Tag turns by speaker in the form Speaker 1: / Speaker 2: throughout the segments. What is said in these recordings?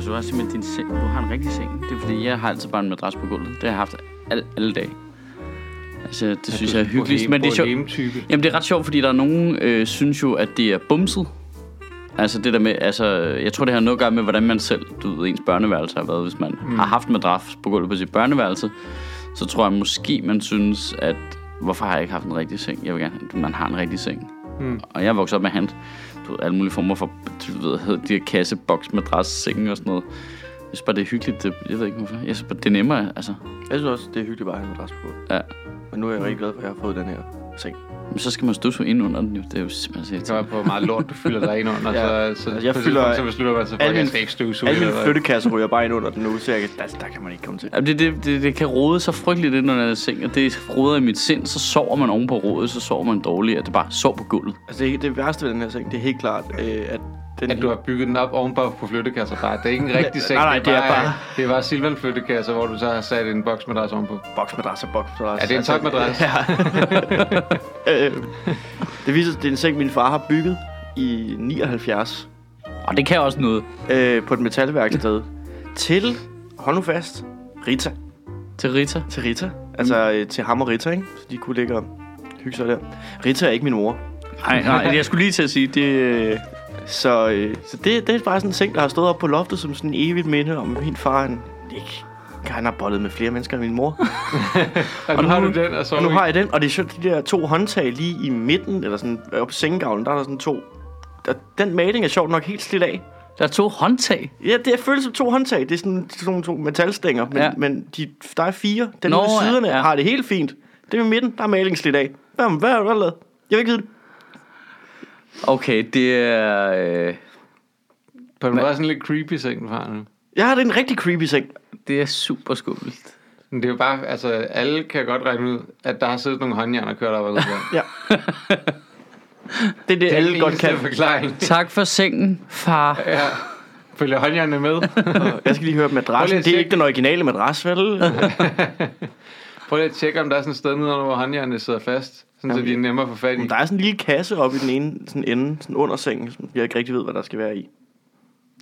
Speaker 1: så var simpelthen din seng. Du har en rigtig seng. Det er fordi, jeg har altid bare en madras på gulvet. Det har jeg haft alle, alle dage. Altså, det synes jeg er hyggeligt. Men det er sjovt.
Speaker 2: Type.
Speaker 1: Jamen, det er ret sjovt, fordi der er nogen, øh, synes jo, at det er bumset. Altså det der med, altså, jeg tror, det har noget at gøre med, hvordan man selv, du ved, ens børneværelse har været. Hvis man mm. har haft madras på gulvet på sit børneværelse, så tror jeg måske, man synes, at hvorfor har jeg ikke haft en rigtig seng? Jeg vil gerne have, at man har en rigtig seng. Mm. Og jeg er vokset op med hand, du ved, alle mulige former for, du ved, hed- de her kasseboks, madras, senge og sådan noget. Jeg synes bare, det er hyggeligt. Det, jeg ved ikke, hvorfor. Jeg synes bare, det er nemmere, altså.
Speaker 3: Jeg synes også, det er hyggeligt bare at have en madras på.
Speaker 1: Ja.
Speaker 3: Men nu er jeg rigtig glad for, at jeg har fået den her seng.
Speaker 1: Men så skal man støvsuge ind under den jo. Det er jo simpelthen
Speaker 2: Det kommer an på, hvor meget lort du fylder dig ind under.
Speaker 3: Ja.
Speaker 2: ja. så, så,
Speaker 3: Altså, jeg
Speaker 2: på et
Speaker 3: fylder-
Speaker 2: tidspunkt, så beslutter man sig for,
Speaker 3: Alle
Speaker 2: at jeg
Speaker 3: mine-
Speaker 2: skal ikke støvsuge.
Speaker 3: Alle mine
Speaker 2: eller hvad.
Speaker 3: flyttekasser ryger bare ind under den nu, så jeg kan, der, der kan man ikke komme til.
Speaker 1: Jamen, det, det, det, det kan rode så frygteligt ind under seng, og det roder i mit sind, så sover man oven på rodet, så sover man dårligt, og det bare sov på gulvet.
Speaker 3: Altså det, det værste ved den her seng, det er helt klart, øh, at den...
Speaker 2: At du har bygget den op ovenpå på flyttekasser bare. Det er ikke en rigtig seng.
Speaker 3: nej, det er bare-
Speaker 2: Det er bare Silvan flyttekasser, hvor du så har sat en boksmadras ovenpå.
Speaker 3: Boksmadras og boksmadras. Altså,
Speaker 2: Ja, det er en topmadras.
Speaker 3: Ja. Øh, det viser sig, at det er en seng, min far har bygget i 79
Speaker 1: Og det kan også noget
Speaker 3: øh, på et metalværksted. til, hold nu fast, Rita.
Speaker 1: til Rita.
Speaker 3: Til Rita. Altså øh, til ham og Rita, ikke? Så de kunne ligge og hygge sig der. Rita er ikke min mor.
Speaker 1: Nej, nej, jeg skulle lige til at sige, det... øh,
Speaker 3: Så, øh, så det, det er bare sådan en ting, der har stået op på loftet som sådan en evigt minde om at min far. Han, ikke, han har bollet med flere mennesker end min mor.
Speaker 2: Og nu har du den, og så
Speaker 3: Og nu har jeg den, og det er sjovt, de der to håndtag lige i midten, eller sådan øh, oppe på sengegavlen, der er der sådan to. Der, den maling er sjovt nok helt slidt af.
Speaker 1: Der er to håndtag.
Speaker 3: Ja, det føles som to håndtag. Det er sådan, sådan nogle to metalstænger, men,
Speaker 1: Ja.
Speaker 3: ja. men de, der er fire. Den
Speaker 1: Nå,
Speaker 3: Nå, ude
Speaker 1: ja,
Speaker 3: af siderne
Speaker 1: ja.
Speaker 3: ja. har det helt fint. Det med midten, der er maling slidt af. Jamen, hvad har du lavet? Jeg vil ikke vide det.
Speaker 1: Okay, det er... Øh,
Speaker 2: På den bare sådan en lidt creepy seng, du har nu.
Speaker 3: Ja, det er en rigtig creepy seng.
Speaker 1: det er super skummelt.
Speaker 2: Men det er jo bare, altså alle kan godt regne ud, at der har siddet nogle håndjern og kørt op ad det der.
Speaker 3: Ja. det er det,
Speaker 2: Det er den
Speaker 3: alle godt
Speaker 2: eneste
Speaker 3: kan.
Speaker 2: forklaring.
Speaker 1: Tak for sengen, far.
Speaker 2: Ja. Følger håndjernene med?
Speaker 3: Og Jeg skal lige høre
Speaker 2: Prøv lige
Speaker 3: madrassen.
Speaker 2: at
Speaker 3: Det er
Speaker 2: tjekke.
Speaker 3: ikke den originale madras, vel? Øh,
Speaker 2: Prøv lige at tjekke, om der er sådan et sted nedenunder, hvor håndjernene sidder fast. Sådan, så
Speaker 3: Jamen,
Speaker 2: de er nemmere at få fat i.
Speaker 3: Men Der er sådan en lille kasse oppe i den ene sådan ende, sådan under sengen, som jeg ikke rigtig ved, hvad der skal være i.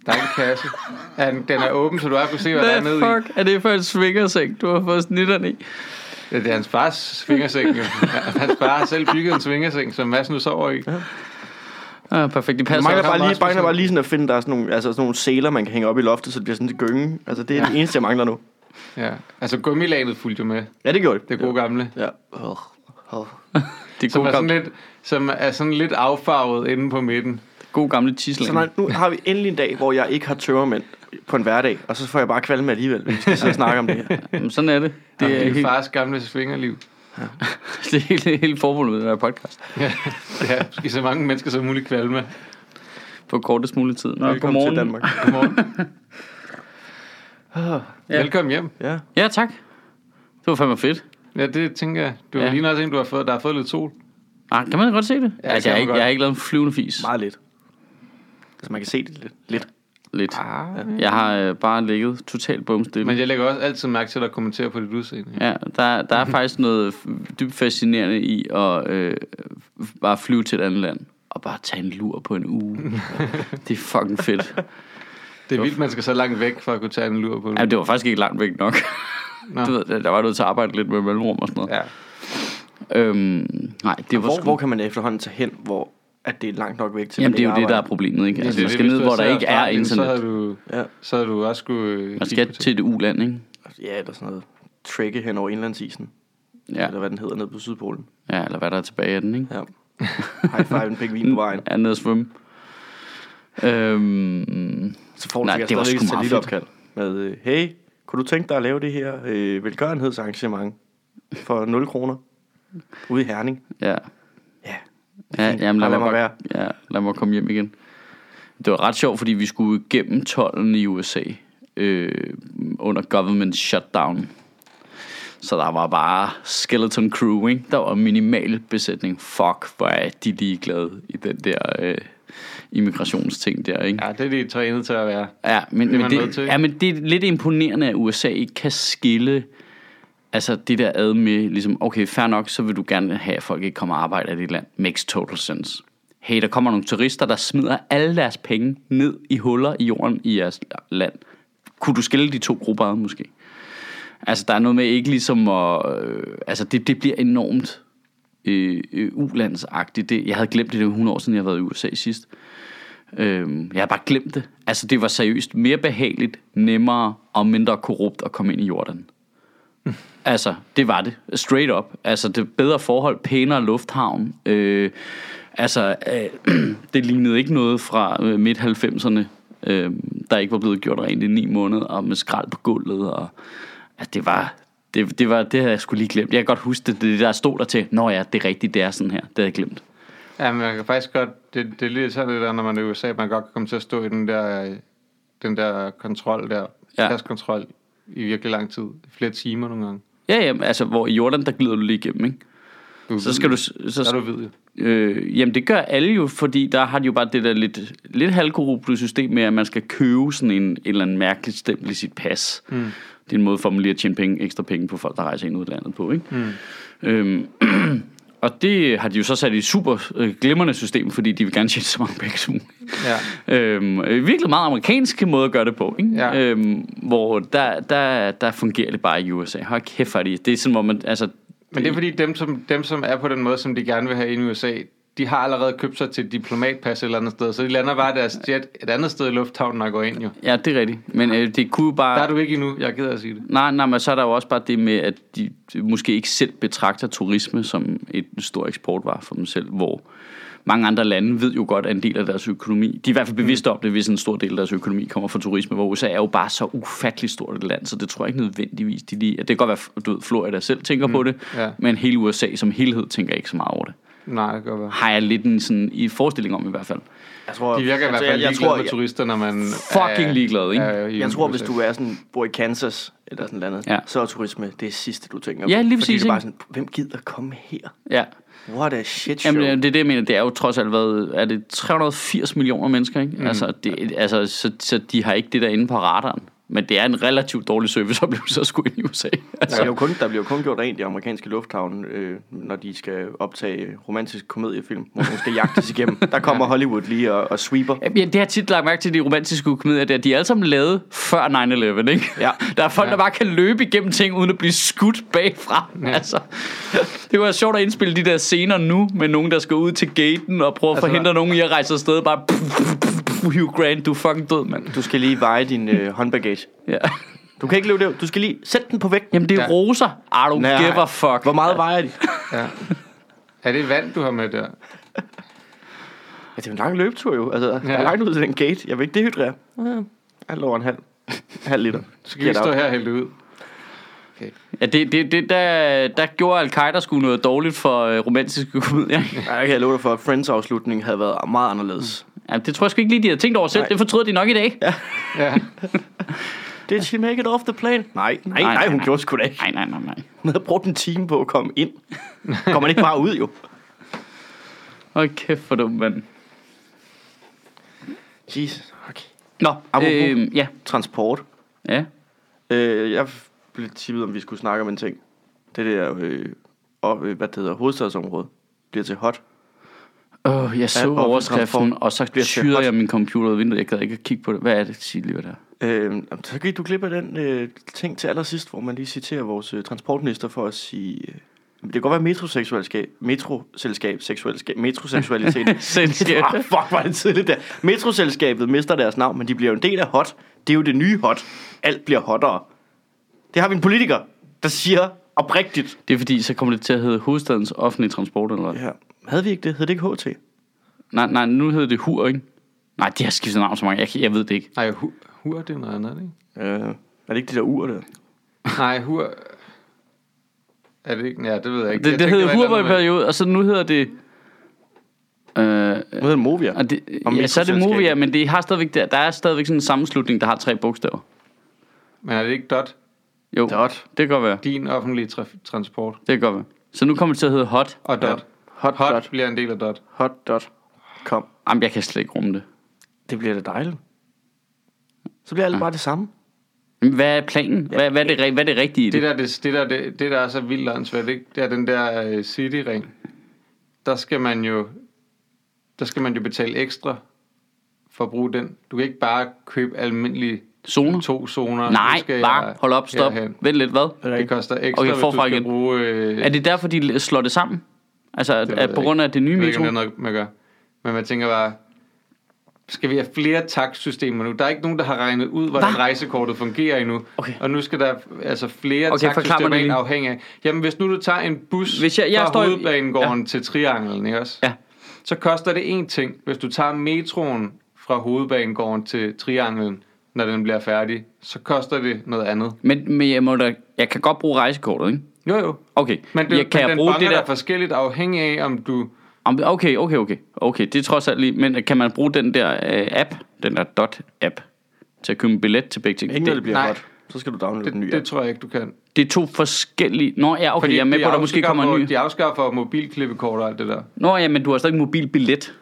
Speaker 2: Der er en kasse. Ja, den, den er åben, så du har kunne se, hvad der er nede i.
Speaker 1: fuck er det for en svingerseng, du har fået snitterne i?
Speaker 2: Ja, det er hans fars svingerseng. Jo. Ja, hans far har selv bygget en svingerseng, som Mads nu sover i.
Speaker 1: Ah, perfekt, det
Speaker 3: Jeg
Speaker 1: passer.
Speaker 3: mangler
Speaker 2: Tom
Speaker 3: bare lige,
Speaker 2: Rasmussen.
Speaker 3: mangler bare lige sådan at finde, der er sådan nogle, altså sådan nogle seler, man kan hænge op i loftet, så det bliver sådan en gynge. Altså det er ja. det eneste, jeg mangler nu.
Speaker 2: Ja. Altså gummilanet fulgte jo med.
Speaker 3: Ja, det gjorde det.
Speaker 2: Det gode gamle.
Speaker 3: Ja. Oh, oh.
Speaker 1: Det er
Speaker 2: Som
Speaker 1: god,
Speaker 2: er, sådan
Speaker 1: gamle,
Speaker 2: lidt, som er sådan lidt affarvet inde på midten.
Speaker 1: god gamle
Speaker 3: Så
Speaker 1: tidslæng.
Speaker 3: nej, nu har vi endelig en dag, hvor jeg ikke har tømmermænd på en hverdag, og så får jeg bare kvalme alligevel. Vi skal sidde og snakke om det her.
Speaker 1: Jamen, Sådan er det. Det er,
Speaker 2: Det er
Speaker 1: helt,
Speaker 2: fars gamle svingerliv.
Speaker 1: det er hele, hele formålet med den her podcast.
Speaker 2: Ja, i så mange mennesker som muligt kvalme.
Speaker 1: På kortest mulig tid. Nå,
Speaker 3: Velkommen
Speaker 1: godmorgen.
Speaker 3: til Danmark.
Speaker 2: Godmorgen. Ah,
Speaker 1: Ja.
Speaker 2: Velkommen hjem.
Speaker 3: Ja.
Speaker 1: Ja, tak. Det var fandme fedt.
Speaker 2: Ja, det tænker jeg. Du
Speaker 1: Ja.
Speaker 2: ja. ligner også en, du har fået, der har fået lidt sol.
Speaker 1: Ah, kan man godt se det? Ja,
Speaker 2: det
Speaker 1: altså, jeg,
Speaker 2: kan
Speaker 1: har
Speaker 2: man
Speaker 1: ikke,
Speaker 2: godt.
Speaker 1: jeg har ikke lavet en flyvende fis.
Speaker 3: Meget lidt. Altså man kan se det lidt. lidt.
Speaker 1: Lidt.
Speaker 2: Ah,
Speaker 1: Jeg har øh, bare ligget totalt bumstille.
Speaker 2: Men jeg lægger også altid mærke til at kommentere på dit udseende. Ja.
Speaker 1: Ja, der, der er faktisk noget f- dybt fascinerende i at øh, f- bare flyve til et andet land og bare tage en lur på en uge. det er fucking fedt.
Speaker 2: Det er vildt, man skal så langt væk for at kunne tage en lur på det.
Speaker 1: Jamen, det var faktisk ikke langt væk nok.
Speaker 2: Nå.
Speaker 1: Du ved, der- der var nødt til at arbejde lidt med mellemrum og sådan noget.
Speaker 2: Ja.
Speaker 1: Ja. Øhm, nej, det var
Speaker 3: Hvor,
Speaker 1: sgu...
Speaker 3: hvor kan man efterhånden tage hen, hvor at det er langt nok væk til,
Speaker 1: Jamen,
Speaker 3: man
Speaker 1: det er jo
Speaker 3: ikke
Speaker 1: det, der er
Speaker 3: arbejder?
Speaker 1: problemet, ikke? Altså,
Speaker 2: det er
Speaker 1: man skal
Speaker 2: hvis
Speaker 1: ned,
Speaker 2: du
Speaker 1: hvor der
Speaker 2: sidder i
Speaker 1: ikke er
Speaker 2: Australien, Så
Speaker 1: internet.
Speaker 2: havde du,
Speaker 3: Ja.
Speaker 2: så havde du også skulle...
Speaker 1: Man skal til det uland, ikke?
Speaker 3: Ja, eller sådan noget. Trække hen over indlandsisen.
Speaker 1: Ja,
Speaker 3: Eller hvad den hedder nede på Sydpolen.
Speaker 1: ja eller hvad der er tilbage af den, ikke?
Speaker 3: Ja. High five en pingvin
Speaker 1: Mm.
Speaker 3: på vejen.
Speaker 1: er nede at svømme. Øhm,
Speaker 3: Så får du
Speaker 1: Nej,
Speaker 3: sikkert
Speaker 1: det var
Speaker 3: stadigvæk
Speaker 1: sgu
Speaker 3: et
Speaker 1: meget
Speaker 3: satellitopkald Med, øh, hey, kunne du tænke dig at lave det her øh, velgørenhedsarrangement for 0 kroner ude i Herning?
Speaker 1: ja.
Speaker 3: Ja.
Speaker 1: Ja, jamen, lad,
Speaker 3: Bare lad
Speaker 1: mig
Speaker 3: mig
Speaker 1: bare, ja, lad mig komme hjem igen. Det var ret sjovt, fordi vi skulle igennem tollen i USA øh, under government shutdown. Så der var bare skeleton crew, ikke? Der var minimal besætning. Fuck, hvor er de ligeglade i den der øh, immigrationsting der, ikke?
Speaker 2: Ja, det er de trænet til at være.
Speaker 1: Ja, men,
Speaker 2: Det er
Speaker 1: men,
Speaker 2: man nødt
Speaker 1: det,
Speaker 2: til.
Speaker 1: ja, men det er lidt imponerende, at USA ikke kan skille altså det der ad med, ligesom, okay, fair nok, så vil du gerne have, at folk ikke kommer og arbejder i dit land. Makes total sense. Hey, der kommer nogle turister, der smider alle deres penge ned i huller i jorden i jeres land. kunne du skille de to grupper ad, måske? Altså, der er noget med ikke ligesom at... Øh, altså, det, det bliver enormt øh, øh, ulandsagtigt. Det, jeg havde glemt det, det var 100 år siden, jeg havde været i USA sidst. Øh, jeg havde bare glemt det. Altså, det var seriøst mere behageligt, nemmere og mindre korrupt at komme ind i Jordan. Altså, det var det. Straight up. Altså, det bedre forhold, pænere lufthavn. Øh, altså, øh, det lignede ikke noget fra øh, midt-90'erne, øh, der ikke var blevet gjort rent i ni måneder, og med skrald på gulvet. Og, altså, det var... Det, det, var, det havde jeg skulle lige glemt. Jeg kan godt huske det, det der stod der til. Nå ja, det er rigtigt, det er sådan her. Det havde jeg glemt.
Speaker 2: Ja, men jeg kan faktisk godt... Det, det er lidt sådan det der, når man er i USA, at man godt kan komme til at stå i den der, øh, den der kontrol der.
Speaker 1: Ja.
Speaker 2: Ja. Paskontrol i virkelig lang tid. Flere timer nogle gange.
Speaker 1: Ja, ja, altså, hvor i Jordan, der glider du lige igennem, ikke?
Speaker 2: Du er
Speaker 1: Så skal du...
Speaker 2: hvid.
Speaker 1: Så,
Speaker 2: Der er du hvid, jo.
Speaker 1: Øh, jamen det gør alle jo, fordi der har de jo bare det der lidt, lidt halvkorrupte system med, at man skal købe sådan en, en eller anden mærkelig stempel i sit pas. Mm. Det er en måde for dem lige at tjene penge, ekstra penge på folk, der rejser ind ud af landet på. Ikke? Mm. Øhm, og det har de jo så sat i et super øh, glimrende system, fordi de vil gerne tjene så mange penge som muligt.
Speaker 2: Ja.
Speaker 1: Øhm, øh, virkelig meget amerikanske måde at gøre det på, ikke?
Speaker 2: Ja.
Speaker 1: Øhm, hvor der, der, der fungerer det bare i USA. Hold kæft, hvor er de. det er sådan, hvor man, altså,
Speaker 2: Men det er fordi, dem som, dem som er på den måde, som de gerne vil have ind i USA, de har allerede købt sig til et diplomatpas et eller andet sted, så de lander bare deres jet et andet sted i lufthavnen og går ind jo.
Speaker 1: ja, det er rigtigt. Men øh, det kunne jo bare...
Speaker 2: Der er du ikke endnu, jeg gider at sige det.
Speaker 1: Nej, nej, men så er der jo også bare det med, at de måske ikke selv betragter turisme som et stor eksportvare for dem selv, hvor mange andre lande ved jo godt, at en del af deres økonomi, de er i hvert fald bevidste om det, hvis en stor del af deres økonomi kommer fra turisme, hvor USA er jo bare så ufattelig stort et land, så det tror jeg ikke nødvendigvis, de lige, det kan godt være, du ved, Florida selv tænker mm, på det,
Speaker 2: ja.
Speaker 1: men hele USA som helhed tænker ikke så meget over det.
Speaker 2: Nej, det kan godt være.
Speaker 1: Har jeg lidt en sådan, i forestilling om i hvert fald.
Speaker 3: Jeg tror,
Speaker 2: De virker i hvert
Speaker 3: altså,
Speaker 2: fald
Speaker 3: jeg, jeg,
Speaker 2: ligeglade
Speaker 3: tror,
Speaker 2: med
Speaker 3: jeg,
Speaker 2: turister, når man
Speaker 1: Fucking ligeglade, ikke?
Speaker 2: i
Speaker 3: jeg tror, hvis
Speaker 2: USA.
Speaker 3: du er sådan, bor i Kansas eller sådan noget,
Speaker 1: Ja.
Speaker 3: ja. så er turisme det sidste, du tænker
Speaker 1: Ja,
Speaker 3: på.
Speaker 1: lige
Speaker 3: Fordi
Speaker 1: præcis,
Speaker 3: det er bare
Speaker 1: ikke?
Speaker 3: sådan, hvem gider komme her?
Speaker 1: Ja.
Speaker 3: What a shit show.
Speaker 1: Jamen, øh, det er det, jeg mener. Det er jo trods alt været, er det 380 millioner mennesker, ikke? Mm. Altså, det, altså så, så, de har ikke det der inde på radaren. Men det er en relativt dårlig serviceoplevelse at skulle ind i USA.
Speaker 3: Der bliver, jo kun, der bliver jo kun gjort rent i amerikanske lufthavn, øh, når de skal optage romantisk komediefilm, hvor man skal jagtes igennem. Der kommer Hollywood lige og, og sweeper.
Speaker 1: Jamen, det har jeg tit lagt mærke til, de romantiske komedier der. De er alle sammen lavet før 9-11, ikke?
Speaker 3: Ja.
Speaker 1: Der er folk, ja. der bare kan løbe igennem ting, uden at blive skudt bagfra. Ja. Altså, det var sjovt at indspille de der scener nu, med nogen, der skal ud til gaten og prøve at
Speaker 2: Altså,
Speaker 1: altså, forhindre
Speaker 2: der-
Speaker 1: nogen i at rejse afsted. Bare pff, pff, pff, pff, Hugh Grant, du er fucking død, mand.
Speaker 3: Du skal lige veje din øh, håndbagage.
Speaker 1: Ja.
Speaker 3: Du kan ikke løbe det. Du skal lige sætte den på vægten.
Speaker 1: Jamen, det er
Speaker 2: Ja.
Speaker 1: ja. roser. I don't Nej. give a fuck.
Speaker 3: Hvor meget vejer de?
Speaker 2: Ja. Er det vand, du har med der?
Speaker 3: Ja, det er en lang løbetur jo. Altså, ja. Jeg er langt ud til den gate. Jeg vil ikke dehydrere. Ja. Alt over en halv, halv liter.
Speaker 2: Så kan vi
Speaker 3: Get out.
Speaker 2: stå her og hælde det ud.
Speaker 1: Ja, det, det, det, der, der gjorde Al-Qaida sgu noget dårligt for øh, romantiske komedier. ikke?
Speaker 3: Ja, Jeg kan love dig for, at Friends-afslutningen havde været meget anderledes.
Speaker 1: Ja, det tror jeg sgu ikke lige, de havde tænkt over selv.
Speaker 3: Nej.
Speaker 1: Det fortryder de nok i dag. Ja.
Speaker 2: Ja.
Speaker 3: Did she make it off the plane? Nej, nej, nej,
Speaker 1: nej,
Speaker 3: nej hun
Speaker 1: nej.
Speaker 3: gjorde sgu da ikke.
Speaker 1: Nej, nej, nej, nej.
Speaker 3: Hun havde brugt en time på at komme ind. Kommer man ikke bare ud jo?
Speaker 1: Åh, kæft for dum, mand.
Speaker 3: Jesus, okay.
Speaker 1: Nå,
Speaker 3: Apropos.
Speaker 1: øh, ja.
Speaker 3: Transport.
Speaker 1: ja.
Speaker 3: Øh, jeg blev tippet, om vi skulle snakke om en ting. Det der, øh, op, øh, hvad det hedder, hovedstadsområdet, bliver til hot.
Speaker 1: Oh, jeg så
Speaker 3: offentlig
Speaker 1: overskriften,
Speaker 3: transport
Speaker 1: og så
Speaker 3: bliver til
Speaker 1: tyder
Speaker 3: hot.
Speaker 1: jeg min computer ud af vinduet. Jeg gad ikke at kigge på det. Hvad er det, sige lige, hvad det er?
Speaker 3: Øh, så gik du glip af den øh, ting til allersidst, hvor man lige citerer vores øh, transportminister for at sige... Øh, det kan godt være metroseksualskab, metroselskab, seksuelskab, metroseksualitet.
Speaker 1: Selskab.
Speaker 3: ah, fuck, var det tidligt der. Metroselskabet mister deres navn, men de bliver jo en del af hot. Det er jo det nye hot. Alt bliver hottere. Det har vi en politiker, der siger oprigtigt.
Speaker 1: Det er fordi, så kommer det til at hedde hovedstadens offentlige transport, eller hvad?
Speaker 3: Ja. Havde vi ikke det? Hed det ikke Øh, HT?
Speaker 1: Nej, nej, nu hedder det HUR, ikke? Nej, de har skiftet navn så mange. Jeg, jeg ved det ikke.
Speaker 2: Nej, hur, hur det er noget andet, ikke?
Speaker 3: Øh, er det ikke de der ur der?
Speaker 2: Nej, hur... Er det ikke? Ja, det ved jeg ikke.
Speaker 1: Det,
Speaker 2: Jeg
Speaker 1: det
Speaker 2: tænkte,
Speaker 1: hedder
Speaker 2: var et eller
Speaker 1: HUR i
Speaker 2: andet
Speaker 1: en
Speaker 2: med-
Speaker 1: periode, og så nu hedder det... Øh,
Speaker 3: Nu hedder det Movia.
Speaker 1: Og det,
Speaker 3: Og
Speaker 1: ja, så er det
Speaker 3: mikroselskabet.
Speaker 1: Movia, men det har stadigvæk, der, der er stadigvæk sådan en sammenslutning, der har tre bogstaver.
Speaker 2: Men er det ikke dot?
Speaker 1: Jo,
Speaker 3: Dot.
Speaker 1: det kan godt være.
Speaker 2: Din offentlige traf- transport.
Speaker 1: Det kan godt være. Så nu kommer det til at hedde Hot.
Speaker 2: Og dot.
Speaker 3: Hot,
Speaker 2: Hot,
Speaker 3: dot.
Speaker 2: bliver en del af dot.
Speaker 3: Hot dot. Kom.
Speaker 1: Jamen, jeg kan slet ikke rumme det.
Speaker 3: Det bliver da dejligt. Så bliver alt bare det samme.
Speaker 1: Jamen, hvad er planen? Hvad, hvad, er det, ri- hvad er det rigtige i
Speaker 2: Det
Speaker 1: det?
Speaker 2: der, det, det der, det, det der er så vildt åndssvagt, ikke? Det er den der øh, City-ring. Der skal man jo... Der skal man jo betale ekstra for at bruge den. Du kan ikke bare købe almindelig
Speaker 1: Zoner?
Speaker 2: to zoner. Nu
Speaker 1: Nej,
Speaker 2: skal
Speaker 1: bare
Speaker 2: jeg
Speaker 1: hold op, stop.
Speaker 2: herhen.
Speaker 1: Vent lidt, hvad?
Speaker 2: Det koster ekstra,
Speaker 1: Okay,
Speaker 2: okay, hvis du
Speaker 1: forfra
Speaker 2: skal
Speaker 1: igen.
Speaker 2: bruge... Øh,
Speaker 1: Er det derfor, de slår det sammen? Altså, at,
Speaker 2: ved jeg
Speaker 1: at på grund af det nye
Speaker 2: jeg ved ikke,
Speaker 1: metro?
Speaker 2: om det er noget, man gør. Men man tænker bare, skal vi have flere taksystemer nu? Der er ikke nogen, der har regnet ud, hvordan
Speaker 1: Hva?
Speaker 2: rejsekortet fungerer endnu.
Speaker 1: Okay.
Speaker 2: Og nu skal der altså flere
Speaker 1: Okay,
Speaker 2: okay,
Speaker 1: forklar mig
Speaker 2: taksystemer
Speaker 1: det
Speaker 2: ind
Speaker 1: lige.
Speaker 2: afhængig af. Jamen, hvis nu du tager en bus
Speaker 1: Hvis jeg- jeg
Speaker 2: fra
Speaker 1: står i-
Speaker 2: hovedbanegården til Trianglen, ikke også?
Speaker 1: Ja.
Speaker 2: Så koster det én ting, hvis du tager metroen fra hovedbanegården til Trianglen, når den bliver færdig, så koster det noget andet.
Speaker 1: Men, men jeg, må da, jeg kan godt bruge rejsekortet, ikke?
Speaker 2: Jo, jo.
Speaker 1: Okay,
Speaker 2: Men, det,
Speaker 1: jeg, kan
Speaker 2: men
Speaker 1: jeg
Speaker 2: den
Speaker 1: bruge
Speaker 2: bonger
Speaker 1: det der...
Speaker 2: dig forskelligt afhængig af, om du...
Speaker 1: Om- Okay, okay, okay. Okay, det er trods alt lige... Men kan man bruge den der øh, app, den der Dot-app, til at købe en billet til begge ting?
Speaker 3: Ikke når det
Speaker 1: Det,
Speaker 3: bliver
Speaker 2: nej.
Speaker 3: godt. Så skal du downloade
Speaker 2: Det,
Speaker 3: den nye.
Speaker 2: det tror jeg ikke, du kan.
Speaker 1: det er to forskellige... Nå ja, okay, jeg er med
Speaker 2: de
Speaker 1: på, at der måske
Speaker 2: afskaffer-
Speaker 1: kommer en ny...
Speaker 2: De afskaffer mobilklippekort og alt det der.
Speaker 1: Nå ja, men du har stadig mobilbillet.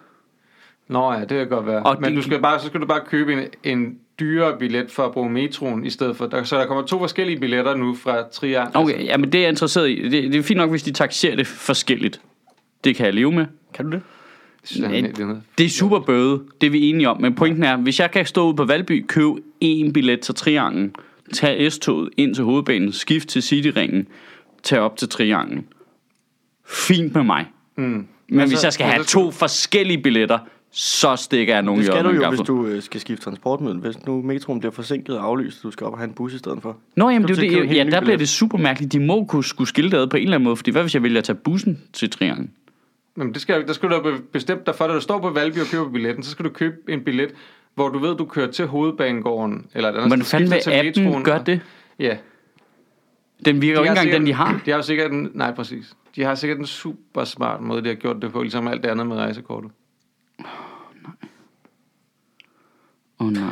Speaker 2: Nå ja, det kan godt være.
Speaker 1: Og
Speaker 2: Og Men
Speaker 1: det-
Speaker 2: du skal bare, så skal du bare købe en, en dyrere billet for at bruge metroen i stedet for. Der, så der kommer to forskellige billetter nu fra Trier. Altså,
Speaker 1: Okay, ja, men det er jeg interesseret i. Det, det er fint nok, hvis de taxerer det forskelligt. Det kan jeg leve med.
Speaker 3: Kan du det?
Speaker 2: Altså, det, er, det, er noget.
Speaker 1: Det er super bøde, det er vi enige om. Men pointen er, hvis jeg kan stå ude på Valby, købe en billet til Triangen, tage S-toget ind til hovedbanen, skifte til Cityringen, tage op til Triangen. Fint med mig. Mm. Men altså, hvis jeg skal
Speaker 2: men
Speaker 1: have
Speaker 2: så skal
Speaker 1: to forskellige billetter, så stikker jeg nogen
Speaker 3: Det skal
Speaker 1: i
Speaker 3: du
Speaker 1: øjnene
Speaker 3: jo,
Speaker 1: en
Speaker 3: hvis
Speaker 1: gaffel.
Speaker 3: du øh, skal skifte transportmiddel. Hvis nu metroen bliver forsinket og aflyst, og du skal op og have en bus i stedet for.
Speaker 1: Nå, jamen,
Speaker 3: Skal
Speaker 1: det,
Speaker 3: du
Speaker 1: er
Speaker 3: til
Speaker 1: jo
Speaker 3: at købe en
Speaker 1: det,
Speaker 3: helt
Speaker 1: ja,
Speaker 3: ny
Speaker 1: der bliver
Speaker 3: billet?
Speaker 1: det super mærkeligt. De må kunne skulle skille det ad på en eller anden måde, fordi hvad hvis jeg vælger at tage bussen til Triangen?
Speaker 3: Altså,
Speaker 2: Jamen, det skal, der skal du da be- bestemme dig for, da du står på Valby og køber billetten, så skal du købe en billet, hvor du ved, du kører til hovedbanegården. Eller et andet
Speaker 1: Hvordan
Speaker 2: sted,
Speaker 1: fanden
Speaker 2: skifter
Speaker 1: vil appen gøre det?
Speaker 2: Ja.
Speaker 1: Den virker jo
Speaker 2: De
Speaker 1: ikke
Speaker 2: har
Speaker 1: engang
Speaker 2: sikkert-
Speaker 1: den, de har.
Speaker 2: De har jo sikkert en, nej, præcis. De har sikkert en super smart måde, de har gjort det på, ligesom alt det andet med rejsekortet.
Speaker 1: Åh oh, nej.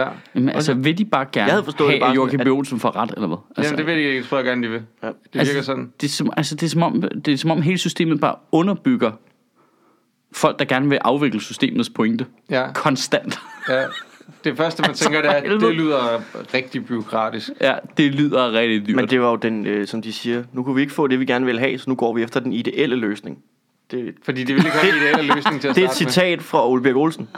Speaker 2: Ja.
Speaker 1: Jamen, altså, vil de bare gerne
Speaker 3: Jeg havde forstået det
Speaker 1: have,
Speaker 3: bare
Speaker 1: at Joachim
Speaker 3: sådan,
Speaker 1: B. Olsen får ret, eller hvad? Altså,
Speaker 2: Altså, Jamen, det ved de ikke, tror jeg gerne, de vil. Ja. Det virker
Speaker 1: altså,
Speaker 2: sådan.
Speaker 1: Det er, som, altså, det, er som om, det er som om hele systemet bare underbygger folk, der gerne vil afvikle systemets pointe.
Speaker 2: Ja.
Speaker 1: Konstant.
Speaker 2: Ja. Det første, man
Speaker 1: Altså,
Speaker 2: altså, tænker, det er,
Speaker 1: for
Speaker 2: at
Speaker 1: helvede.
Speaker 2: det lyder rigtig byråkratisk.
Speaker 1: ja, det lyder rigtig dyrt.
Speaker 3: Men det var jo den, øh, som de siger, nu kunne vi ikke få det, vi gerne vil have, så nu går vi efter den ideelle løsning. Det,
Speaker 2: Fordi det ville ikke have en ideelle løsning til at
Speaker 3: det er et
Speaker 2: starte med.
Speaker 3: citat fra Ole Birk Olsen,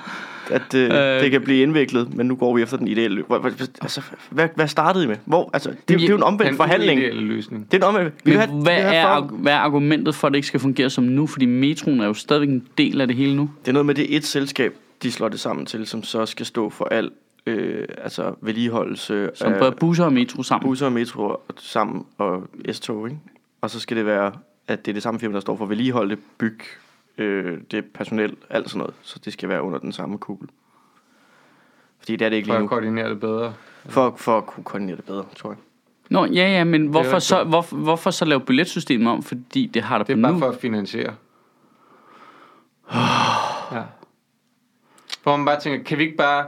Speaker 3: at øh, det kan blive indviklet, men nu går vi efter den ideelle løsning. Hvor, hvor- altså, hvad, hvad startede I med? Hvor, altså, det, det er jo en omvendt
Speaker 2: Den
Speaker 3: forhandling. Det
Speaker 2: ideelle løsning.
Speaker 3: er en omvendt.
Speaker 1: Men
Speaker 3: Vi vil have-
Speaker 1: hvad,
Speaker 3: vi vil have
Speaker 1: er,
Speaker 3: for-
Speaker 1: arg- hvad er argumentet for, at det ikke skal fungere som nu? Fordi metroen er jo stadigvæk en del af det hele nu.
Speaker 3: Det er noget med, det er et selskab, de slår det sammen til, som så skal stå for al øh, altså vedligeholdelse
Speaker 1: Som
Speaker 3: af
Speaker 1: øh, busser og metro sammen.
Speaker 3: busser og metro og- sammen og S-tog, ikke? Og så skal det være, at det er det samme firma, der står for vedligeholde, byg, øh, det er personel, alt sådan noget. Så det skal være under den samme kugle. Fordi det er det ikke
Speaker 2: For
Speaker 3: lige
Speaker 2: at
Speaker 3: nu.
Speaker 2: koordinere det bedre.
Speaker 3: For, for at kunne koordinere det bedre, tror jeg.
Speaker 1: Nå, ja, ja, men hvorfor
Speaker 2: rigtigt.
Speaker 1: så, hvorfor, hvorfor så lave billetsystemet om? Fordi det har der
Speaker 2: Det
Speaker 1: på
Speaker 2: er bare
Speaker 1: nu.
Speaker 2: for at finansiere. Ja. Hvor man bare tænker, kan vi ikke bare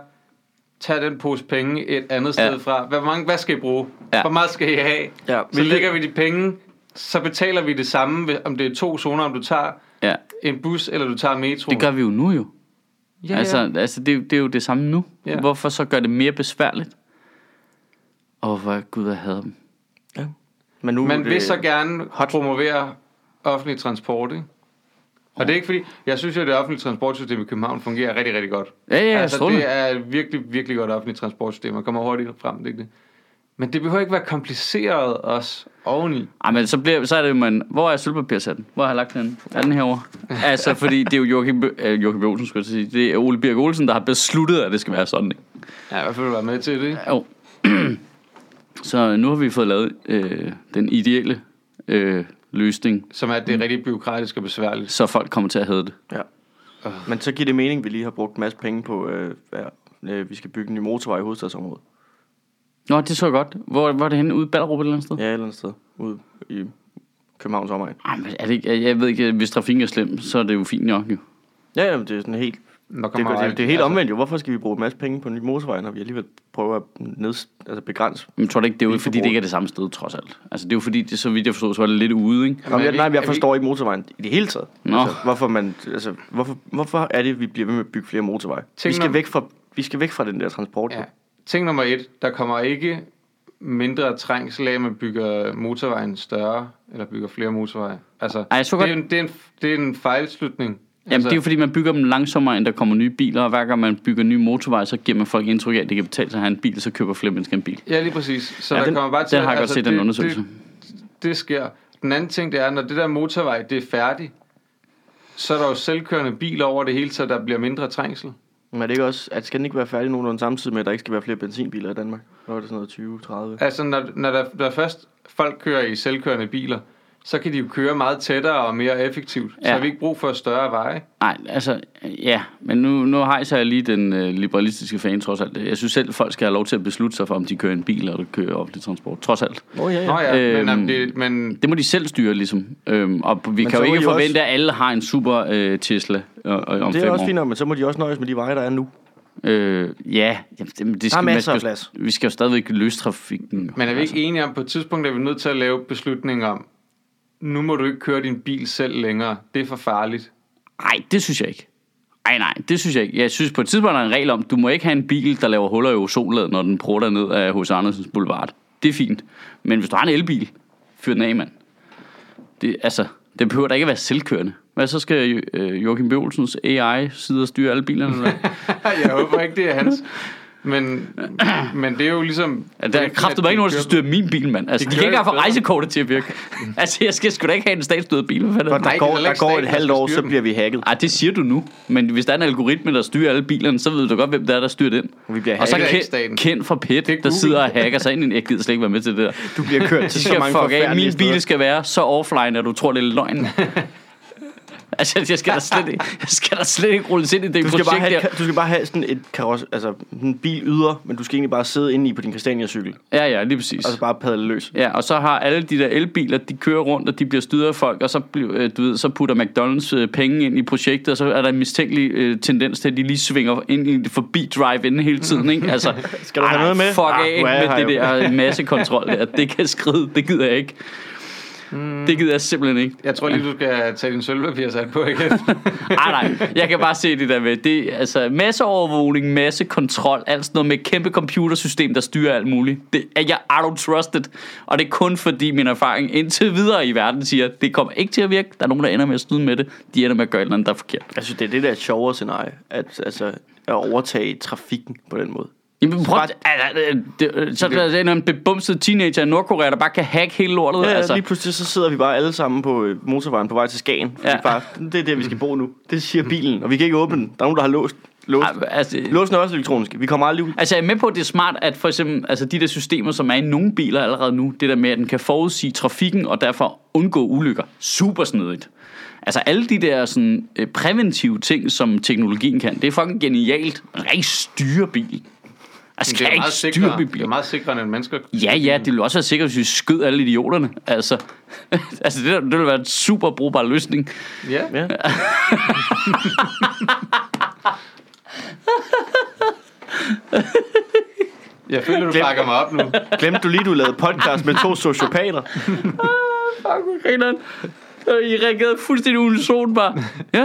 Speaker 2: tage den pose penge et andet sted
Speaker 1: Ja.
Speaker 2: fra? Hvor mange, hvad skal I bruge?
Speaker 1: Ja.
Speaker 2: Hvor meget skal I have?
Speaker 3: Ja,
Speaker 2: Så
Speaker 3: hvilket-
Speaker 2: lægger vi de penge, så betaler vi det samme, ved- om det er to zoner, om du tager
Speaker 1: Ja,
Speaker 2: en bus, eller du tager metroen.
Speaker 1: det gør vi jo nu jo.
Speaker 2: Ja,
Speaker 1: Ja, altså, ja. altså det, er jo- det er jo det samme nu.
Speaker 2: Ja.
Speaker 1: Ja. Hvorfor så gør det mere besværligt? Åh, oh, hvor gud, jeg hader dem.
Speaker 3: Ja. Men nu øh, er
Speaker 2: Man
Speaker 3: det,
Speaker 2: vil så gerne hot. promovere offentlig transport, ikke? Og det er ikke fordi, jeg synes jo, at det offentlige transportsystem i København fungerer rigtig, rigtig godt.
Speaker 1: Ja, ja,
Speaker 2: altså,
Speaker 1: strålende.
Speaker 2: det er et virkelig, virkelig godt offentligt transportsystem, og kommer hurtigt frem, det er ikke det. Men det behøver ikke være kompliceret også oveni.
Speaker 1: Ej, men så, bliver, så er det jo, man, hvor er sølvpapirsatten? Hvor har jeg lagt den? Er den herovre? altså, fordi det er jo Joachim, Bø- øh, Joachim B. Olsen, skulle jeg til at sige. Det er Ole Birk Olsen, der har besluttet, at det skal være sådan, ikke?
Speaker 2: Ja, i hvert fald være med til det, ikke?
Speaker 1: Jo. så nu har vi fået lavet øh, den ideelle øh, løsning,
Speaker 2: Som er, at
Speaker 3: Mm.
Speaker 2: det er rigtig byråkratisk og besværligt.
Speaker 1: så folk kommer til at have det.
Speaker 3: Ja.
Speaker 2: Øh.
Speaker 3: Men så giver det mening, at vi lige har brugt en masse penge på, øh, ja, øh, vi skal bygge en ny motorvej i hovedstadsområdet.
Speaker 1: Nå, det så jeg godt. Hvor, hvor er det henne? Ude i Ballerup et eller andet sted?
Speaker 3: Ja, et eller andet sted. Ude i Københavns omegn.
Speaker 1: Ej, men er det ikke, jeg, jeg ved ikke, hvis trafikken er slem, så er det jo fint nok, jo.
Speaker 3: Ja, jamen, det er sådan helt
Speaker 2: Der
Speaker 3: Det,
Speaker 2: kommer
Speaker 3: det, det, det er helt
Speaker 2: altså,
Speaker 3: omvendt jo. Hvorfor skal vi bruge en masse penge på en ny motorvej, når vi alligevel prøver at neds, altså begrænse?
Speaker 1: Men tror du ikke, det er jo fordi,
Speaker 3: forbruger.
Speaker 1: det ikke er det samme sted, trods alt? Altså, det er jo fordi, det, så vidt jeg forstod, så var det lidt ude, ikke?
Speaker 3: Nå,
Speaker 2: er
Speaker 3: jeg,
Speaker 2: vi-
Speaker 3: nej, men
Speaker 2: er
Speaker 3: jeg
Speaker 2: vi-
Speaker 3: forstår ikke motorvejen i det hele taget.
Speaker 1: Nå.
Speaker 3: Altså, hvorfor, man, altså, hvorfor, hvorfor er det, at vi bliver ved med at bygge flere motorveje? Vi
Speaker 2: Tænk
Speaker 3: skal,
Speaker 2: nu-
Speaker 3: væk fra, vi skal væk fra den der transport.
Speaker 2: Ja.
Speaker 3: Ja.
Speaker 2: Ting nummer et, der kommer ikke mindre trængsel af, at man bygger motorvejen større, eller bygger flere motorveje. Altså,
Speaker 1: Ej, jeg så
Speaker 2: det, er
Speaker 1: godt-
Speaker 2: en, det, er en, det er en fejlslutning.
Speaker 1: Jamen, altså, det er jo fordi, man bygger dem langsommere, end der kommer nye biler, og hver gang man bygger nye motorveje, så giver man folk indtryk af, at det kan betale sig at have en bil, så køber flere mennesker en bil.
Speaker 2: Ja, lige præcis. Så
Speaker 1: Ja,
Speaker 2: ja, der
Speaker 1: den-
Speaker 2: kommer bare til, altså,
Speaker 1: den har jeg godt set, den
Speaker 2: det-
Speaker 1: undersøgelse.
Speaker 2: Det, det sker. Den anden ting, det er, når det der motorvej, det er færdigt, så er der jo selvkørende biler over det hele, så der bliver mindre trængsel.
Speaker 3: Men er det ikke også, at skal den ikke være færdig nogenlunde samtidig med, at der ikke skal være flere benzinbiler i Danmark? Hvor er det sådan noget 20, 30?
Speaker 2: Altså, når, når der, når først folk kører i selvkørende biler, så kan de jo køre meget tættere og mere effektivt.
Speaker 1: Ja.
Speaker 2: Ja. Så har vi ikke brug for større veje.
Speaker 1: Nej, altså, ja, men nu, nu hejser jeg lige den øh, liberalistiske fan, trods alt. Jeg synes selv, folk skal have lov til at beslutte sig for, om de kører en bil eller kører offentlig transport, trods alt.
Speaker 3: Åh oh, ja,
Speaker 2: Nå ja, øhm,
Speaker 1: Øhm,
Speaker 2: men, om det, men
Speaker 1: Det må de selv styre, ligesom. Øhm, og vi
Speaker 3: Men
Speaker 1: kan
Speaker 3: så
Speaker 1: jo
Speaker 3: må
Speaker 1: ikke
Speaker 3: de også-
Speaker 1: forvente, at alle har en super øh, Tesla øh, øh, om
Speaker 3: Det er
Speaker 1: fem
Speaker 3: også
Speaker 1: år.
Speaker 3: fint, nok, men så må de også nøjes med de veje, der er nu.
Speaker 1: Øh, ja, jamen, det, men det skal, man
Speaker 3: masser
Speaker 1: skal,
Speaker 3: af
Speaker 1: jo-
Speaker 3: plads.
Speaker 1: Vi skal jo stadigvæk løse trafikken.
Speaker 2: men er vi ikke enige om, på et tidspunkt er vi nødt til at lave beslutninger om, nu må du ikke køre din bil selv længere. Det er for farligt.
Speaker 1: Nej, det synes jeg ikke. Nej, nej, det synes jeg ikke. Jeg synes på et tidspunkt, der er en regel om, du må ikke have en bil, der laver huller i ozonlaget, når den prutter ned af hos Andersens Boulevard. Det er fint. Men hvis du har en elbil, fyr den af, mand. Det, altså, det behøver da ikke at være selvkørende. Hvad så skal øh, Joachim B. Olsens AI sidde og styre alle bilerne? Eller? hvad?
Speaker 2: Jeg håber ikke, det er hans. Men, men det er jo ligesom...
Speaker 1: Ja, der Altså, er kraftet mig ikke nogen, der skal styre min bil, mand. Altså,
Speaker 2: de
Speaker 1: de, de
Speaker 2: kører
Speaker 1: kan ikke
Speaker 2: jo
Speaker 1: engang få
Speaker 2: bedre.
Speaker 1: rejsekortet til at virke. altså, jeg skal sgu da ikke have en statsstødet bil. Hvad fanden er det?
Speaker 3: Der
Speaker 2: Nej,
Speaker 3: går,
Speaker 2: det er
Speaker 3: der
Speaker 2: ikke
Speaker 3: går
Speaker 2: staten,
Speaker 3: et
Speaker 2: der
Speaker 3: halvt
Speaker 2: skal
Speaker 3: år,
Speaker 2: styre
Speaker 3: så
Speaker 2: dem.
Speaker 3: bliver vi hacket.
Speaker 1: Ej, det siger du nu. Men hvis der er en algoritme, der styrer alle bilerne, så ved du godt, hvem der er, der styrer den.
Speaker 3: Vi bliver
Speaker 1: og så
Speaker 2: hacket. Det er ikke
Speaker 1: Ken,
Speaker 2: staten.
Speaker 1: Ken fra PET,
Speaker 2: er
Speaker 1: der
Speaker 2: Google.
Speaker 1: sidder og hacker sig ind i en. Jeg gider slet ikke være med til det der.
Speaker 3: Du bliver kørt til
Speaker 1: De
Speaker 3: så
Speaker 1: skal
Speaker 3: mange
Speaker 1: fuck af.
Speaker 3: forfærdelige
Speaker 1: Min bil
Speaker 3: steder.
Speaker 1: skal være så offline, at du tror, det er løgn. altså, jeg skal da slet ikke, jeg skal da slet ikke rulles ind i det
Speaker 3: Du skal,
Speaker 1: projekt
Speaker 3: bare have,
Speaker 1: der.
Speaker 3: et- du skal bare have sådan et karos, altså en bil yder, men du skal egentlig bare sidde inde i på din Christiania-cykel,
Speaker 1: Ja, ja, lige præcis.
Speaker 3: og så bare padle løs.
Speaker 1: Ja, og så har alle de der elbiler, de kører rundt, og de bliver styret af folk, og så, bliver, øh, du ved, så putter McDonald's øh, penge ind i projektet, og så er der en mistænkelig øh, tendens til, at de lige svinger ind i, forbi drive-in hele tiden, ikke? Altså,
Speaker 3: Skal du have
Speaker 1: ej,
Speaker 3: noget med?
Speaker 1: Fuck
Speaker 3: Ah,
Speaker 1: af
Speaker 3: nu er jeg
Speaker 1: ikke med
Speaker 3: her
Speaker 1: det
Speaker 3: jo.
Speaker 1: der massekontrol der. Det kan skride, det gider jeg ikke.
Speaker 3: Hmm.
Speaker 1: Det gider jeg simpelthen ikke.
Speaker 2: Jeg tror lige, du skal tage din sølvpapir sat på igen.
Speaker 1: Ej, nej, jeg kan bare se det der med. Det, er, altså, masseovervågning, massekontrol, alt sådan noget med et kæmpe computersystem, der styrer alt muligt. Det er jeg I don't trust it. Og det er kun fordi min erfaring indtil videre i verden siger, at det kommer ikke til at virke. Der er nogen, der ender med at snyde med det. De ender med at gøre et eller andet, der er forkert.
Speaker 3: Jeg synes, det er det der sjovere scenarie, at, altså, at overtage trafikken på den måde.
Speaker 1: Jamen, prøv,
Speaker 3: Bare-
Speaker 1: at- altså, det, det, så er der en eller anden bebumset teenager i Nordkorea, der bare kan hacke hele lortet.
Speaker 3: Ja, altså.
Speaker 1: altså.
Speaker 3: lige pludselig så sidder vi bare alle sammen på øh, motorvejen på vej til Skagen. Ja.
Speaker 1: Ja.
Speaker 3: Bare, det er der, vi skal bo nu. Det siger bilen, og vi kan ikke åbne den. Der er nogen, der har låst. Låst.
Speaker 1: Ej, altså,
Speaker 3: Låsen er også elektronisk. Vi kommer aldrig ud.
Speaker 1: Altså, jeg er med på, at det er smart, at for eksempel altså, de der systemer, som er i nogle biler allerede nu, det der med, at den kan forudsige trafikken og derfor undgå ulykker. Super snedigt. Altså, alle de der sådan, øh, præventive ting, som teknologien kan, det er fucking genialt. Man kan ikke styre bilen. Altså,
Speaker 2: Det
Speaker 1: kan
Speaker 2: er,
Speaker 1: ikke
Speaker 2: meget
Speaker 1: styre
Speaker 2: sikrere,
Speaker 1: bilen.
Speaker 2: det er meget sikrere end mennesker.
Speaker 1: Ja, ja, det ville også være sikkert, hvis vi skød alle idioterne. Altså, altså det, der- det ville være en super brugbar løsning.
Speaker 2: Ja.
Speaker 3: Ja.
Speaker 2: Jeg føler, du bakker mig op nu.
Speaker 3: Glemte du lige, du lavede podcast med to sociopater?
Speaker 1: Fuck, hvor grineren. Øh, I reagerede fuldstændig unison bare. Ja.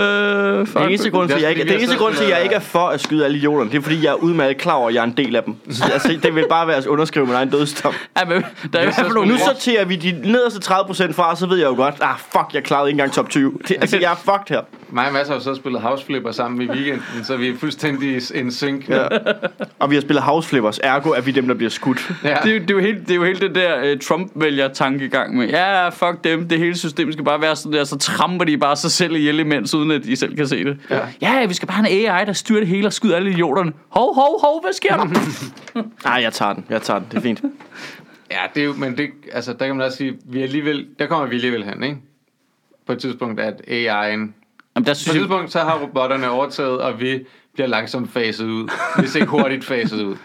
Speaker 1: øh, fuck.
Speaker 3: Den eneste grund til, at jeg ikke,
Speaker 2: Det er også fordi, vi har
Speaker 3: den eneste
Speaker 2: siddet
Speaker 3: grund til, at jeg
Speaker 2: med-
Speaker 3: ikke er for at skyde alle idioterne, det er fordi, jeg er udmærket klar over, at jeg er en del af dem. Så, altså, det vil bare være at underskrive min egen dødsdom.
Speaker 1: Ja, men, der er i hvert fald nogle
Speaker 3: Nu sorterer vi de nederste 30% fra, så ved jeg jo godt, ah fuck, jeg klarede ikke engang top 20. Det, altså, jeg er fucked her.
Speaker 2: Mig og Mads har jo så spillet houseflipper sammen i weekenden, så vi er fuldstændig en sync. Ja.
Speaker 3: Og vi har spillet house flippers, ergo er vi dem, der bliver skudt.
Speaker 2: Ja.
Speaker 1: Det, er jo- det, er jo helt, det er jo helt den der uh, Trump-vælger-tankegang med, ja, fuck dem, det hele system skal bare være sådan der, så tramper de bare sig selv ihjel imens, uden at de selv kan se det. Ja, ja vi skal bare have en AI, der styrer det hele og skyder alle idioterne. Hov, hov, hov, hvad sker der?
Speaker 3: Nej, jeg tager den. Jeg tager den. Det er fint.
Speaker 2: ja, det er jo, men det, altså, der kan man også sige, vi er alligevel, der kommer vi alligevel hen, ikke? På et tidspunkt, at AI'en...
Speaker 1: Jamen, der
Speaker 2: På et
Speaker 1: synes jeg,
Speaker 2: tidspunkt, så har robotterne overtaget, og vi bliver langsomt faset ud. Hvis ikke hurtigt faset ud.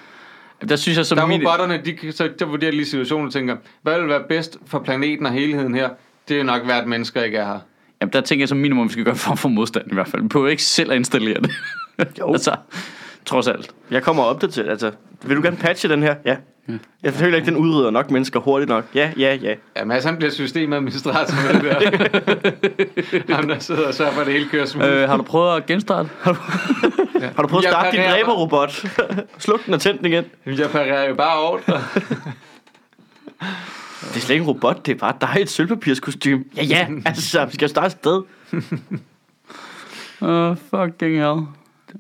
Speaker 1: der synes jeg som
Speaker 2: Der er
Speaker 1: min-
Speaker 2: robotterne, de, kan- så der vurderer de lige situationen og tænker, hvad vil være bedst for planeten og helheden her? Det er nok værd, at mennesker ikke er her.
Speaker 1: Jamen, der tænker jeg som minimum, vi skal gøre en form for modstand i hvert fald. Vi behøver ikke selv at installere det.
Speaker 3: Jo.
Speaker 1: altså, trods alt.
Speaker 3: Jeg kommer op til, altså, vil du gerne patche den her? Ja. Jeg føler ikke, den udrydder nok mennesker hurtigt nok. Ja, ja, ja.
Speaker 2: Ja, Mads, han bliver systemadministrator med det der. Ham, der sidder og sørger for, at det hele kører smooth.
Speaker 1: Øh, har du prøvet at genstarte?
Speaker 3: Har du prøvet at
Speaker 2: Jeg
Speaker 3: starte din
Speaker 2: parerer.
Speaker 3: dræberrobot? Sluk den og tænd den igen.
Speaker 2: Jamen, Jeg parerer jo bare ordre.
Speaker 3: Det er slet ikke en robot, det er bare dig i et sølvpapirskostyme. Ja, ja, altså, vi skal jo starte et sted.
Speaker 1: Åh, oh, fucking hell.
Speaker 3: Det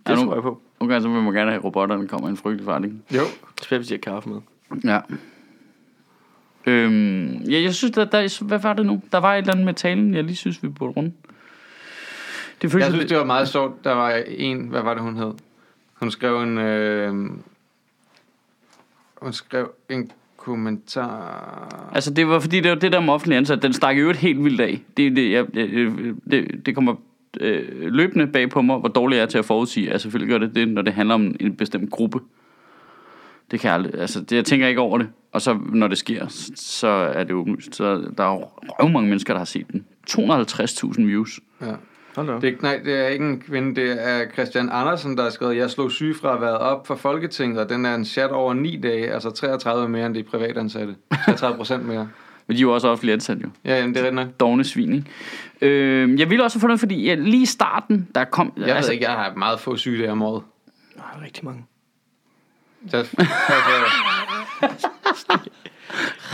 Speaker 1: Er
Speaker 3: tror
Speaker 1: nogen,
Speaker 3: jeg på.
Speaker 1: nogle gange så vil man gerne have, at robotterne kommer i en frygtelig forretning.
Speaker 2: Jo.
Speaker 3: Specielt hvis de har kaffe med.
Speaker 1: Ja. Øhm, ja, jeg synes, der, der, hvad var det nu? Der var et eller andet med talen, jeg lige synes, vi burde runde. Det føles
Speaker 2: Jeg synes, det var meget sjovt. Der var en, hvad var det, hun hed? Hun skrev en... Øh, hun skrev en kommentar...
Speaker 1: Altså, det var fordi, det var det der med offentlig ansat. Den stak i øvrigt helt vildt af. Det, det, jeg, jeg- det, det kommer øh, løbende bag på mig, hvor dårlig jeg er til at forudsige. Altså, selvfølgelig gør det det, når det handler om en bestemt gruppe. Det kan jeg aldrig, altså, det, jeg tænker ikke over det. Og så, når det sker, s- så er det åbenlyst. Så der er jo røv mange mennesker, der har set den. 250.000 views.
Speaker 2: Ja.
Speaker 3: Hold da. op.
Speaker 2: Det er, ikke, nej, det er ikke en kvinde, det er Christian Andersen, der har skrevet, jeg slog sygefraværet op for Folketinget, og den er en chat over 9 dage, altså 33 mere end de privatansatte. 33 procent mere.
Speaker 1: Men de er jo også offentlig ansat, jo.
Speaker 2: Ja, jamen, det er rigtig nok.
Speaker 1: Dogne svin, ikke? Øh, jeg ville også have fundet, fordi jeg, lige i starten, der kom... altså,
Speaker 2: Jeg ved ikke, jeg har meget få sygedage om året.
Speaker 3: Der er rigtig mange.
Speaker 2: Jeg, altså,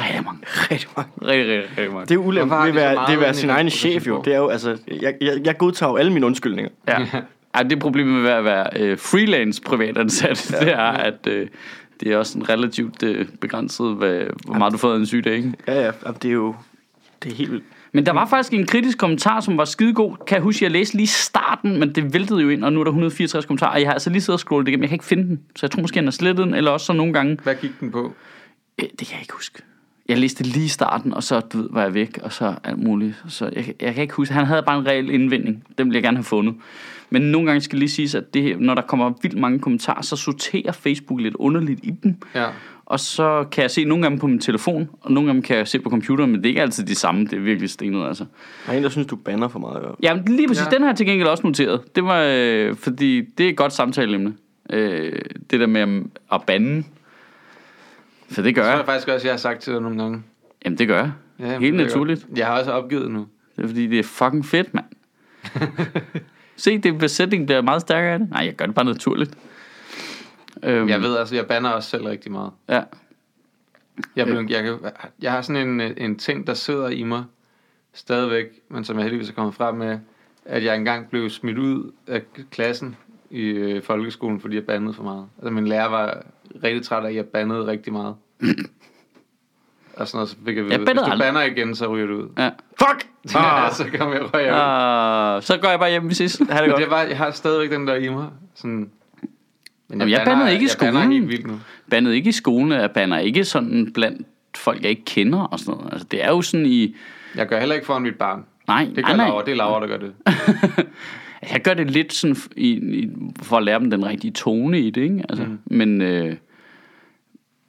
Speaker 1: Rigtig mange.
Speaker 3: Rigtig mange.
Speaker 1: Rigtig, rigtig, rigtig mange.
Speaker 3: Det er ulemt
Speaker 2: Hvorfor har
Speaker 3: ved at
Speaker 2: vi så
Speaker 3: være,
Speaker 2: meget
Speaker 3: det er at være
Speaker 2: inde i
Speaker 3: sin
Speaker 2: den
Speaker 3: egen
Speaker 2: profession?
Speaker 3: chef jo. Det er jo, altså, jeg, jeg, jeg godtager jo alle mine undskyldninger.
Speaker 1: Ja. Ej, det er problemet ved at være øh, freelance privatansat, ja. det er, at øh, det er også en relativt øh, begrænset, hvad, hvor meget du får af en sygdag, ikke?
Speaker 3: Ja, ja, jamen, det er jo det er helt vildt.
Speaker 1: Men der var faktisk en kritisk kommentar, som var skidegod. Kan jeg huske, jeg læste lige i starten, men det væltede jo ind, og nu er der 164 kommentarer. Og jeg har altså lige siddet og scrollet igennem, jeg kan ikke finde den. Så jeg tror måske, han har slettet den, eller også så nogle gange.
Speaker 2: hvad gik den på?
Speaker 1: Øh, det kan jeg ikke huske. Jeg læste det lige i starten, og så du ved, var jeg væk, og så alt muligt. Så jeg, jeg kan ikke huske. Han havde bare en reel indvending. Den ville jeg gerne have fundet. Men nogle gange skal lige siges, at det, her- når der kommer vildt mange kommentarer, så sorterer Facebook lidt underligt i dem.
Speaker 2: Ja.
Speaker 1: Og så kan jeg se nogle af dem på min telefon, og nogle af dem kan jeg se på computeren, men det er ikke altid de samme. Det er virkelig stenet, altså.
Speaker 3: Der er en, der synes, du banner for meget. Jo.
Speaker 1: Jamen lige præcis, ja.
Speaker 2: Ja.
Speaker 1: den har jeg til gengæld også noteret. Det var, øh, fordi det er et godt samtaleemne. Øh, det der med at- at bande. For det gør
Speaker 2: Det tror
Speaker 1: jeg.
Speaker 2: jeg faktisk også, jeg har sagt til dig nogle gange.
Speaker 1: Jamen det gør jeg.
Speaker 2: Ja, jamen,
Speaker 1: Helt
Speaker 2: det er
Speaker 1: naturligt.
Speaker 2: godt. Jeg har også opgivet nu.
Speaker 1: Det er fordi, det er fucking fedt, mand. Se, det besætning bliver meget stærkere af det. Nej, jeg gør det bare naturligt. Øhm,
Speaker 2: Jeg ved altså, jeg banner også selv rigtig meget.
Speaker 1: Ja.
Speaker 2: Jeg, blev, jeg, kan- jeg har sådan en, øh, en ting, der sidder i mig stadigvæk, men som jeg heldigvis er kommet frem med, at jeg engang blev smidt ud af klassen i øh, folkeskolen, fordi jeg bandede for meget. Altså min lærer var rigtig træt af, at jeg bandede rigtig meget. og sådan noget, så fik jeg,
Speaker 1: Jeg
Speaker 2: jeg hvis
Speaker 1: bandede
Speaker 2: du
Speaker 1: aldrig."
Speaker 2: bander igen, så ryger du ud.
Speaker 1: ja. Fuck!
Speaker 2: Ja, så kom jeg røg ud.
Speaker 1: Ah, så går jeg bare hjem, vi ses. Ha' det
Speaker 2: Men
Speaker 1: godt.
Speaker 2: det var, jeg har stadigvæk den der i mig. Sådan, men
Speaker 1: Jamen, jeg bandede ikke i
Speaker 2: jeg bander
Speaker 1: skolen.
Speaker 2: helt vildt nu.
Speaker 1: Bandet ikke i skolen, og bandet ikke sådan blandt folk, jeg ikke kender og sådan noget. Altså, det er jo sådan i...
Speaker 2: Jeg gør heller ikke foran mit barn.
Speaker 1: Nej,
Speaker 2: Det
Speaker 1: nej,
Speaker 2: gør
Speaker 1: nej.
Speaker 2: Laura, det er Laura, der gør det.
Speaker 1: Jeg gør det lidt sådan f- i, i, for at lære dem den rigtige tone i det, ikke? Altså, mm. Men, øh,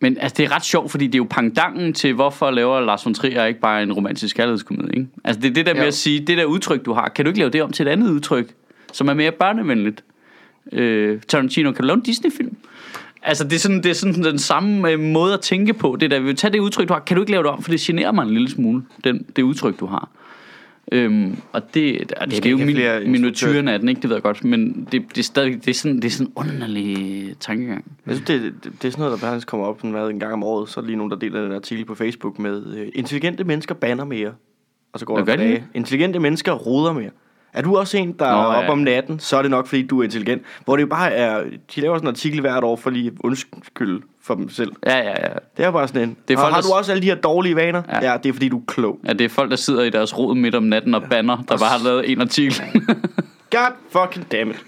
Speaker 1: men altså, det er ret sjovt, fordi det er jo pangdangen til, hvorfor laver Lars von Trier ikke bare en romantisk kærlighedskomedie, ikke? Altså, det er det der med
Speaker 2: Jo.
Speaker 1: at sige, det der udtryk, du har, kan du ikke lave det om til et andet udtryk, som er mere børnevenligt? Øh, Tarantino, kan du lave en Disney-film? Altså, det er sådan, det er sådan den samme øh, måde at tænke på. Det der, vi tage det udtryk, du har, kan du ikke lave det om, for det generer mig en lille smule, den, det udtryk, du har. Øhm, og det, og det, det er jo
Speaker 3: ikke flere
Speaker 1: min,
Speaker 3: instruktører.
Speaker 1: minutyrene af den, ikke? Det ved jeg godt, men det, det er stadig, det er sådan, det er sådan en underlig tankegang.
Speaker 3: Jeg synes, det, det, det er sådan noget, der faktisk kommer op sådan, hvad, en gang om året. Så er der lige nogen, der deler den artikel på Facebook med, øh, intelligente mennesker banner mere. Og så går
Speaker 1: Nå,
Speaker 3: der et par
Speaker 1: gør de
Speaker 3: dage. Intelligente mennesker roder mere. Er du også en, der
Speaker 1: Nå,
Speaker 3: Nå, er oppe
Speaker 1: ja.
Speaker 3: om natten, så er det nok, fordi du er intelligent. Hvor det jo bare er, de laver sådan en artikel hvert år for lige at undskylde for dem selv.
Speaker 1: Ja, ja, ja.
Speaker 3: Det er bare sådan en.
Speaker 1: Det er
Speaker 3: Det er
Speaker 1: folk,
Speaker 3: har
Speaker 1: der
Speaker 3: du
Speaker 1: s-
Speaker 3: også alle de her dårlige vaner?
Speaker 1: Ja.
Speaker 3: Ja, ja det er fordi, du er klog.
Speaker 1: Ja, det er folk, der sidder i deres rod midt om natten og banner, der bare har lavet en artikel.
Speaker 3: God fucking damn it.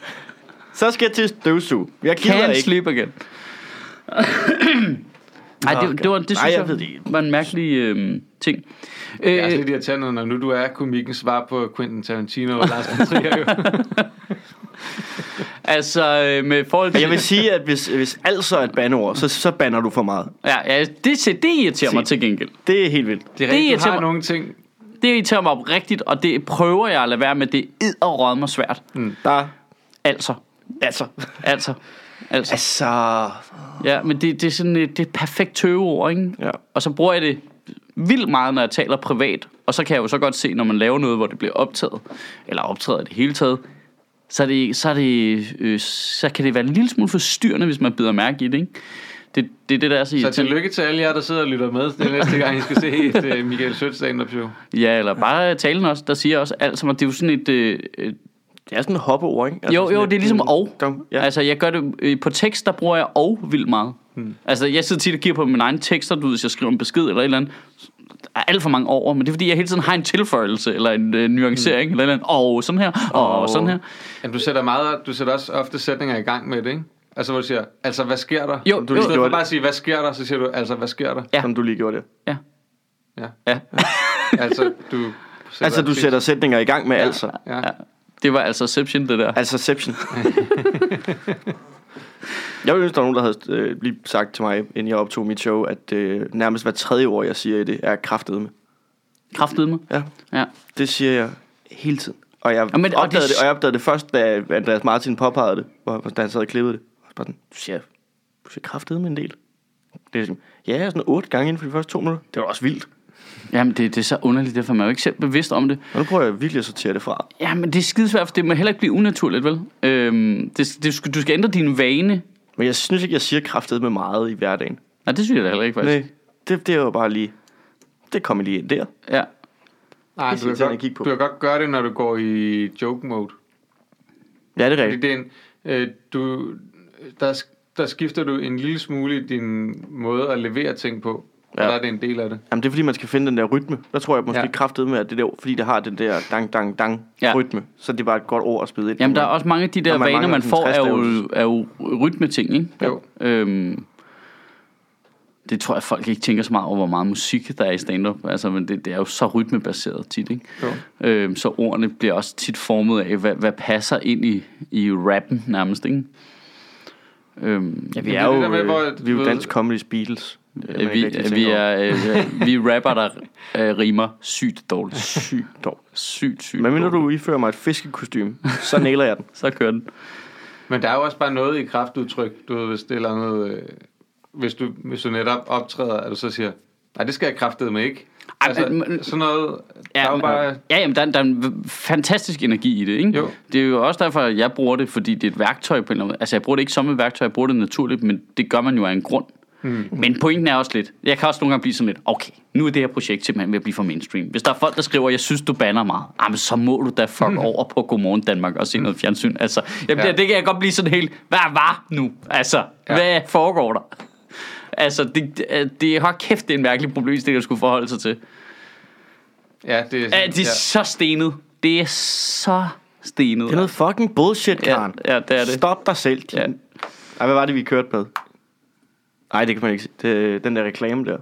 Speaker 3: Så skal jeg til støvsug. Jeg gider
Speaker 1: Can't
Speaker 3: ikke.
Speaker 1: sleep again. Nej, det, det, var, det
Speaker 3: Nej,
Speaker 1: synes
Speaker 3: jeg
Speaker 1: jeg,
Speaker 3: ved det ikke. altså-
Speaker 1: var en mærkelig øh, ting.
Speaker 2: Det er også
Speaker 1: Øh,
Speaker 2: lidt irriterende, når nu du er komikken svar på Quentin Tarantino og Lars von Trier. jo.
Speaker 1: altså, øh, med forhold til...
Speaker 3: Jeg vil sige, at hvis, hvis altså er et bandeord, så, så banner du for meget.
Speaker 1: Ja, ja det, se, det irriterer mig
Speaker 3: Se.
Speaker 1: til gengæld.
Speaker 3: Det er helt vildt.
Speaker 2: Det er
Speaker 1: irriterer
Speaker 2: rigtigt, du har
Speaker 1: mig.
Speaker 2: nogle ting.
Speaker 1: Det irriterer mig op rigtigt, og det prøver jeg at lade være med. Det er mig svært.
Speaker 3: Der,
Speaker 1: Altså,
Speaker 3: altså.
Speaker 1: altså, altså.
Speaker 3: Altså.
Speaker 1: Ja, men det, det er sådan et, det er et perfekt tøveord, ikke?
Speaker 3: Ja.
Speaker 1: Og så bruger jeg det vildt meget, når jeg taler privat. Og så kan jeg jo så godt se, når man laver noget, hvor det bliver optaget, eller optaget i det hele taget, så, er det, så, er det, øh, så kan det være en lille smule forstyrrende, hvis man bider mærke i det, ikke? det, det er det, der er så
Speaker 2: Så
Speaker 1: irriterende.
Speaker 2: tillykke til alle jer, der sidder og lytter med den næste gang, I skal se et øh, Michael Sødt stand-up show.
Speaker 1: Ja, eller bare talen også, der siger også alt, som at det er jo sådan et... Øh, øh,
Speaker 3: Det er sådan en hoppeord, ikke? Altså
Speaker 1: jo,
Speaker 3: sådan
Speaker 1: jo,
Speaker 3: et-
Speaker 1: det er ligesom
Speaker 3: en-
Speaker 1: og.
Speaker 3: Dom,
Speaker 1: Ja.
Speaker 3: ja.
Speaker 1: Altså, jeg gør det... Øh, på tekst, der bruger jeg og vildt meget. Hmm. Altså, jeg sidder tit og kigger på mine egne tekster, du ved, hvis jeg skriver en besked eller et eller andet. Der er alt for mange over, men det er fordi, jeg hele tiden har en tilføjelse, eller en øh, nuancering, eller et eller andet. Og sådan her, og, og
Speaker 3: Og-
Speaker 1: sådan her.
Speaker 2: Jamen, du sætter, meget, du sætter også ofte sætninger i gang med det, ikke? Altså, hvor du siger, altså, hvad sker der?
Speaker 1: Jo,
Speaker 2: du
Speaker 1: jo.
Speaker 2: I stedet for
Speaker 3: Gjorde
Speaker 2: bare
Speaker 3: det.
Speaker 2: at sige, hvad sker der, så siger du, altså, hvad sker der?
Speaker 1: Ja.
Speaker 3: Som du lige gjorde det.
Speaker 1: Ja.
Speaker 2: Ja.
Speaker 1: Ja.
Speaker 2: Altså, du sætter,
Speaker 3: Altså, du sætter sætninger i gang med ja. altså.
Speaker 2: Ja.
Speaker 1: ja. Det var altså Inception, det der.
Speaker 3: Altså Seption. jeg ville ønske, der var nogen, der havde øh, lige sagt til mig, inden jeg optog mit show, at øh, nærmest hver tredje ord, jeg siger i det, er kraftet med.
Speaker 1: Kraftede mig.
Speaker 3: Ja,
Speaker 1: Ja.
Speaker 3: det siger jeg hele tiden. Og jeg,
Speaker 1: Ja, men-
Speaker 3: men,
Speaker 1: og det-
Speaker 3: opdagede og det... Det, og jeg opdagede det først, da Andreas Martin påpegede det, hvor, da han sad og klippede det. Og bare sådan, du siger, du siger kraftet med en del. Det er sådan, ja, sådan otte gange inden for de første to minutter. Det var også vildt.
Speaker 1: Jamen, det, det er så underligt, derfor er man jo ikke selv bevidst om det.
Speaker 3: Og nu prøver jeg virkelig at sortere det fra.
Speaker 1: Ja, men det er skidesvært, for det må heller ikke blive unaturligt, vel? Øhm, det, det, skal- du skal ændre din vane.
Speaker 3: Men jeg synes ikke, jeg siger kraftet med meget i hverdagen.
Speaker 1: Nej, det synes jeg da heller ikke, faktisk.
Speaker 3: Nej, det, det er jo bare lige... Det kommer lige ind der.
Speaker 1: Ja.
Speaker 2: Nej,
Speaker 3: Det
Speaker 2: du kan,
Speaker 3: er irriterende at kigge
Speaker 2: godt,
Speaker 3: på.
Speaker 2: du kan godt gøre det, når du går i joke mode.
Speaker 3: Ja, det er rigtigt.
Speaker 2: Fordi det er en, øh, du, der, sk- der skifter du en lille smule i din måde at levere ting på. Ja.
Speaker 3: Ja.
Speaker 2: Og der er det en del af det.
Speaker 3: Jamen, det er fordi, man skal finde den der rytme. Der tror jeg måske
Speaker 2: Ja.
Speaker 3: ja. kraftet med, at det der, fordi det har den der dang, dang, dang
Speaker 1: Ja.
Speaker 3: ja. rytme. Så det er bare et godt ord at spille ind.
Speaker 1: Jamen, der er også mange af de der
Speaker 3: Når man
Speaker 1: vaner,
Speaker 3: mangler
Speaker 1: man
Speaker 3: sådan
Speaker 1: får, er jo,
Speaker 3: træstavelse.
Speaker 1: er jo rytmeting, ikke?
Speaker 2: Jo.
Speaker 1: Øhm, det tror jeg, folk ikke tænker så meget over, hvor meget musik der er i stand-up. Altså, men det, det er jo så rytmebaseret tit, ikke?
Speaker 2: Jo.
Speaker 1: Øhm, så ordene bliver også tit formet af, hvad, hvad passer ind i, i rappen nærmest, ikke? Øhm, ja, vi
Speaker 2: det
Speaker 1: er
Speaker 2: er
Speaker 1: jo...
Speaker 2: det der med,
Speaker 3: øh,
Speaker 2: hvor-
Speaker 3: vi er
Speaker 2: ved-
Speaker 3: jo dansk comedy Beatles. Det er man
Speaker 1: øh, vi,
Speaker 3: ikke rigtig
Speaker 1: vi,
Speaker 3: tænker over.
Speaker 1: er, øh, vi er rapper, der øh, rimer sygt dårligt. Sygt,
Speaker 3: Dog.
Speaker 1: sygt, sygt
Speaker 3: Men mindre
Speaker 1: dårligt.
Speaker 3: du ifører mig et fiskekostyme, så næler jeg den.
Speaker 1: Så kører den.
Speaker 2: Men der er jo også bare noget i kraftudtryk, du ved, hvis det er et eller andet, øh, hvis, du, hvis du netop optræder, at du så siger, nej, det skal jeg kraftede med ikke.
Speaker 1: Ej,
Speaker 2: Altså,
Speaker 1: men-
Speaker 2: sådan noget, ja, der er
Speaker 1: Ja,
Speaker 2: jo
Speaker 1: men, øh,
Speaker 2: bare,
Speaker 1: ja jamen, der, er- der er en v- fantastisk energi i det, ikke?
Speaker 2: Jo.
Speaker 1: Det er jo også derfor, jeg bruger det, fordi det er et værktøj på en eller anden måde. Altså, jeg bruger det ikke som et værktøj, jeg bruger det naturligt, men det gør man jo af en grund. Mm. Men pointen er også lidt, jeg kan også nogle gange blive sådan lidt, okay, nu er det her projekt simpelthen ved at blive for mainstream. Hvis der er folk, der skriver, jeg synes, du banner meget, jamen, så må du da fuck over på Godmorgen Danmark og se noget fjernsyn. Altså, jeg bliver,
Speaker 2: Mm. Ja.
Speaker 1: ja. det kan jeg godt blive sådan helt, hvad var nu? Altså,
Speaker 2: Ja.
Speaker 1: ja. hvad foregår der? Altså, det, det, det, hold kæft, det er en mærkelig problemstilling, at skulle forholde sig til.
Speaker 2: ja, det er
Speaker 1: Ja,
Speaker 2: sådan,
Speaker 1: det er så stenet. Det er så stenet.
Speaker 3: Det er noget fucking bullshit,
Speaker 1: Ja,
Speaker 3: Karen.
Speaker 1: ja, det er det.
Speaker 3: Stop dig selv.
Speaker 1: Ja.
Speaker 3: Ja. Ej, hvad var det, vi kørte med? Nej, det kan man ikke se. Det, den der reklame der.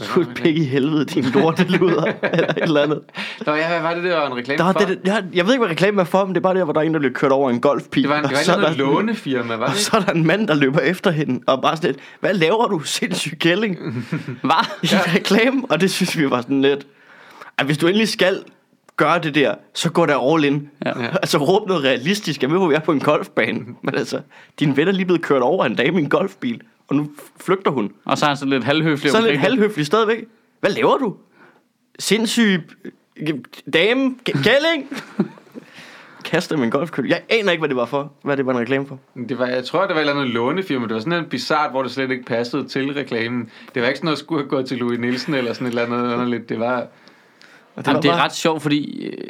Speaker 3: Slut pik i helvede, din lorte luder. eller et eller andet.
Speaker 2: Nå ja, hvad var det, der var en reklame
Speaker 3: Der,
Speaker 2: for?
Speaker 3: det, det, jeg, jeg ved ikke, hvad reklamen er for, men det er bare der, hvor der er en, der bliver kørt over en golfpil.
Speaker 2: det var, en, det
Speaker 3: og så
Speaker 2: var
Speaker 3: er
Speaker 2: et
Speaker 3: der
Speaker 2: eller andet
Speaker 3: sådan-
Speaker 2: lånefirma, var det
Speaker 3: Og
Speaker 2: ikke?
Speaker 3: så er der en mand, der løber efter hende, og bare sådan lidt, hvad laver du, sindssyg kælling,
Speaker 1: Hva?
Speaker 3: i reklame? Og det synes vi var sådan lidt, at hvis du endelig skal gøre det der, så går der all in.
Speaker 1: Ja.
Speaker 3: Ja. Altså råb noget realistisk. Jeg ved, hvor vi er på en golfbane. Men altså, din ven er lige blevet kørt over en dame i en golfbil, og nu flygter hun.
Speaker 1: Og så er han sådan lidt halvhøflig.
Speaker 3: Så er han lidt
Speaker 1: omkring det.
Speaker 3: halvhøflig stadigvæk. Hvad laver du? Sindssyg g- dame, K- kælling. Kaster med en golfkøl. Jeg aner ikke, hvad det var for. Hvad det var en reklame for.
Speaker 2: Det var, jeg tror, det var et eller andet lånefirma. Det var sådan en bizart, hvor det slet ikke passede til reklamen. Det var ikke sådan noget, skulle have gået til Louis Nielsen eller sådan et eller andet underligt. Det var...
Speaker 3: Og
Speaker 1: Jamen,
Speaker 3: var
Speaker 1: det er
Speaker 3: bare-
Speaker 1: ret sjovt, fordi øh,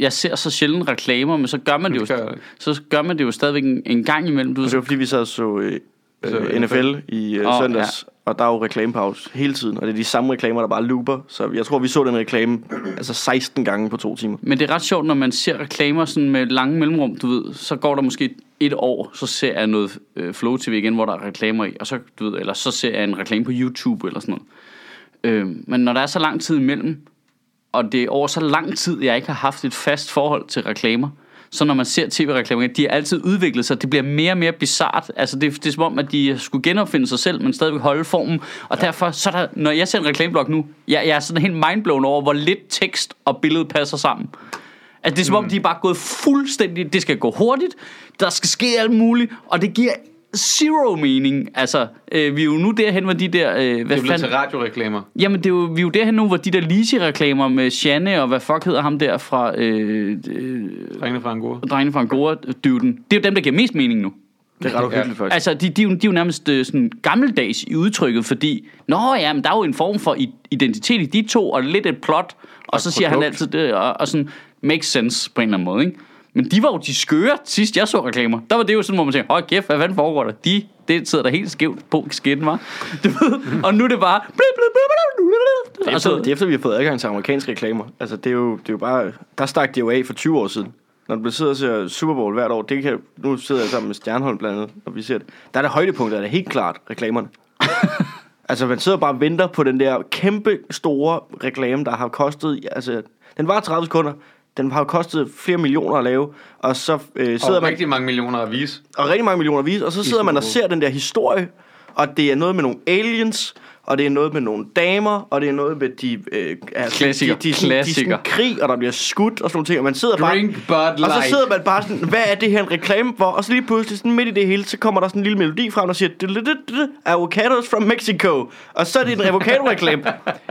Speaker 1: jeg ser så sjældent reklamer, men så gør man det,
Speaker 2: Det gør jeg
Speaker 1: jo,
Speaker 2: ikke.
Speaker 1: så gør man det jo stadigvæk en, en gang imellem. Du, ved,
Speaker 3: Og det var fordi, vi sad og så øh,
Speaker 2: Så
Speaker 3: øh, NFL i øh,
Speaker 1: Åh,
Speaker 3: oh, søndags, ja. og der er jo reklamepause hele tiden, og det er de samme reklamer, der bare looper, så jeg tror, vi så den reklame altså 16 gange på to timer.
Speaker 1: men det er ret sjovt, når man ser reklamer sådan med lange mellemrum, du ved, så går der måske et år, så ser jeg noget øh, Flow TV igen, hvor der er reklamer i, og så, du ved, eller så ser jeg en reklame på YouTube eller sådan noget. Øh, men når der er så lang tid imellem, og det er over så lang tid, jeg ikke har haft et fast forhold til reklamer, så når man ser tv-reklamer, de har altid udviklet sig, det bliver mere og mere bizart. Altså det, det er som om, at de skulle genopfinde sig selv, men stadigvæk holde formen. Og ja. derfor, så er der, når jeg ser en reklameblok nu, jeg, jeg er sådan helt mindblown over, hvor lidt tekst og billede passer sammen. Altså det er som om, de er bare gået fuldstændig, det skal gå hurtigt, der skal ske alt muligt, og det giver zero mening. Altså, øh, vi er jo nu derhen, hvor de der... Øh, hvad
Speaker 2: Det blev
Speaker 1: fanden-
Speaker 2: til radioreklamer.
Speaker 1: Jamen, det er jo, vi er jo derhen nu, hvor de der Lise-reklamer med Shanne og hvad fuck hedder ham der fra øh, øh,
Speaker 2: Ringende fra Angora.
Speaker 1: Drengene fra Angora-dyvden, det er jo dem, der giver mest mening nu.
Speaker 3: Det er ret uhyggeligt, faktisk.
Speaker 1: Altså, de, de, er jo- de er jo nærmest øh, sådan gammeldags i udtrykket, fordi, nå ja, men der er jo en form for i- identitet i de to, og lidt et plot, og, så siger han
Speaker 3: produkt.
Speaker 1: altid det, og, og sådan, makes sense på en eller anden måde, ikke? Men de var jo de skøre, sidst jeg så reklamer. Der var det jo sådan, hvor man tænkte, hold kæft, hvad fanden foregår der? De, det sidder der helt skævt på skidten, var. Du ved, og nu er det bare... blip, blip, blip, blip, blip, blip.
Speaker 3: Det er,
Speaker 1: Og så-
Speaker 3: efter, det er efter, vi har fået adgang til amerikanske reklamer. Altså, det er jo, det er jo bare... Der stak de jo af for 20 år siden. Når du sidder og ser Super Bowl hvert år, det kan, nu sidder jeg sammen med Stjernholm blandt andet, og vi ser det. Der er det højdepunkter, der er helt klart reklamerne. altså, man sidder bare og venter på den der kæmpe store reklame, der har kostet... Altså, den var 30 sekunder, den har kostet flere millioner at lave, og så øh, sidder
Speaker 2: Og
Speaker 3: man
Speaker 2: rigtig mange millioner at vise.
Speaker 3: og rigtig mange millioner vis, og så sidder man og ser den der historie, og det er noget med nogle aliens, og det er noget med nogle damer, og det er noget med de... Øh, altså,
Speaker 1: Klassiker.
Speaker 3: De, de, de, de, de
Speaker 1: Klassiker.
Speaker 3: sådan, krig, og der bliver skudt og sådan nogle ting, og man sidder
Speaker 2: Drink
Speaker 3: bare...
Speaker 2: Bud
Speaker 3: Og så
Speaker 2: Light.
Speaker 3: sidder man bare sådan, hvad er det her en reklame for? Og så lige pludselig, sådan midt i det hele, så kommer der sådan en lille melodi frem, der siger... "Du-du-du-du-du, Avocados from Mexico. Og så er det en avocado-reklame.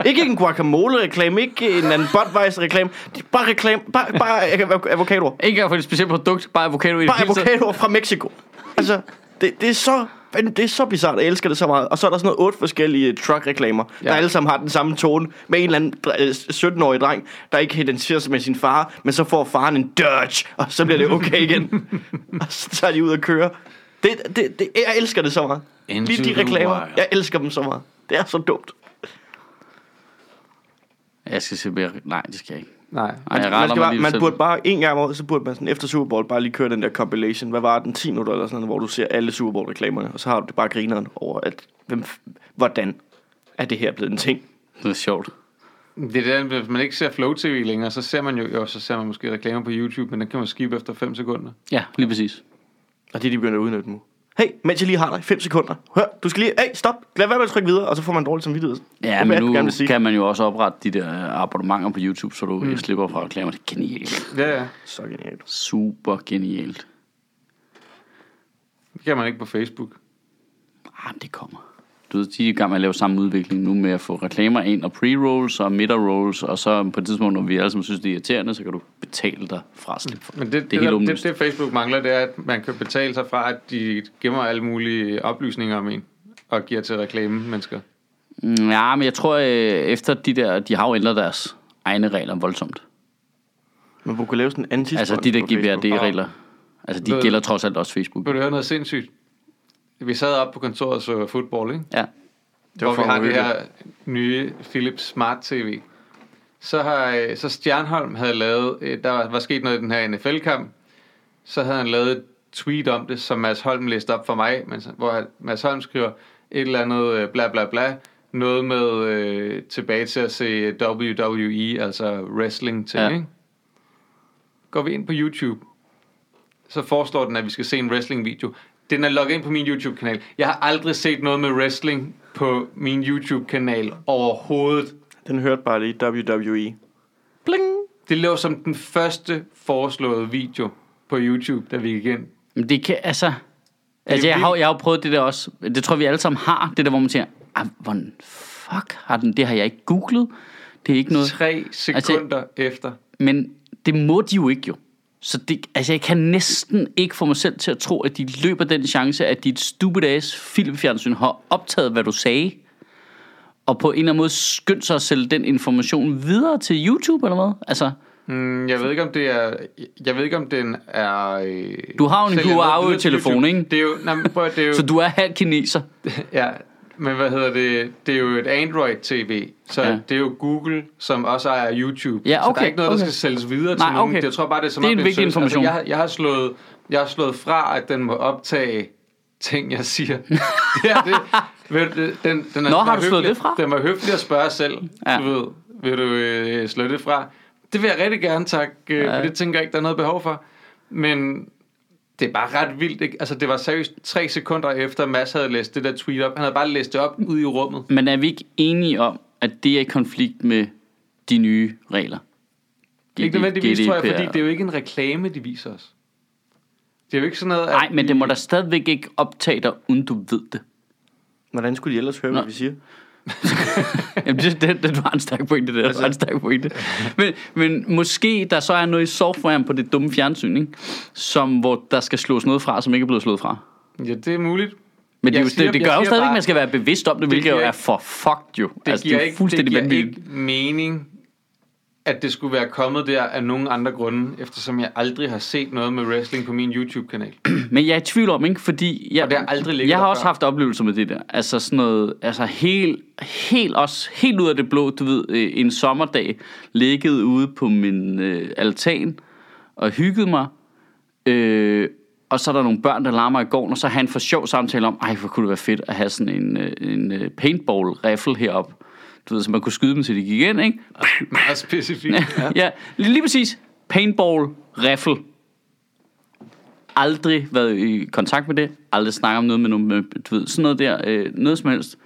Speaker 3: ikke en guacamole-reklame, ikke en anden Budweiser-reklame. Det er Bare reklame, bare, bare av- avocadoer.
Speaker 1: Ikke i hvert fald et specielt produkt, bare avocado i det
Speaker 3: Bare
Speaker 1: hele taget.
Speaker 3: avocadoer fra Mexico. Altså, det, det er så... men Det er så bizart, jeg elsker det så meget. Og så er der sådan noget otte forskellige truck-reklamer, ja. der
Speaker 2: Ja.
Speaker 3: alle sammen har den samme tone, med en eller anden dre- øh, 17-årig dreng, der ikke identificerer sig med sin far, men så får faren en Dodge, og så bliver det okay igen. og så tager de ud og kører. Det, det, det, jeg elsker det så meget.
Speaker 2: Into
Speaker 3: Lige de
Speaker 2: the
Speaker 3: reklamer,
Speaker 2: wire.
Speaker 3: jeg elsker dem så meget. Det er så dumt.
Speaker 1: Jeg skal se mere... Nej, det skal jeg ikke.
Speaker 2: Nej.
Speaker 1: Ej, jeg
Speaker 3: Man,
Speaker 1: retter
Speaker 3: skal
Speaker 1: mig
Speaker 3: bare,
Speaker 1: lige
Speaker 3: man
Speaker 1: selv.
Speaker 3: burde bare en gang om året, så burde man sådan efter Super Bowl bare lige køre den der compilation. Hvad var den? 10 minutter eller sådan noget, hvor du ser alle Super Bowl reklamerne, og så har du det bare grineren over, at hvem, f- hvordan er det her blevet en ting?
Speaker 1: Det er sjovt.
Speaker 2: Det er det, hvis man ikke ser Flow TV længere, så ser man jo, jo, så ser man måske reklamer på YouTube, men den kan man skippe efter 5 sekunder.
Speaker 1: Ja, lige præcis.
Speaker 3: Og det er de begynder at udnytte nu. Hey, mens jeg lige har dig, 5 sekunder. Hør, du skal lige, hey, stop, lad være med at trykke videre, og så får man dårlig samvittighed. Det er,
Speaker 1: Ja,
Speaker 3: hvad
Speaker 1: men
Speaker 3: jeg gerne
Speaker 1: nu
Speaker 3: vil sige.
Speaker 1: kan man jo også oprette de der øh, abonnementer på YouTube, så du mm. slipper fra reklamer. Det er genialt.
Speaker 2: Ja, ja.
Speaker 3: Så genialt.
Speaker 1: Super genialt.
Speaker 2: Det kan man ikke på Facebook.
Speaker 1: Ah, men det kommer. Du ved, de er i gang med at lave samme udvikling nu med at få reklamer ind og pre-rolls og midter-rolls, og så på et tidspunkt, når vi alle sammen synes, det er irriterende, så kan du betale dig fra at slippe for Mm, det.
Speaker 2: Men det, det,
Speaker 1: er helt
Speaker 2: det, der, det,
Speaker 1: åbenlyst.
Speaker 2: det Facebook mangler, det er, at man kan betale sig fra, at de gemmer alle mulige oplysninger om en, og giver til reklame mennesker.
Speaker 1: Mm, Ja, men jeg tror, øh, efter de der, de har jo ændret deres egne regler voldsomt.
Speaker 3: Men du kunne lave sådan en anti
Speaker 1: Altså de der
Speaker 3: det.
Speaker 1: GBRD-regler. Altså de
Speaker 2: Ved-
Speaker 1: gælder trods alt også Facebook.
Speaker 2: Vil du høre noget sindssygt? Vi sad op på kontoret og så fodbold, ikke?
Speaker 1: Ja.
Speaker 2: det hvor vi
Speaker 3: fucking
Speaker 2: har det her nye Philips Smart TV. Så, har, øh, så Stjernholm havde lavet, øh, der var sket noget i den her NFL-kamp, så havde han lavet et tweet om det, som Mads Holm læste op for mig, men, så- hvor han- Mads Holm skriver et eller andet øh, bla bla bla, noget med øh, tilbage til at se WWE, altså wrestling ting,
Speaker 1: Ja.
Speaker 2: ja. ikke? Går vi ind på YouTube, så foreslår den, at vi skal se en wrestling-video. Den er logget ind på min YouTube-kanal. Jeg har aldrig set noget med wrestling på min YouTube-kanal overhovedet.
Speaker 3: Den hørte bare lige E. WWE.
Speaker 2: Det lå som den første foreslåede video på YouTube, da vi gik ind.
Speaker 1: Men det kan, altså... Altså, jeg har, jo- jeg har jo prøvet det der også. Det tror jeg, vi alle sammen har. Det der, hvor man siger, "Ah, hvordan fuck har den? Det har jeg ikke googlet. Det er ikke noget.
Speaker 2: Tre sekunder altså, efter.
Speaker 1: Men det må de jo ikke jo. Så det, altså, jeg kan næsten ikke få mig selv til at tro, at de løber den chance, at dit stupid ass filmfjernsyn har optaget, hvad du sagde. Og på en eller anden måde skyndt sig at sælge den information videre til YouTube eller hvad? Altså,
Speaker 2: Mm, jeg ved ikke, om det er... Jeg ved ikke, om den er... øh,
Speaker 1: Du har jo en
Speaker 2: sælger noget
Speaker 1: Huawei
Speaker 2: videre til
Speaker 1: telefon,
Speaker 2: YouTube.
Speaker 1: ikke?
Speaker 2: Det er jo... Nej, men prøv, at- det er jo
Speaker 1: så du er halv kineser.
Speaker 2: Ja, men hvad hedder det? Det er jo et Android-TV, så
Speaker 1: Ja.
Speaker 2: ja. det er jo Google, som også ejer YouTube.
Speaker 1: Ja,
Speaker 2: så der
Speaker 1: okay,
Speaker 2: er ikke noget,
Speaker 1: okay.
Speaker 2: der skal sælges videre til
Speaker 1: Nej,
Speaker 2: nogen.
Speaker 1: okay.
Speaker 2: Jeg tror bare, det er som
Speaker 1: Det er en
Speaker 2: om, en
Speaker 1: vigtig
Speaker 2: service.
Speaker 1: information.
Speaker 2: Altså, jeg, jeg, har slået, jeg har slået fra, at den må optage ting, jeg siger. det er det. Ved du, det- Den, den er,
Speaker 1: Nå,
Speaker 2: den
Speaker 1: har
Speaker 2: er
Speaker 1: du slået
Speaker 2: høflig-
Speaker 1: det fra?
Speaker 2: Den var høflig at spørge selv.
Speaker 1: Ja.
Speaker 2: Ja. Du ved, vil du øh, slå det fra? Det vil jeg rigtig gerne, tak. Øh,
Speaker 1: Ja.
Speaker 2: ja. For det tænker jeg ikke, der er noget behov for. Men det er bare ret vildt, ikke? Altså, det var seriøst tre sekunder efter, Mads havde læst det der tweet op. Han havde bare læst det op ude i rummet.
Speaker 1: Men er vi ikke enige om, at det er i konflikt med de nye regler? GD,
Speaker 2: ikke nødvendigvis, tror jeg, fordi det er jo ikke en reklame, de viser os. Det er jo ikke sådan noget... at
Speaker 1: Nej, men det må
Speaker 2: vi-
Speaker 1: da stadigvæk ikke optage dig, uden du ved det.
Speaker 3: Hvordan skulle de ellers høre,
Speaker 1: Nå.
Speaker 3: hvad vi siger?
Speaker 1: Jamen, det, det, det var en stærk pointe, det der. Altså. en stærk pointe. Men, men måske der så er noget i softwaren på det dumme fjernsyn, ikke? Som, hvor der skal slås noget fra, som ikke er blevet slået fra.
Speaker 2: Ja, det er muligt.
Speaker 1: Men det, er
Speaker 2: Jeg
Speaker 1: jo,
Speaker 2: siger-
Speaker 1: det, det
Speaker 2: jeg
Speaker 1: gør jo
Speaker 2: siger
Speaker 1: stadigvæk, at
Speaker 2: bare-
Speaker 1: man skal være bevidst om det, hvilket
Speaker 2: giver
Speaker 1: jo er
Speaker 2: ikke-
Speaker 1: for fucked jo.
Speaker 2: Det,
Speaker 1: altså,
Speaker 2: giver,
Speaker 1: det er
Speaker 2: ikke, det
Speaker 1: fuldstændig
Speaker 2: giver
Speaker 1: vanvittigt.
Speaker 2: ikke mening, at det skulle være kommet der af nogen andre grunde, eftersom jeg aldrig har set noget med wrestling på min YouTube-kanal.
Speaker 1: Men jeg er i tvivl om, ikke? Fordi jeg,
Speaker 2: Og det har aldrig ligget
Speaker 1: jeg har
Speaker 2: der
Speaker 1: også
Speaker 2: før.
Speaker 1: haft oplevelser med det der. Altså sådan noget, altså helt, helt også, helt ud af det blå, du ved, øh, en sommerdag, ligget ude på min øh, altan og hygget mig. Øh, og så er der nogle børn, der larmer i gården, og så har han for sjov samtale om, ej, hvor kunne det være fedt at have sådan en, øh, en øh, paintball-riffle heroppe. Du ved, så man kunne skyde dem, til de gik ind, ikke?
Speaker 2: Meget specifikt.
Speaker 1: ja. ja, lige, lige præcis. Paintball, raffle. Aldrig været i kontakt med det. Aldrig snakket om noget med nogen. med- Du ved, sådan noget der. Øh, noget som helst.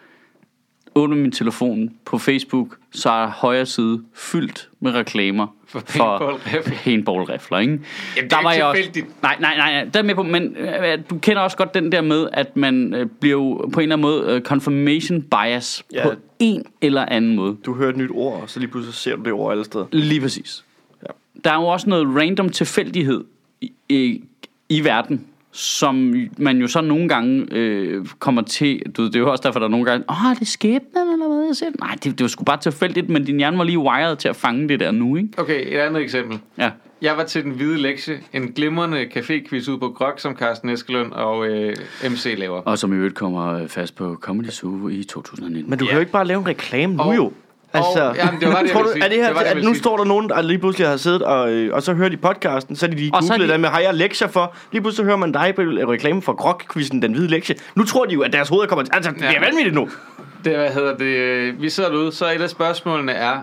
Speaker 1: Åbner min telefon på Facebook, så er højre side fyldt med reklamer
Speaker 2: For paintball-rifler.
Speaker 1: paintball-rifler, ikke?
Speaker 2: Jamen, det er ikke tilfældigt.
Speaker 1: Nej, nej, nej, nej, der er med på, men øh, du kender også godt den der med, at man øh, bliver jo på en eller anden måde øh, confirmation bias
Speaker 3: Ja.
Speaker 1: på en eller anden måde.
Speaker 3: Du hører et nyt ord, og så lige pludselig ser du det ord alle steder.
Speaker 1: Lige præcis. Ja. Der er jo også noget random tilfældighed i, i, i verden, som man jo så nogle gange øh, kommer til... Du ved, det er jo også derfor, der er nogle gange... Åh, er det skæbnen eller hvad? Jeg ser den." Nej, det, det var sgu bare tilfældigt, men din hjerne var lige wired til at fange det der nu, ikke?
Speaker 2: Okay, et andet eksempel.
Speaker 1: Ja.
Speaker 2: Jeg var til den hvide lektie, en glimrende café-quiz ude på Grok, som Carsten Eskelund og øh, MC laver.
Speaker 1: Og som i øvrigt kommer øh, fast på Comedy Zoo i 2019.
Speaker 3: Men du kan jo ikke bare lave en reklame nu
Speaker 2: Og-
Speaker 3: jo. Altså,
Speaker 1: Altså-
Speaker 2: og- jamen, det var det, jeg
Speaker 3: tror du,
Speaker 2: ville sige.
Speaker 3: er det her,
Speaker 2: Det var det, jeg
Speaker 3: at
Speaker 2: ville
Speaker 3: nu
Speaker 2: sige.
Speaker 3: står der nogen, der lige pludselig har siddet og, øh, og så hører de podcasten, så er de lige
Speaker 1: Og så er
Speaker 3: googlet
Speaker 1: de-
Speaker 3: det med, har jeg lektier for? Lige pludselig hører man dig på en reklame for grok den hvide lektie. Nu tror de jo, at deres hoveder kommer til, altså, det
Speaker 2: Ja.
Speaker 3: bliver vanvittigt nu.
Speaker 2: Det, hvad hedder det, øh, vi sidder derude, så et af spørgsmålene er,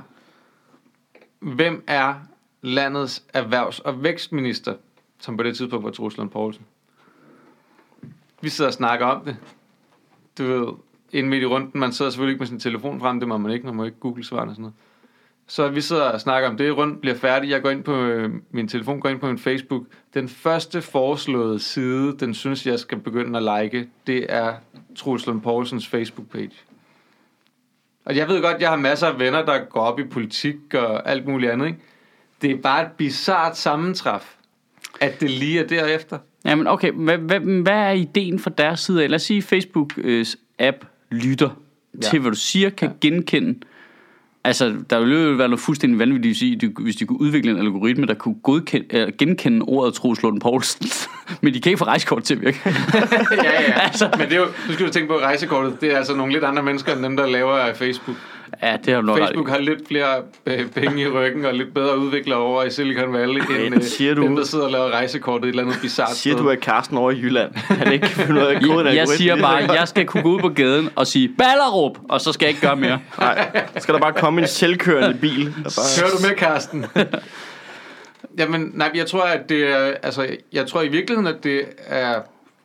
Speaker 2: hvem er landets erhvervs- og vækstminister, som på det tidspunkt var Truls Lund Poulsen? Vi sidder og snakker om det. Du ved, inden midt i runden, man sidder selvfølgelig ikke med sin telefon frem, det må man ikke, man må ikke google svarene og sådan noget. Så vi sidder og snakker om det, runden bliver færdig, jeg går ind på øh, min telefon, går ind på min Facebook. Den første foreslåede side, den synes jeg skal begynde at like, det er Truls Lund Poulsens Facebook-page. Og Altså, jeg ved godt, jeg har masser af venner, der går op i politik og alt muligt andet, ikke? Det er bare et bizart sammentræf, at det lige er derefter.
Speaker 1: Jamen, okay. Hvad, hvad, hvad er ideen fra deres side? af? Lad os sige, Facebook øh, app lytter ja. til, hvad du siger, kan ja. genkende. Altså, der ville jo være noget fuldstændig vanvittigt, hvis de- hvis de kunne udvikle en algoritme, der kunne godkende, øh, genkende ordet Troels Lund Poulsen. Men de kan ikke få rejsekort til at virke.
Speaker 2: ja, ja.
Speaker 1: Altså.
Speaker 2: Altså. Men det er jo, nu skal du tænke på at rejsekortet. Det er altså nogle lidt andre mennesker, end dem, der laver Facebook.
Speaker 1: ja, det har du nok ret i.
Speaker 2: Facebook har lidt flere øh, penge i ryggen og lidt bedre udviklere over i Silicon Valley, end øh,
Speaker 3: siger du-
Speaker 2: dem, der sidder og laver rejsekortet et eller andet bizart
Speaker 3: Siger du, at Carsten over i Jylland, han ikke kan finde ud af at kode en
Speaker 1: Jeg
Speaker 3: algoritme
Speaker 1: siger
Speaker 3: lige så
Speaker 1: bare,
Speaker 3: godt?
Speaker 1: jeg skal kunne gå ud på gaden og sige, Ballerup, og så skal jeg ikke gøre mere.
Speaker 3: Nej, skal der bare komme en selvkørende bil? der Bare...
Speaker 2: Hører du med, Karsten? Jamen, nej, jeg tror, at det er, altså, jeg tror i virkeligheden, at det er,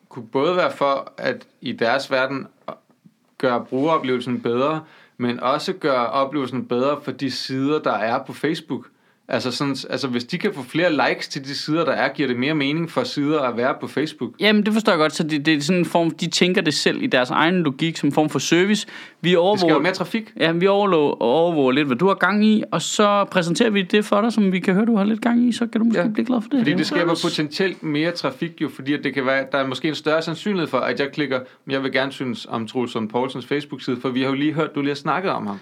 Speaker 2: kunne både være for, at i deres verden gøre brugeroplevelsen bedre, men også gøre oplevelsen bedre for de sider, der er på Facebook. Altså, sådan, altså hvis de kan få flere likes til de sider, der er, giver det mere mening for sider at være på Facebook.
Speaker 1: Jamen, det forstår jeg godt. Så det, det er sådan en form, de tænker det selv i deres egen logik som en form for service. Vi overvåger...
Speaker 2: Det skal jo mere trafik.
Speaker 1: Ja, vi overlå- overvåger lidt, hvad du har gang i, og så præsenterer vi det for dig, som vi kan høre, du har lidt gang i, så kan du måske ja.
Speaker 2: Ja.
Speaker 1: blive glad for det.
Speaker 2: Fordi det skaber potentielt mere trafik jo, fordi at det kan være, der er måske en større sandsynlighed for, at jeg klikker, "Men jeg vil gerne synes om Troels Lund Poulsens Facebook-side, for vi har jo lige hørt, du lige har snakket om ham.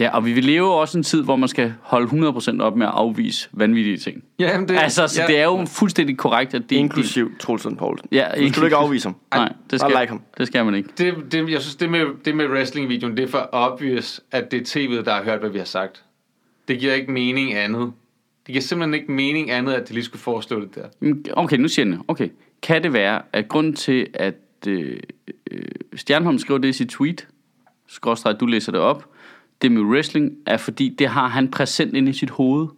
Speaker 1: Ja, og vi vil leve også en tid, hvor man skal holde 100% op med at afvise vanvittige ting.
Speaker 2: Ja, men det,
Speaker 1: Altså, så
Speaker 2: ja,
Speaker 1: det er jo fuldstændig korrekt, at det
Speaker 3: Inklusiv Troels Lund Poulsen.
Speaker 1: Ja,
Speaker 3: Ja, du skal du ikke afvise ham.
Speaker 1: Nej, det skal,
Speaker 3: Bare like ham.
Speaker 1: det skal man ikke.
Speaker 2: Det, det, jeg synes, det med, det med wrestling-videoen, det er for obvious, at det er tv'et, der har hørt, hvad vi har sagt. Det giver ikke mening andet. Det giver simpelthen ikke mening andet, at de lige skulle foreslå det der.
Speaker 1: Mm, Okay, nu siger jeg den. Okay. Kan det være, at grunden til, at øh, øh, Stjernholm skriver det i sit tweet, skråstreg, du læser det op, det med wrestling, er fordi, det har han præsent inde i sit hoved.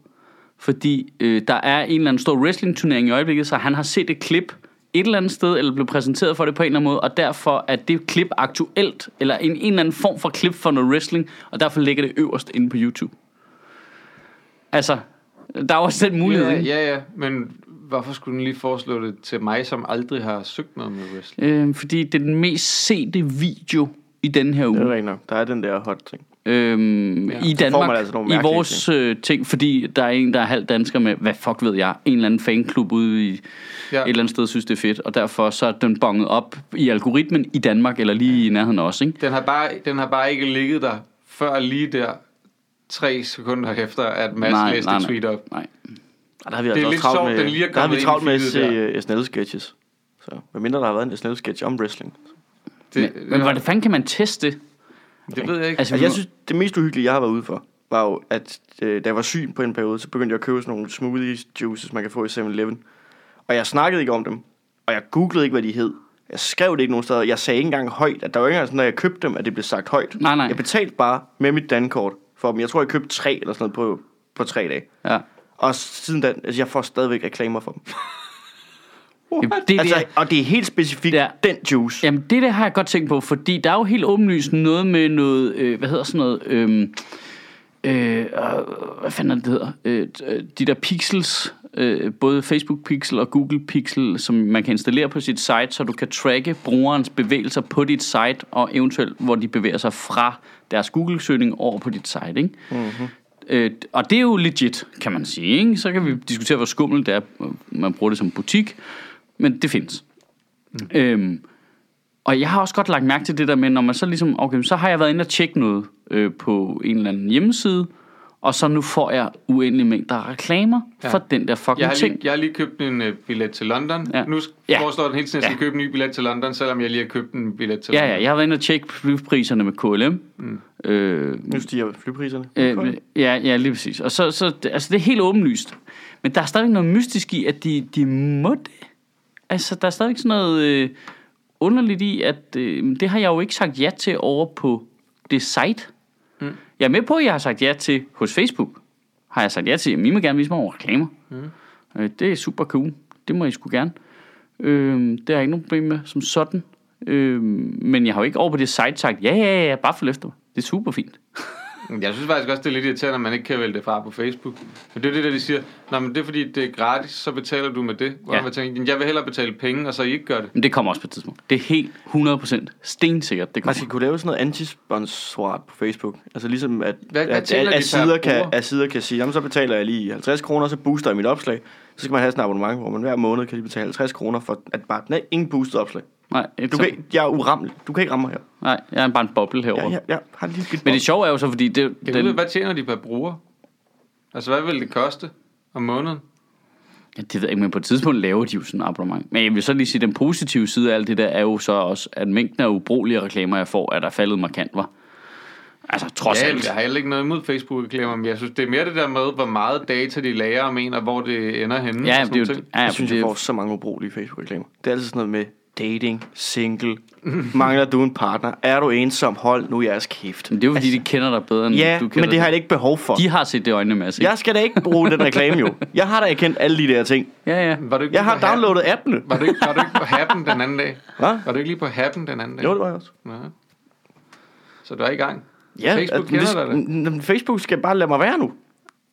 Speaker 1: Fordi øh, der er en eller anden stor wrestling-turnering i øjeblikket, så han har set et klip et eller andet sted, eller blev præsenteret for det på en eller anden måde, og derfor er det klip aktuelt, eller en, en eller anden form for klip for noget wrestling, og derfor ligger det øverst inde på YouTube. Altså, der er jo også den mulighed,
Speaker 2: Ja,
Speaker 1: ikke?
Speaker 2: ja, ja, men hvorfor skulle den lige foreslå det til mig, som aldrig har søgt noget med
Speaker 1: Øhm,
Speaker 2: wrestling?
Speaker 1: Øh, fordi det er den mest sete video i den her
Speaker 3: Det er
Speaker 1: uge.
Speaker 3: rigtigt nok. Der er den der hot ting.
Speaker 1: Øhm, ja,
Speaker 2: Ja,
Speaker 1: I
Speaker 3: så får
Speaker 1: Danmark,
Speaker 3: man altså nogle
Speaker 1: i
Speaker 3: mærkelige
Speaker 1: vores øh, ting, fordi der er en, der er halv dansker med, hvad fuck ved jeg, en eller anden fanklub ude i ja.
Speaker 2: Ja.
Speaker 1: et eller andet sted, synes det er fedt, og derfor så er den bonget op i algoritmen i Danmark, eller lige i nærheden også, ikke?
Speaker 2: Den har, bare, den har bare ikke ligget der før lige der tre sekunder efter, at Mads nej, læste nej, nej. tweet op.
Speaker 1: nej.
Speaker 3: Og der har vi
Speaker 2: Det er
Speaker 3: altså også
Speaker 2: lidt
Speaker 3: travlt
Speaker 2: sjovt,
Speaker 3: med,
Speaker 2: den lige er
Speaker 3: der har vi
Speaker 2: kommet
Speaker 3: travlt
Speaker 2: ind
Speaker 3: med
Speaker 2: i
Speaker 3: at se
Speaker 2: feedet
Speaker 3: øh, SNL-sketches. Så, medmindre der har været en SNL-sketch om wrestling.
Speaker 1: Det, men, men hvordan fanden kan man teste det?
Speaker 2: det ved jeg ikke.
Speaker 1: Altså,
Speaker 2: Altså,
Speaker 3: Altså, jeg synes, det mest uhyggelige, jeg har været ude for, var jo, at øh, da jeg var syg på en periode, så begyndte jeg at købe sådan nogle smoothie juices, man kan få i 7-Eleven. Og jeg snakkede ikke om dem, og jeg googlede ikke, hvad de hed. Jeg skrev det ikke nogen steder. Jeg sagde ikke engang højt, at der var ikke engang sådan, når jeg købte dem, at det blev sagt højt.
Speaker 1: Nej, nej.
Speaker 3: Jeg betalte bare med mit dankort for dem. Jeg tror, jeg købte tre eller sådan noget på, på tre dage.
Speaker 1: Ja.
Speaker 3: Og siden da, altså, jeg får stadigvæk reklamer for dem.
Speaker 1: Jamen, det, altså,
Speaker 3: Altså,
Speaker 1: der,
Speaker 3: og det er helt specifikt
Speaker 1: Ja.
Speaker 3: den juice.
Speaker 1: jamen, det der har jeg godt tænkt på, fordi der er jo helt åbenlyst noget med noget, øh, hvad hedder sådan noget, øh, øh, og hvad fanden er det, det hedder, øh, t- øh, de der pixels, øh, både Facebook Pixel og Google Pixel, som man kan installere på sit site, så du kan tracke brugerens bevægelser på dit site, og eventuelt, hvor de bevæger sig fra deres Google-søgning over på dit site, ikke? Mm-hmm. Øh, og det er jo legit, kan man sige, ikke? Så kan vi diskutere, hvor skummelt det er, øh, man bruger det som butik, men det findes. Mm. Øhm, og jeg har også godt lagt mærke til det der med, når man så ligesom, okay, så har jeg været inde og tjekke noget øh, på en eller anden hjemmeside, og så nu får jeg uendelig mængder af reklamer ja.
Speaker 2: Ja.
Speaker 1: for den der fucking
Speaker 2: jeg, har lige,
Speaker 1: ting.
Speaker 2: jeg har lige købt en uh, billet til London.
Speaker 1: Ja.
Speaker 2: Ja. Nu s-
Speaker 1: Ja.
Speaker 2: foreslår den hele tiden, at jeg skal
Speaker 1: Ja.
Speaker 2: købe en ny billet til London, selvom jeg lige har købt en billet til
Speaker 1: Ja,
Speaker 2: London.
Speaker 1: ja, jeg har været inde og tjekke priserne med KLM. Mm. Øh,
Speaker 3: Nu stiger flypriserne.
Speaker 1: øh, ja, ja, lige præcis. Og så, så, altså det er helt åbenlyst. Men der er stadigvæk noget mystisk i, at de, de må det. Altså, der er stadigvæk sådan noget øh, underligt i, at øh, det har jeg jo ikke sagt ja til over på det site. Mm. Jeg er med på, at jeg har sagt ja til hos Facebook. Har jeg sagt ja til, at I må gerne vise mig over reklamer. Mm. Øh, det er super cool. Det må I sgu gerne. Øh, det har jeg ikke nogen problem med som sådan. Øh, men jeg har jo ikke over på det site sagt, ja, ja, ja, bare for efter mig. Det er super fint.
Speaker 2: Jeg synes faktisk også, det er lidt irriterende, at man ikke kan vælge det fra på Facebook. Men det er det, der de siger, Nå, men det er fordi, det er gratis, så betaler du med det. Hvor
Speaker 1: Ja.
Speaker 2: ja. man tænker, jeg vil hellere betale penge, og så I ikke gør det.
Speaker 1: Men det kommer også på et tidspunkt. Det er helt 100% stensikkert, det
Speaker 3: Man
Speaker 1: kommer.
Speaker 3: skal kunne lave sådan noget antisponsorat på Facebook. Altså ligesom, at,
Speaker 2: Hvad- hvad
Speaker 3: at,
Speaker 2: tænker
Speaker 3: at,
Speaker 2: de,
Speaker 3: at, sider
Speaker 2: der
Speaker 3: kan,
Speaker 2: bruger?
Speaker 3: at sider kan sige, jamen så betaler jeg lige 50 kroner, så booster jeg mit opslag. Så skal man have sådan en abonnement, hvor man hver måned kan lige betale 50 kroner for at bare, nej, ingen boostet opslag.
Speaker 1: Nej, ikke
Speaker 3: Du
Speaker 1: så-
Speaker 3: kan, ikke- jeg er uramlig. Du kan ikke ramme mig her.
Speaker 1: Nej, jeg er bare en boble herovre.
Speaker 3: Jeg, jeg, jeg har lige lidt
Speaker 1: Men det sjove er jo så, fordi det,
Speaker 2: Jeg ved,
Speaker 1: den,
Speaker 2: hvad tjener de per bruger? Altså, hvad vil det koste om måneden?
Speaker 1: ja, det ved jeg ikke, men på et tidspunkt laver de jo sådan en abonnement. Men jeg vil så lige sige, at den positive side af alt det der er jo så også, at mængden af ubrugelige reklamer, jeg får, er der faldet markant, var. Altså, trods
Speaker 2: Ja,
Speaker 1: alt.
Speaker 2: jeg har heller ikke noget imod Facebook-reklamer, men jeg synes, det er mere det der med, hvor meget data de lager og mener, hvor det ender henne.
Speaker 1: Ja,
Speaker 2: og
Speaker 1: det er
Speaker 2: sådan
Speaker 1: jo,
Speaker 2: nogle ting.
Speaker 1: ja,
Speaker 3: jeg synes, jeg
Speaker 1: det,
Speaker 3: får så mange ubrugelige Facebook-reklamer. Det er altid sådan noget med dating, single, mangler du en partner, er du ensom, hold nu jeres kæft.
Speaker 1: men det er jo, fordi de kender dig bedre, end
Speaker 3: Ja,
Speaker 1: du kender
Speaker 3: men det har jeg ikke behov for.
Speaker 1: De har set det i øjnene med os, ikke?
Speaker 3: Jeg skal da ikke bruge den reklame jo. Jeg har da erkendt alle de der ting.
Speaker 1: Ja, ja.
Speaker 2: Var du ikke
Speaker 3: Jeg
Speaker 2: lige
Speaker 3: har
Speaker 2: på Happen?
Speaker 3: downloadet appene.
Speaker 2: Var du, ikke, var du ikke på Happen den anden dag?
Speaker 3: Hvad?
Speaker 2: Var du ikke lige på Happen den anden dag?
Speaker 3: Jo, det var jeg også.
Speaker 2: Nå. Så du er i gang?
Speaker 3: Ja,
Speaker 2: Facebook
Speaker 3: at-
Speaker 2: kender
Speaker 3: det-
Speaker 2: dig da.
Speaker 3: n- n- Facebook skal bare lade mig være nu.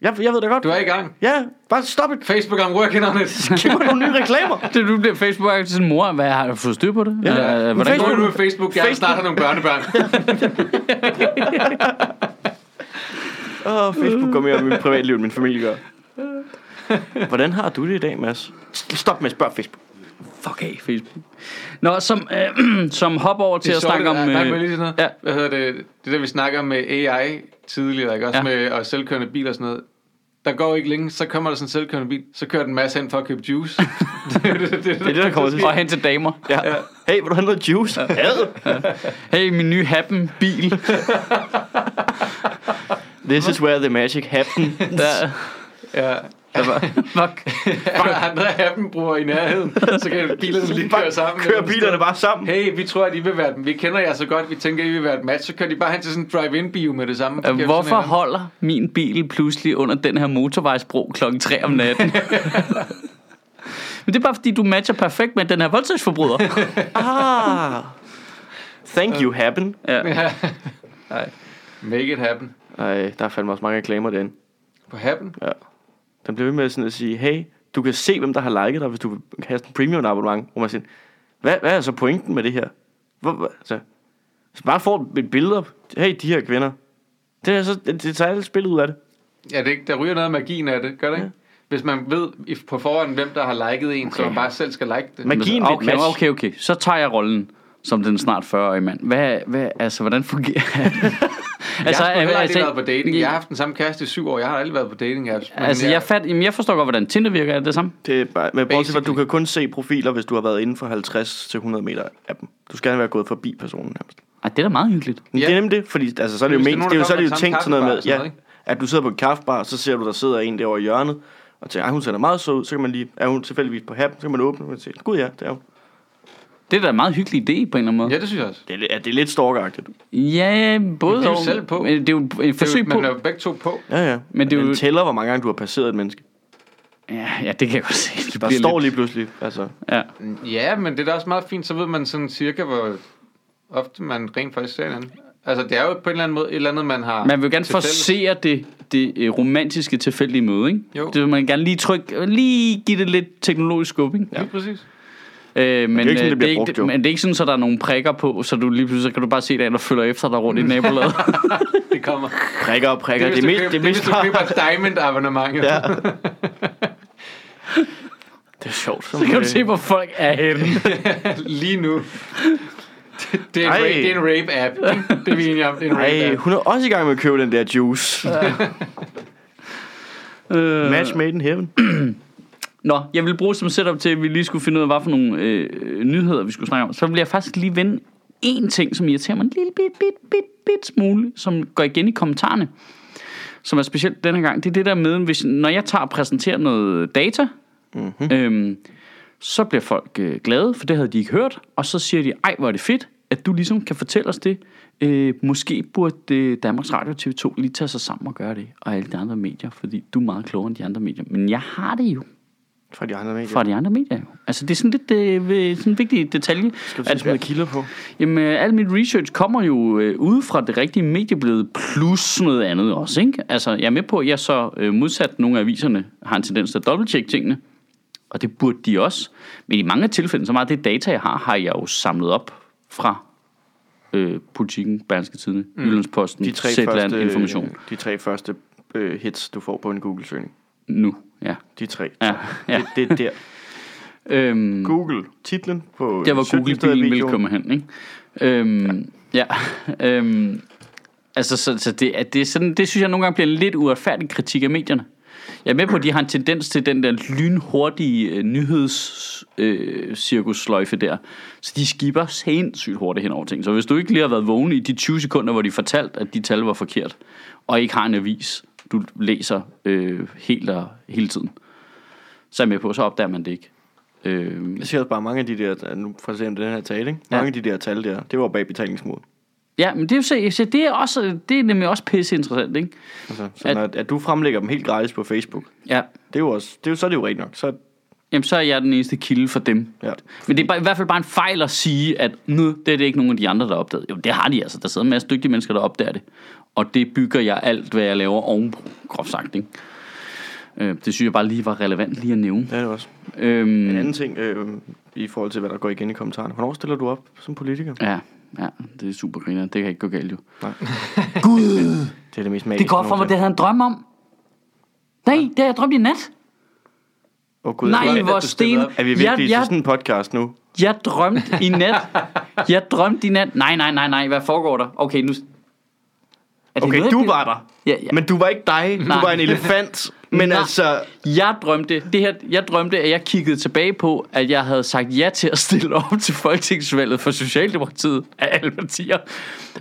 Speaker 3: Jeg, jeg ved det godt.
Speaker 2: Du er i gang.
Speaker 3: Ja, bare stop et.
Speaker 2: Facebook, I'm working on it.
Speaker 3: Giv mig nogle nye reklamer.
Speaker 1: Det, du bliver facebook til sådan, mor, hvad har du fået styr på det? Ja,
Speaker 3: Men
Speaker 1: hvordan
Speaker 2: Nu
Speaker 1: går
Speaker 2: er
Speaker 1: det?
Speaker 2: du med Facebook, jeg Facebook. snart
Speaker 3: Facebook.
Speaker 2: har nogle børnebørn.
Speaker 3: Åh, oh, Facebook går mere om mit privatliv, end min familie gør. Hvordan har du det i dag, Mads? Stop med at spørge Facebook.
Speaker 1: Fuck af Facebook. Nå, som, øh, som hopper over til at snakke om...
Speaker 2: Øh,
Speaker 1: øh,
Speaker 2: nej, lige sådan noget.
Speaker 1: ja.
Speaker 2: Ja. Hvad hedder det? Det der, vi snakker om med AI tidligere, ikke? Også
Speaker 1: Ja.
Speaker 2: ja. med og selvkørende biler og sådan noget. Der går ikke længe, så kommer der sådan en selvkørende bil, så kører den masse hen for at købe juice. det, er det, det,
Speaker 3: det, der kommer til.
Speaker 1: og hen til damer.
Speaker 3: Ja. Hey, vil du have noget juice? Ja.
Speaker 1: Hey, min nye happen bil.
Speaker 3: This is where the magic happens.
Speaker 1: Der,
Speaker 2: Ja.
Speaker 1: fuck.
Speaker 2: Er der andre af dem bruger i nærheden, så kan bilerne lige køre sammen.
Speaker 3: Kører bilerne bare sammen.
Speaker 2: Hey, vi tror, at I vil være den. Vi kender jer så godt, vi tænker, at I vil være et match. Så kører de bare hen til sådan en drive-in-bio med det samme.
Speaker 1: Øh, Hvorfor
Speaker 2: Sådan en-
Speaker 1: holder min bil pludselig under den her motorvejsbro klokken 3 om natten? Men det er bare fordi, du matcher perfekt med den her voldtægtsforbryder.
Speaker 3: Ah. Thank you, happen.
Speaker 1: Ja.
Speaker 2: Nej. Make it happen.
Speaker 3: Ej, der er fandme også mange reklamer derinde.
Speaker 2: På happen?
Speaker 3: Den bliver ved med sådan at sige, hey, du kan se, hvem der har liket dig, hvis du vil have sådan en premium abonnement. Hvor man siger, hvad, hvad er så pointen med det her? Hvor, hvor- altså, hvis man bare får et billede op, hey, de her kvinder, Det, er så, det, det tager alt spillet ud af det.
Speaker 2: Ja, det, ikke- der ryger noget af magien af det, gør det ikke? Hvis man ved i- på forhånd, hvem der har liket en, okay. så man bare selv skal like det.
Speaker 3: Men- Magien ved
Speaker 1: okay,
Speaker 3: Clash.
Speaker 1: okay, okay. Så tager jeg rollen som den snart 40-årige mand. Hvad, hvad, altså, hvordan fungerer
Speaker 2: altså, jeg har sgu heller aldrig
Speaker 1: altså,
Speaker 2: været på dating. Jeg har
Speaker 1: Jeg,
Speaker 2: haft den samme kæreste i syv år. Jeg har aldrig været på dating apps. Men
Speaker 1: altså, jeg, fat, jamen, jeg forstår godt, hvordan Tinder virker. Er det det samme?
Speaker 3: det er bare, men bortset fra, at du
Speaker 2: Basically.
Speaker 3: kan kun se profiler, hvis du har været inden for 50 til 100 meter af dem. Du skal være gået forbi personen nærmest.
Speaker 1: Ej, det er da meget hyggeligt.
Speaker 3: Men
Speaker 2: Ja.
Speaker 3: Det er nemlig det, fordi altså, så er det jo,
Speaker 2: Hvis det er
Speaker 3: men,
Speaker 2: nogen,
Speaker 3: det er jo,
Speaker 2: der
Speaker 3: så er det
Speaker 2: kommer fra
Speaker 3: jo
Speaker 2: den samme
Speaker 3: tænkt sådan noget med,
Speaker 2: kaffebar og
Speaker 3: ja,
Speaker 2: sådan
Speaker 3: at du sidder på en kaffebar, så ser du, der sidder en derovre i hjørnet, og tænker, "Ej, hun ser da meget sød ud, så kan man lige, er hun tilfældigvis på happen, så kan man åbne, og sige, gud ja, det er hun.
Speaker 1: Det er da en meget hyggelig idé på en eller anden måde.
Speaker 2: Ja, det synes jeg også.
Speaker 3: Det er, li- ja, det er lidt stalkeragtigt.
Speaker 1: Ja, både
Speaker 2: Men det er jo
Speaker 1: og.
Speaker 2: selv på.
Speaker 1: Men Det er jo et
Speaker 2: Det er jo,
Speaker 1: forsøg
Speaker 2: man
Speaker 1: på.
Speaker 2: er jo begge to på.
Speaker 3: Ja, ja. Men det er jo... tæller, hvor mange gange du har passeret et menneske.
Speaker 1: Ja, ja, det kan jeg godt se. Det
Speaker 3: Der
Speaker 1: bliver
Speaker 3: står
Speaker 1: lidt-
Speaker 3: lige pludselig, altså,
Speaker 1: Ja.
Speaker 2: Ja, men det er da også meget fint. Så ved man sådan cirka, hvor ofte man rent faktisk ser hinanden. Altså, det er jo på en eller anden måde et eller andet, man har...
Speaker 1: Man vil jo gerne
Speaker 2: til fælles.
Speaker 1: forsere det, det øh, romantiske tilfældige møde, ikke?
Speaker 2: Jo.
Speaker 1: Det vil man gerne lige trykke, lige give det lidt teknologisk skub, ikke?
Speaker 2: Lige præcis.
Speaker 1: Øh, men,
Speaker 3: det er ikke sådan,
Speaker 1: øh,
Speaker 3: det bliver
Speaker 1: ikke-
Speaker 3: brugt, jo.
Speaker 1: men det er ikke sådan, at der er nogle prikker på, så du lige pludselig så kan du bare se det, der følger efter dig rundt i nabolaget.
Speaker 2: Det kommer.
Speaker 3: prikker og prikker.
Speaker 2: det, er,
Speaker 3: Det,
Speaker 2: hvis
Speaker 3: det,
Speaker 2: du
Speaker 3: mest,
Speaker 2: køber-
Speaker 3: det,
Speaker 2: det, er, hvis
Speaker 3: mest
Speaker 2: du køber et diamond abonnement.
Speaker 3: Ja. det er sjovt.
Speaker 1: så kan du se, hvor folk er henne.
Speaker 2: Lige nu. Det, det, er en
Speaker 3: Ej.
Speaker 2: rape, det er en rape-app. Det er vi enige om. Det er en
Speaker 3: Ej,
Speaker 2: rape-app.
Speaker 3: hun er også i gang med at købe den der juice.
Speaker 1: Øh,
Speaker 3: Match made in heaven.
Speaker 1: Nå, jeg vil bruge som setup til, at vi lige skulle finde ud af, hvad for nogle øh, nyheder, vi skulle snakke om. Så vil jeg faktisk lige vende en ting, som irriterer mig en lille bit, bit, bit, bit smule, som går igen i kommentarerne, som er specielt denne gang. Det er det der med, hvis, når jeg tager og præsenterer noget data, mm-hmm. øhm, så bliver folk øh, glade, for det havde de ikke hørt, og så siger de, ej, hvor er det fedt, at du ligesom kan fortælle os det. Øh, måske burde øh, Danmarks Radio og TV2 lige tage sig sammen og gøre det, og alle de andre medier, fordi du er meget klogere end de andre medier. Men jeg har det jo
Speaker 3: Fra de andre medier.
Speaker 1: fra de andre medier. jo. Altså, det er sådan lidt øh, ved- sådan en vigtig detalje.
Speaker 3: Skal du sige, sådan noget kilder på?
Speaker 1: jamen, øh, al mit research kommer jo øh, ude fra det rigtige medieblad, plus noget andet også, ikke? Altså, jeg er med på, at jeg så øh, modsat nogle af aviserne har en tendens til at dobbelttjekke tingene, og det burde de også. Men i mange af tilfældene, så meget af det data, jeg har, har jeg jo samlet op fra øh, politikken, Berlingske Tidene, mm. Jyllandsposten,
Speaker 3: De tre
Speaker 1: Zetland,
Speaker 3: første, øh,
Speaker 1: Information.
Speaker 3: De tre første øh, hits, du får på en Google-søgning.
Speaker 1: Nu, ja.
Speaker 3: De tre.
Speaker 1: Ja, ja.
Speaker 3: Det, det er der.
Speaker 1: Øhm,
Speaker 3: Google. Titlen på...
Speaker 1: Der hvor Google-bilen ville
Speaker 3: videoen.
Speaker 1: komme hen, ikke? Øhm, ja. ja. Øhm, altså, så, så det, at det, er sådan, det synes jeg nogle gange bliver en lidt uretfærdig kritik af medierne. Jeg er med på, at de har en tendens til den der lynhurtige øh, nyhedscirkussløjfe der. Så de skipper sindssygt hurtigt hen over ting. Så hvis du ikke lige har været vågen i de 20 sekunder, hvor de fortalte, at de tal var forkert, og ikke har en avis, du læser øh, helt og, hele tiden, så er jeg med på, så opdager man det ikke. Øh,
Speaker 3: Jeg ser også bare mange af de der... Nu for at se om det er den her tale, ikke?
Speaker 1: Ja.
Speaker 3: Mange af de der tal der, det var bag betalingsmod.
Speaker 1: Ja, men det er jo så, så det er også det er nemlig også pisse interessant, ikke?
Speaker 3: Altså, sådan at, at, du fremlægger dem helt gratis på Facebook.
Speaker 1: Ja.
Speaker 3: Det er jo også... Det er jo, så er det jo rigtigt nok. Så,
Speaker 1: Jamen, så er jeg den eneste kilde for dem.
Speaker 3: ja.
Speaker 1: Men det er bare, i hvert fald bare en fejl at sige, at nu det er det ikke nogen af de andre, der opdagede. Jo, det har de altså. Der sidder en masse dygtige mennesker, der opdager det. Og det bygger jeg alt, hvad jeg laver ovenpå, groft sagt, ikke? Øh, det synes jeg bare lige var relevant lige at nævne.
Speaker 3: Det er det også. En
Speaker 1: Øhm,
Speaker 3: anden ting øh, i forhold til, hvad der går igen i kommentarerne. Hvornår stiller du op som politiker?
Speaker 1: ja, ja, det er super griner. Det kan ikke gå galt, jo.
Speaker 3: Det er det mest magiske.
Speaker 1: Det går fra mig, det
Speaker 3: nogensinde.
Speaker 1: havde en drøm om. Nej, det har jeg drømt i nat.
Speaker 3: Åh, Gud, jeg
Speaker 1: Nej,
Speaker 3: tror-
Speaker 1: hvor
Speaker 2: du stillede
Speaker 1: sten.
Speaker 2: op.
Speaker 3: Er vi virkelig til sådan en podcast nu?
Speaker 1: Jeg drømte i nat. Jeg drømte i nat. Nej, nej, nej, nej. Hvad foregår der? Okay, nu... Er det
Speaker 3: Okay,
Speaker 1: noget,
Speaker 3: du
Speaker 1: det-
Speaker 3: var der.
Speaker 1: Ja, ja.
Speaker 3: Men du var ikke dig. Du
Speaker 1: Nej.
Speaker 3: var en elefant. Men
Speaker 1: Nej.
Speaker 3: altså...
Speaker 1: Jeg drømte, det her, jeg drømte, at jeg kiggede tilbage på, at jeg havde sagt ja til at stille op til folketingsvalget for Socialdemokratiet af alle partier.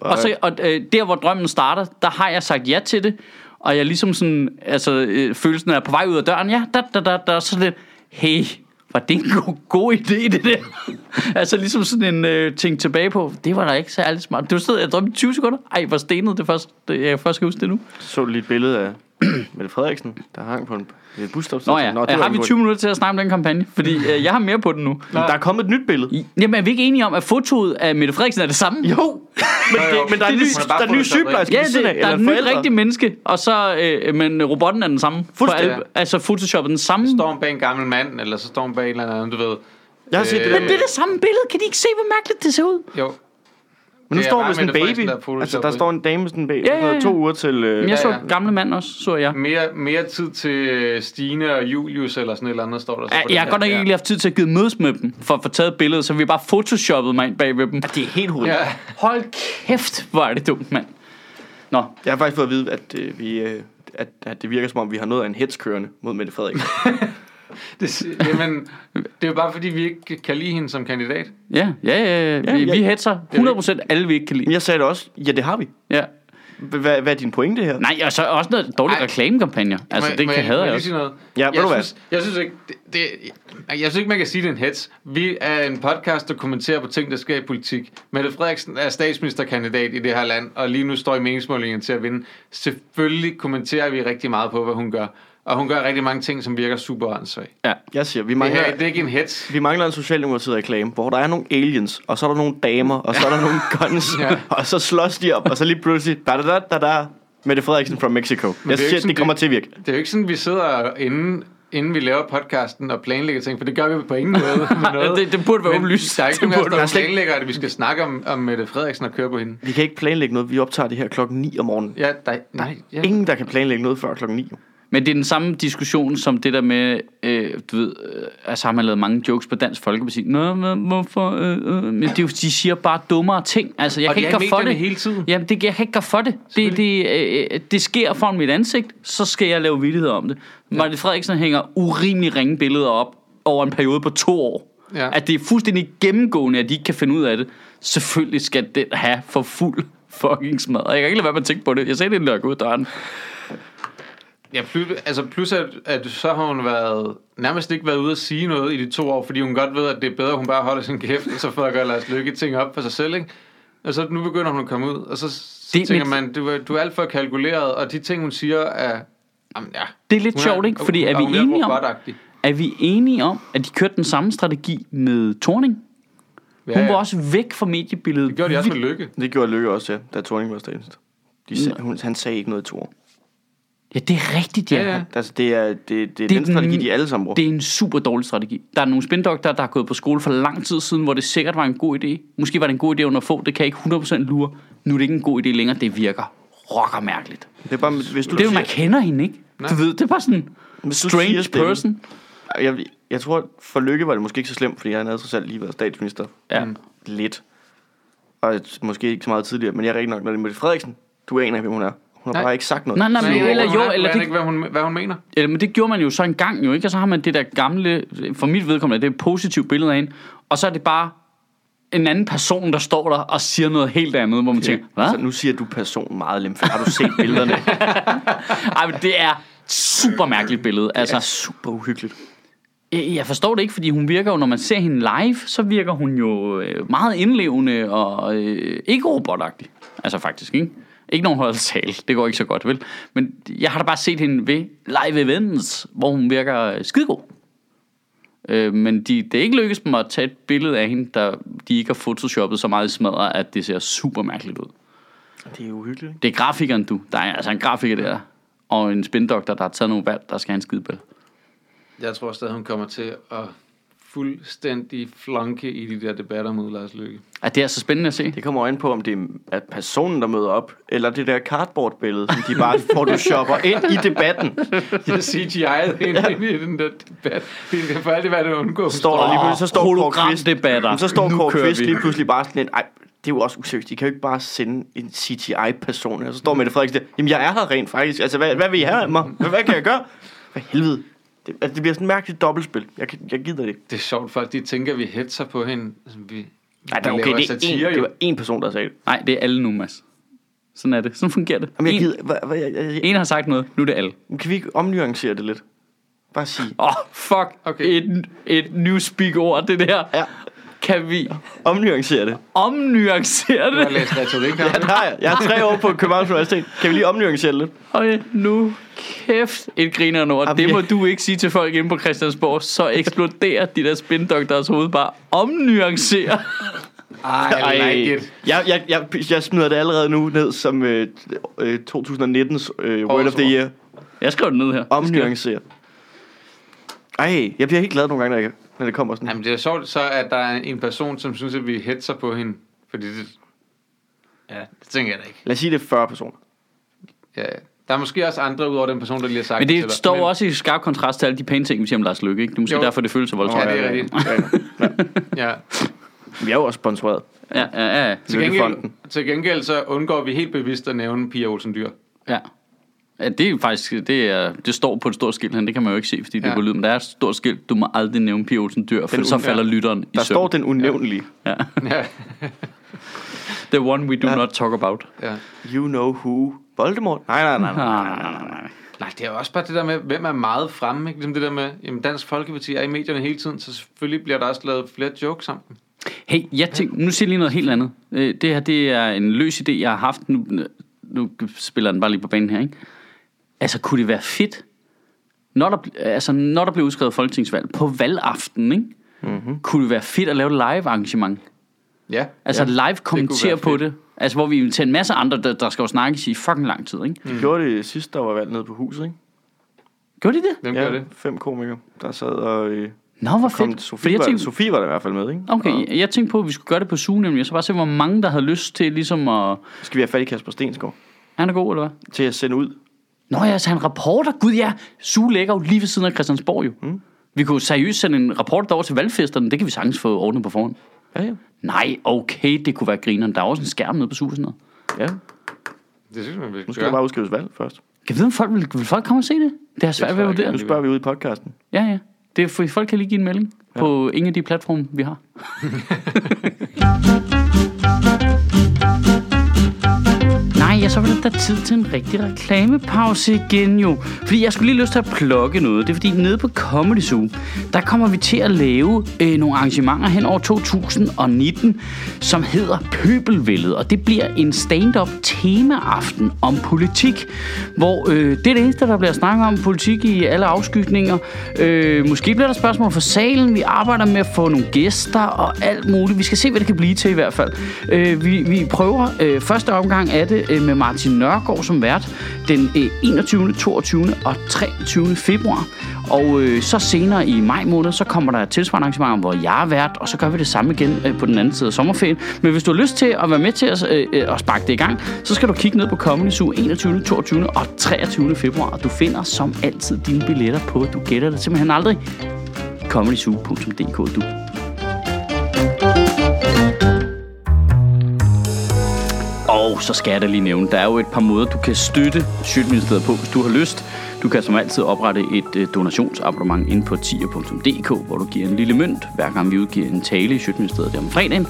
Speaker 1: Og, så, og øh, der, hvor drømmen starter, der har jeg sagt ja til det, og jeg ligesom sådan, altså øh, følelsen er på vej ud af døren, ja, da, da, da, da, så lidt, hey, var det en god, god idé, det der? altså ligesom sådan en øh, ting tilbage på, det var da ikke særlig smart. Det var sådan, jeg drømte i 20 sekunder, ej, hvor stenet det først, det, jeg først kan huske det nu.
Speaker 3: Så du lige et billede af Mette Frederiksen, der hang på en ved et busstopstation.
Speaker 1: Nå ja, Nå,
Speaker 3: Altså, det var
Speaker 1: har
Speaker 3: en
Speaker 1: vi
Speaker 3: god-
Speaker 1: 20 minutter til at snakke om den kampagne? Fordi øh, jeg har mere på den nu.
Speaker 3: Men Der er kommet et nyt billede.
Speaker 1: I- Jamen, er vi ikke enige om, at fotoet af Mette Frederiksen er det samme?
Speaker 3: Jo, men,
Speaker 2: jo.
Speaker 3: det, men der er
Speaker 1: Det er
Speaker 3: en ny,
Speaker 1: lyst.
Speaker 3: der er en ny sygeplejerske
Speaker 1: Ja,
Speaker 3: ved
Speaker 1: det,
Speaker 3: siden af,
Speaker 1: der
Speaker 3: eller
Speaker 1: er et
Speaker 3: en
Speaker 1: nyt
Speaker 3: forælder.
Speaker 1: rigtigt menneske, og så, øh, men robotten er den samme. For
Speaker 3: Fuldstændig.
Speaker 1: alle- altså, Photoshop er den samme.
Speaker 2: står hun bag en gammel mand, eller så står hun bag en eller anden, du ved.
Speaker 3: Jeg har set det
Speaker 1: Men
Speaker 3: der
Speaker 2: Øh,
Speaker 1: det er det samme billede. Kan de ikke se, hvor mærkeligt det ser ud?
Speaker 2: Jo.
Speaker 3: Men nu
Speaker 2: Det er
Speaker 3: står
Speaker 2: bare
Speaker 3: med sådan en
Speaker 2: Mette Frederiksen,
Speaker 3: baby.
Speaker 2: der er photoshoppet.
Speaker 3: altså, der står en dame med sådan en baby.
Speaker 1: Ja, ja,
Speaker 3: Ja,
Speaker 1: ja.
Speaker 3: ja. To uger til... Øh,
Speaker 1: Men
Speaker 3: ja.
Speaker 1: jeg så
Speaker 2: ja.
Speaker 1: gamle mand også, så jeg.
Speaker 2: Mere, mere tid til Stine og Julius eller sådan et eller andet, står der. Så
Speaker 1: Ja,
Speaker 2: på den
Speaker 1: Jeg har
Speaker 2: her.
Speaker 1: godt nok ikke lige haft tid til at give mødes med dem, for at få taget billedet, så vi bare photoshoppet mig ind bag ved dem.
Speaker 3: Det er helt hurtigt.
Speaker 2: Ja.
Speaker 3: Ja.
Speaker 2: ja.
Speaker 1: Hold kæft, hvor er det dumt, mand. Nå,
Speaker 3: Jeg har faktisk fået at vide, at, øh, vi, øh, at, at det virker som om, vi har noget af en hets kørende mod Mette Frederiksen.
Speaker 2: Det, si- jamen, det er jo bare fordi, vi ikke kan lide hende som kandidat.
Speaker 1: ja, ja, ja, ja. Vi,
Speaker 3: Ja, ja.
Speaker 1: vi hetser 100% alle, vi ikke kan lide.
Speaker 3: jeg sagde det også. Ja, det har vi.
Speaker 1: Ja.
Speaker 3: Hvad, hvad er din pointe her?
Speaker 1: Nej, og så også noget dårlige
Speaker 2: Ej.
Speaker 1: reklamekampagner. Altså,
Speaker 2: Må-
Speaker 1: det
Speaker 2: må
Speaker 1: kan
Speaker 2: jeg, må
Speaker 1: hader jeg
Speaker 2: lige
Speaker 1: også.
Speaker 2: sige noget?
Speaker 3: Ja, ved
Speaker 2: jeg
Speaker 3: du hvad?
Speaker 2: synes, jeg synes ikke, det, det, jeg synes ikke, man kan sige, det er en hets. Vi er en podcast, der kommenterer på ting, der sker i politik. Mette Frederiksen er statsministerkandidat i det her land, og lige nu står i meningsmålingen til at vinde. Selvfølgelig kommenterer vi rigtig meget på, hvad hun gør. Og hun gør rigtig mange ting, som virker super åndssvagt.
Speaker 1: Ja.
Speaker 3: Jeg siger, vi
Speaker 2: Det,
Speaker 3: mangler...
Speaker 2: her, det er ikke en hets.
Speaker 3: Vi mangler en socialdemokratiet reklame, hvor der er nogle aliens, og så er der nogle damer, og så er der nogle guns,
Speaker 2: Ja.
Speaker 3: og så slås de op, og så lige pludselig, da da da da da, Mette Frederiksen fra Mexico.
Speaker 2: er jo
Speaker 3: Jeg
Speaker 2: ikke
Speaker 3: siger, at
Speaker 2: sådan,
Speaker 3: det kommer
Speaker 2: det-
Speaker 3: til at virke.
Speaker 2: Det er jo ikke sådan, vi sidder inden, inden vi laver podcasten og planlægger ting, for det gør vi på ingen måde. Med noget.
Speaker 1: Det- det burde være
Speaker 2: Men
Speaker 1: åbenlyst.
Speaker 2: Der er ikke
Speaker 1: Det
Speaker 2: nogen,
Speaker 1: burde
Speaker 2: af
Speaker 1: være
Speaker 2: os, der
Speaker 1: slet ikke-
Speaker 2: planlægger, at vi skal snakke om, om Mette Frederiksen og køre på hende.
Speaker 3: Vi kan ikke planlægge noget. Vi optager det her klokken 9 om morgenen.
Speaker 2: Ja, der, nej, ja.
Speaker 3: Ingen, der kan planlægge noget før klokken 9. jo.
Speaker 1: Men det er den samme diskussion som det der med, øh, du ved, øh, altså har man lavet mange jokes på Dansk Folkeparti. Nå, men hvorfor? Øh, øh. Men det er jo, de siger bare dummere ting. Altså, jeg
Speaker 2: Og
Speaker 1: kan
Speaker 2: de
Speaker 1: ikke
Speaker 2: er i
Speaker 1: gøre for
Speaker 2: medierne
Speaker 1: det.
Speaker 2: hele tiden.
Speaker 1: Jamen, det, jeg kan ikke gøre for det. Det, det, øh, det sker foran mit ansigt, så skal jeg lave vildigheder om det. Ja. Mette Frederiksen hænger urimelig ringe billeder op over en periode på to år.
Speaker 2: Ja.
Speaker 1: At det er fuldstændig gennemgående, at de ikke kan finde ud af det. Selvfølgelig skal den have for fuld fucking smad. Og Jeg kan ikke lade være med at tænke på det. Jeg sagde det, når jeg går ud af døren.
Speaker 2: Ja, plus, altså plus at, at så har hun været, nærmest ikke været ude at sige noget i de to år, fordi hun godt ved, at det er bedre, at hun bare holder sin kæft, og så får at gøre Lars Lykke ting op for sig selv, ikke? Og så nu begynder hun at komme ud, og så, så
Speaker 1: Det er
Speaker 2: det, tænker
Speaker 1: mit-
Speaker 2: man, du, er- du er alt for kalkuleret, og de ting, hun siger, er... Jamen, ja,
Speaker 1: Det er lidt
Speaker 2: hun
Speaker 1: sjovt, ikke? Fordi er
Speaker 2: og
Speaker 1: vi
Speaker 2: hun ved at
Speaker 1: enige
Speaker 2: bruge
Speaker 1: om-
Speaker 2: robotagtig.
Speaker 1: Er vi enige om, at de kørte den samme strategi med Torning? Ja, Hun var også væk fra mediebilledet.
Speaker 2: Det gjorde de også med Lykke.
Speaker 3: Det gjorde Lykke også, ja, da Thorning var statsminister. De sag, hun, han sagde ikke noget i to år.
Speaker 1: Ja, det er rigtigt, ja.
Speaker 2: Ja,
Speaker 1: ja,
Speaker 2: ja.
Speaker 1: ja.
Speaker 3: Altså, det er, det, det er
Speaker 1: Det er
Speaker 3: den strategi,
Speaker 1: den-
Speaker 3: de alle sammen bruger.
Speaker 1: Det er en super dårlig strategi. Der er nogle spindoktorer, der har gået på skole for lang tid siden, hvor det sikkert var en god idé. Måske var det en god idé under få, det kan jeg ikke 100% lure. Nu er det ikke en god idé længere, det virker rocker mærkeligt.
Speaker 3: Det er bare, hvis du
Speaker 1: Det er jo, man
Speaker 3: siger,
Speaker 1: kender hende, ikke? Du ved, det er bare sådan en
Speaker 3: Hvis du siger
Speaker 1: strange person.
Speaker 3: stemmen. jeg, jeg tror, for Lykke var det måske ikke så slemt, fordi han havde trods alt lige været statsminister
Speaker 1: Ja.
Speaker 3: lidt. Og et- måske ikke så meget tidligere, men jeg er rigtig nok, når det er Mette Frederiksen, du aner ikke, hvem hun er. Hun har
Speaker 2: Nej.
Speaker 3: bare ikke sagt noget.
Speaker 1: Nej, nej, men,
Speaker 2: Men
Speaker 1: eller
Speaker 2: hun
Speaker 1: jo,
Speaker 2: er-
Speaker 1: eller
Speaker 2: hun er
Speaker 1: det,
Speaker 2: ikke, hvad hun, hvad hun mener.
Speaker 1: Eller, men det gjorde man jo så en gang jo, ikke? Og så har man det der gamle, for mit vedkommende, det er et positivt billede af hende. Og så er det bare en anden person, der står der og siger noget helt andet, hvor man tænker, hvad?
Speaker 3: Så nu siger du person meget lemfærdigt. Har du set billederne? det
Speaker 1: Ej, men det er et super mærkeligt billede.
Speaker 3: er
Speaker 1: Altså,
Speaker 3: super uhyggeligt.
Speaker 1: jeg, jeg forstår det ikke, fordi hun virker jo, når man ser hende live, så virker hun jo øh, meget indlevende og øh, ikke robotagtig. Altså faktisk, ikke? Ikke nogen holder tale. Det går ikke så godt, vel? Men jeg har da bare set hende ved live events, hvor hun virker øh, skidegod. Øh, men de, det er ikke lykkedes dem at tage et billede af hende, der de ikke har photoshoppet så meget i smadret, at det ser super mærkeligt ud.
Speaker 3: Det er uhyggeligt.
Speaker 1: Det er grafikeren, du. Der er altså en grafiker der, og en spindoktor, der har taget nogle valg, der skal have en skidebæl.
Speaker 2: Jeg tror stadig, hun kommer til at fuldstændig flanke i de der debatter mod Lars Lykke.
Speaker 1: At det er så spændende at se.
Speaker 3: Det kommer an på, om det er at personen, der møder op, eller det der cardboard-billede, som de bare photoshopper ind i debatten.
Speaker 2: Jeg CGI'et ind i den der debat. Det kan for alt i verden undgå.
Speaker 3: Står der lige pludselig, så står Kåre Kvist,
Speaker 1: hologramdebatter.
Speaker 3: Men så står
Speaker 1: Nu
Speaker 3: Kåre
Speaker 1: kører
Speaker 3: Kvist
Speaker 1: vi.
Speaker 3: lige pludselig bare sådan lidt, ej, det er jo også useriøst. De kan jo ikke bare sende en CGI-person. Og så står Mette Frederiksen der, jamen jeg er her rent faktisk. Altså, hvad, hvad vil I have af mig? Hvad, hvad kan jeg gøre? Hvad helvede? Det, altså, det bliver sådan et mærkeligt dobbeltspil. Jeg, kan, jeg gider det ikke.
Speaker 2: Det er sjovt, folk de tænker, vi hetser på hende. Altså, vi,
Speaker 1: Ej, det er
Speaker 2: vi
Speaker 1: okay,
Speaker 2: laver
Speaker 1: det er
Speaker 2: satire,
Speaker 3: det
Speaker 2: jo.
Speaker 3: var én person, der sagde det.
Speaker 1: Nej, det er alle nu, Mads. Sådan er det. Sådan fungerer det.
Speaker 3: Jamen, jeg
Speaker 1: en,
Speaker 3: gider, hvad, hvad, jeg, jeg,
Speaker 1: en har sagt noget, nu er det alle.
Speaker 3: jeg, kan vi ikke omnuancere det lidt? Bare sige.
Speaker 1: Åh, oh, fuck.
Speaker 2: Okay.
Speaker 1: Okay. Et, et newspeak-ord, det der.
Speaker 3: Ja,
Speaker 1: Kan vi
Speaker 3: omnuancere det.
Speaker 1: omnuancere
Speaker 2: Du har
Speaker 1: det?
Speaker 2: læst retorik, har
Speaker 3: Ja,
Speaker 2: du
Speaker 3: det har jeg. Jeg har tre år på Københavns Universitet. Kan vi lige omnuancere det lidt?
Speaker 1: Og nu kæft et griner ord.
Speaker 3: Jamen,
Speaker 1: Det må
Speaker 3: jeg-
Speaker 1: du ikke sige til folk inde på Christiansborg, så eksploderer de der spindoktors hoved bare omnuancere.
Speaker 2: ikke? Ej, I like it.
Speaker 3: Jeg, jeg, jeg, jeg smider det allerede nu ned som øh, øh, 2019's øh, Word of the
Speaker 2: Årsord.
Speaker 3: Year.
Speaker 1: Jeg skrev det ned her.
Speaker 3: Omnuancere. Ej, jeg bliver helt glad nogle gange, når, jeg, når det kommer sådan.
Speaker 2: Jamen, det er sjovt så, at der er en person, som synes, at vi hetser på hende. Fordi det, Ja, det tænker jeg da ikke.
Speaker 3: Lad os sige, det er 40 personer.
Speaker 2: Ja, ja. der er måske også andre ud over den person, der lige har sagt
Speaker 1: Men
Speaker 2: til
Speaker 1: det
Speaker 2: dig.
Speaker 1: står
Speaker 2: Men-
Speaker 1: også i skarp kontrast til alle de pæne ting, vi siger om Lars Lykke. Ikke? Det er måske
Speaker 2: Jo.
Speaker 1: jo. derfor, det føles så voldsomt.
Speaker 2: Ja, det er
Speaker 3: Ja,
Speaker 2: rigtigt.
Speaker 3: ja, ja.
Speaker 2: Ja.
Speaker 3: Vi er jo også sponsoreret.
Speaker 1: Ja, ja, ja.
Speaker 2: Til, gengæld,
Speaker 3: Lykkefonden.
Speaker 2: til gengæld så undgår vi helt bevidst at nævne Pia Olsen Dyr.
Speaker 1: ja. ja det er faktisk, det, er, det står på et stort skilt her, det kan man jo ikke se, fordi det
Speaker 2: Ja.
Speaker 1: er på lyd, men der er et stort skilt, du må aldrig nævne Pia Olsen Dyr, for
Speaker 3: Den
Speaker 1: så
Speaker 3: ud-
Speaker 1: falder
Speaker 2: ja.
Speaker 1: lytteren i
Speaker 3: Der står
Speaker 1: søvn.
Speaker 3: den unævnlige.
Speaker 1: Ja.
Speaker 2: Ja.
Speaker 1: The one we do
Speaker 3: Ja.
Speaker 1: ja. not talk about.
Speaker 2: ja.
Speaker 3: You know who. Voldemort? Nej, nej, nej. nej.
Speaker 1: Nej, nej, nej, nej, nej.
Speaker 2: Nej, det er jo også bare det der med, hvem er meget fremme. Ikke? Ligesom det der med, jamen Dansk Folkeparti er i medierne hele tiden, så selvfølgelig bliver der også lavet flere jokes om dem.
Speaker 1: Hey, jeg tænk, nu siger jeg lige noget helt andet. Øh, Det her, det er en løs idé, jeg har haft. Nu, nu spiller den bare lige på banen her, ikke? Altså, kunne det være fedt, når der, bl- altså, når der bliver udskrevet folketingsvalg på valgaften, ikke? Mm-hmm. Kunne det være fedt at lave et live arrangement?
Speaker 2: Ja.
Speaker 1: Altså ja, live kommentere
Speaker 2: være
Speaker 1: på
Speaker 2: fedt.
Speaker 1: det. Altså, hvor vi inviterer en masse andre, der, der skal jo snakkes i fucking lang tid, ikke?
Speaker 3: De gjorde det sidst, der var valgt nede på huset, ikke?
Speaker 1: Gjorde de det?
Speaker 2: Hvem ja. gør det?
Speaker 3: fem komikere, der sad og øh,
Speaker 1: Nå, hvor
Speaker 3: kom.
Speaker 1: fedt. Fordi
Speaker 3: Sofie
Speaker 1: jeg
Speaker 3: var,
Speaker 1: tænkte,
Speaker 3: Sofie var der i hvert fald med, ikke?
Speaker 1: okay,
Speaker 3: Og,
Speaker 1: jeg, jeg tænkte på, at vi skulle gøre det på Zoom, nemlig. Og så bare se, hvor mange, der havde lyst til ligesom at...
Speaker 3: skal vi have fat i Kasper Stensgaard
Speaker 1: Han er god, eller hvad?
Speaker 3: til at sende ud?
Speaker 1: Nå ja, så han rapporter. Gud ja, Sue ligger jo lige ved siden af Christiansborg jo. Mm. Vi kunne seriøst sende en rapport derover til valgfesterne. Det kan vi sagtens få ordnet på forhånd.
Speaker 3: Ja, ja.
Speaker 1: Nej, okay, det kunne være grineren. Der er også en skærm nede på Sue og sådan noget.
Speaker 3: ja.
Speaker 2: Det synes man, vi
Speaker 3: Nu
Speaker 2: skal
Speaker 3: skal der
Speaker 2: gøre.
Speaker 3: bare udskrives valg først.
Speaker 1: Kan vi vide, om folk vil, vil folk komme og se det? Det er svært
Speaker 2: tror
Speaker 1: ved at
Speaker 2: jeg
Speaker 1: vurdere.
Speaker 3: Nu spørger vi ud i podcasten.
Speaker 1: Ja, ja. Det er, for, folk kan lige give en melding ja. på ingen af de platforme, vi har. Nej, ja, så var det da tid til en rigtig reklamepause igen jo. Fordi jeg skulle lige lyst til at plukke noget. Det er fordi, nede på Comedy Zoo, der kommer vi til at lave øh, nogle arrangementer hen over 2019, som hedder Pøbelvældet. Og det bliver en stand-up temaaften om politik, hvor øh, det er det eneste, der bliver snakket om politik i alle afskygninger. Øh, måske bliver der spørgsmål fra salen. Vi arbejder med at få nogle gæster og alt muligt. Vi skal se, hvad det kan blive til i hvert fald. Øh, vi, vi prøver øh, første omgang af det øh, med Martin Nørgaard som vært den øh, 21., 22. og 23. februar. Og øh, så senere i maj måned, så kommer der et tilsvarende arrangement, hvor jeg er vært, og så gør vi det samme igen øh, på den anden side af sommerferien. Men hvis du har lyst til at være med til at, øh, øh, at sparke det i gang, så skal du kigge ned på Comedy Zoo 21., 22. og 23. februar. Og Du finder som altid dine billetter på, du gætter det simpelthen aldrig, comedyzoo.dk du. Og så skal jeg da lige nævne, der er jo et par måder, du kan støtte Sjøtministeriet på, hvis du har lyst. Du kan som altid oprette et øh, donationsabonnement ind på tier.dk, hvor du giver en lille mønt, hver gang vi udgiver en tale i Sjøtministeriet der om fredagen.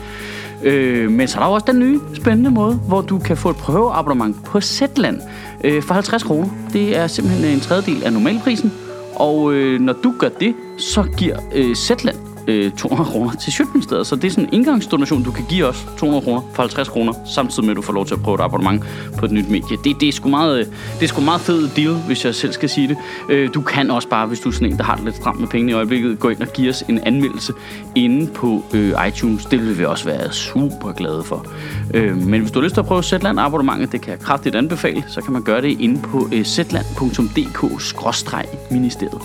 Speaker 1: Øh, men så er der jo også den nye spændende måde, hvor du kan få et prøveabonnement på Zetland øh, for 50 kroner. Det er simpelthen øh, en tredjedel af normalprisen, og øh, når du gør det, så giver øh, Zetland øh, 200 kroner til Sjøtministeriet. Så det er sådan en indgangsdonation, du kan give os 200 kroner for 50 kroner, samtidig med at du får lov til at prøve et abonnement på et nyt medie. Det, det, er, sgu meget, øh, det er sgu meget fed deal, hvis jeg selv skal sige det. Øh, du kan også bare, hvis du er sådan en, der har det lidt stramt med pengene i øjeblikket, gå ind og give os en anmeldelse inde på øh, iTunes. Det vil vi også være super glade for. Øh, men hvis du har lyst til at prøve Zetland abonnementet, det kan jeg kraftigt anbefale, så kan man gøre det inde på øh, zetland.dk-ministeriet.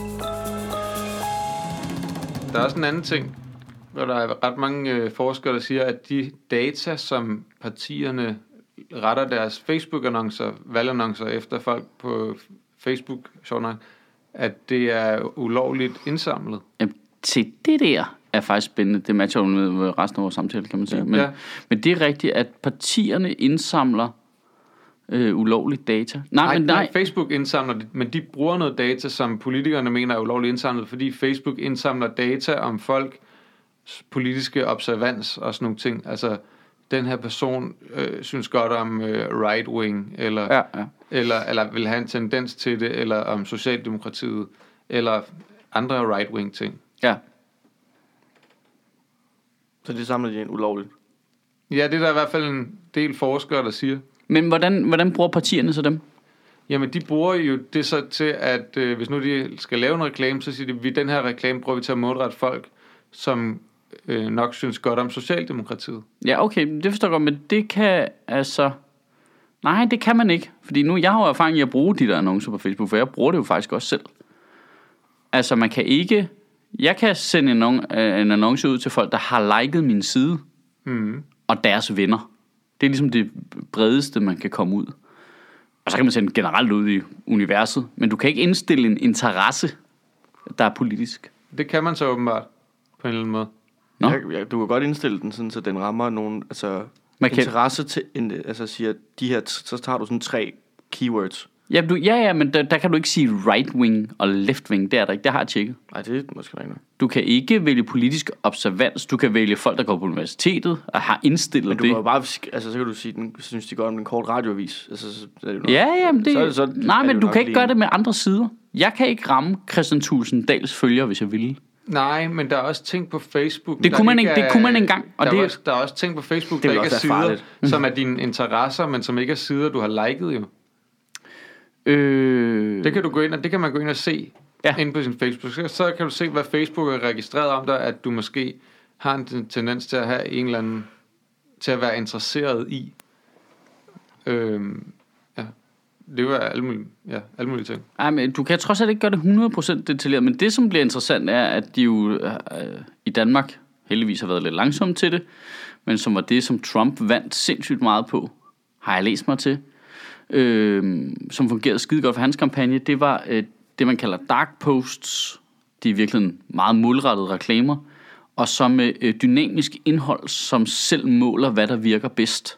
Speaker 2: Der er også en anden ting, hvor der er ret mange øh, forskere, der siger, at de data, som partierne retter deres Facebook-annoncer, valgannoncer efter folk på Facebook, sjovt nok, at det er ulovligt indsamlet.
Speaker 1: Jamen, til det der er faktisk spændende. Det matcher jo med med resten af vores samtale, kan man sige. Men,
Speaker 2: Ja.
Speaker 1: men det er rigtigt, at partierne indsamler øh, ulovligt data. Nej,
Speaker 2: Nej,
Speaker 1: Ah, men nej.
Speaker 2: Facebook indsamler det, men de bruger noget data, som politikerne mener er ulovligt indsamlet, fordi Facebook indsamler data om folk politiske observans og sådan nogle ting. Altså, den her person øh, synes godt om øh, right wing, eller,
Speaker 1: Ja, ja.
Speaker 2: eller, eller vil have en tendens til det, eller om Socialdemokratiet, eller andre right wing ting.
Speaker 1: ja.
Speaker 3: Så det samler de ind ulovligt.
Speaker 2: Ja, det er der i hvert fald en del forskere, der siger.
Speaker 1: Men hvordan, hvordan bruger partierne så dem?
Speaker 2: Jamen, de bruger jo det så til, at øh, hvis nu de skal lave en reklame, så siger de, vi den her reklame bruger vi til at målrette folk, som øh, nok synes godt om Socialdemokratiet.
Speaker 1: Ja, okay, men det forstår jeg godt, men det kan altså... Nej, det kan man ikke. Fordi nu, jeg har jo erfaring i at bruge de der annoncer på Facebook, for jeg bruger det jo faktisk også selv. Altså, man kan ikke... Jeg kan sende en, annon- øh, en annonce ud til folk, der har liket min side, mm. og deres venner. Det er ligesom det bredeste, man kan komme ud. Og så kan man sende generelt ud i universet, men du kan ikke indstille en interesse, der er politisk.
Speaker 2: Det kan man så åbenbart, på en eller anden måde.
Speaker 1: Nå.
Speaker 3: Jeg, jeg, du kan godt indstille den sådan, så den rammer nogen, altså
Speaker 1: Man kan-
Speaker 3: interesse til, en- altså siger, de her, så tager du sådan tre keywords.
Speaker 1: Ja, du, ja, ja men der, der kan du ikke sige right wing og left wing. Det er der ikke. Det har jeg tjekket.
Speaker 3: Nej, det er måske ikke noget.
Speaker 1: Du kan ikke vælge politisk observans. Du kan vælge folk, der går på universitetet og har indstillet
Speaker 3: Men du
Speaker 1: det.
Speaker 3: kan jo bare, altså så kan du sige, den, synes de godt om den korte radioavis. Altså, så er det jo nok-
Speaker 1: Ja, ja, men det,
Speaker 3: så er
Speaker 1: så,
Speaker 3: det, så,
Speaker 1: så, nej,
Speaker 3: er det
Speaker 1: men
Speaker 3: jo
Speaker 1: du
Speaker 3: nok
Speaker 1: kan ikke
Speaker 3: lige-
Speaker 1: gøre det med andre sider. Jeg kan ikke ramme Christian Tulsendals følger, hvis jeg ville.
Speaker 2: Nej, men der er også ting på Facebook.
Speaker 1: Det
Speaker 2: der
Speaker 1: kunne man
Speaker 2: ikke
Speaker 1: ikke- det
Speaker 2: er-
Speaker 1: kunne man engang, og
Speaker 2: der,
Speaker 1: det-
Speaker 2: er også, der er også ting på Facebook,
Speaker 3: Det
Speaker 2: der
Speaker 3: vil
Speaker 2: ikke er
Speaker 3: også
Speaker 2: sider,
Speaker 3: være
Speaker 2: som er dine interesser, men som ikke er sider, du har liket jo.
Speaker 1: Øh,
Speaker 2: Det kan, du gå ind, og det kan man gå ind og se
Speaker 1: Ja.
Speaker 2: ja. inde på sin Facebook. Så- Så kan du se, hvad Facebook er registreret om dig, at du måske har en ten- tendens til at have en eller anden, til at være interesseret i. Øhm, ja. Det var alle mulige, ja, alle mulige ting.
Speaker 1: Ej, men du kan trods alt ikke gøre det 100% detaljeret, men det, som bliver interessant, er, at de jo øh, øh, i Danmark heldigvis har været lidt langsomme til det, men som var det, som Trump vandt sindssygt meget på, har jeg læst mig til, øh, som fungerede skide godt for hans kampagne, det var øh, det, man kalder dark posts. Det er virkelig meget målrettede reklamer, og så med øh, dynamisk indhold, som selv måler, hvad der virker bedst.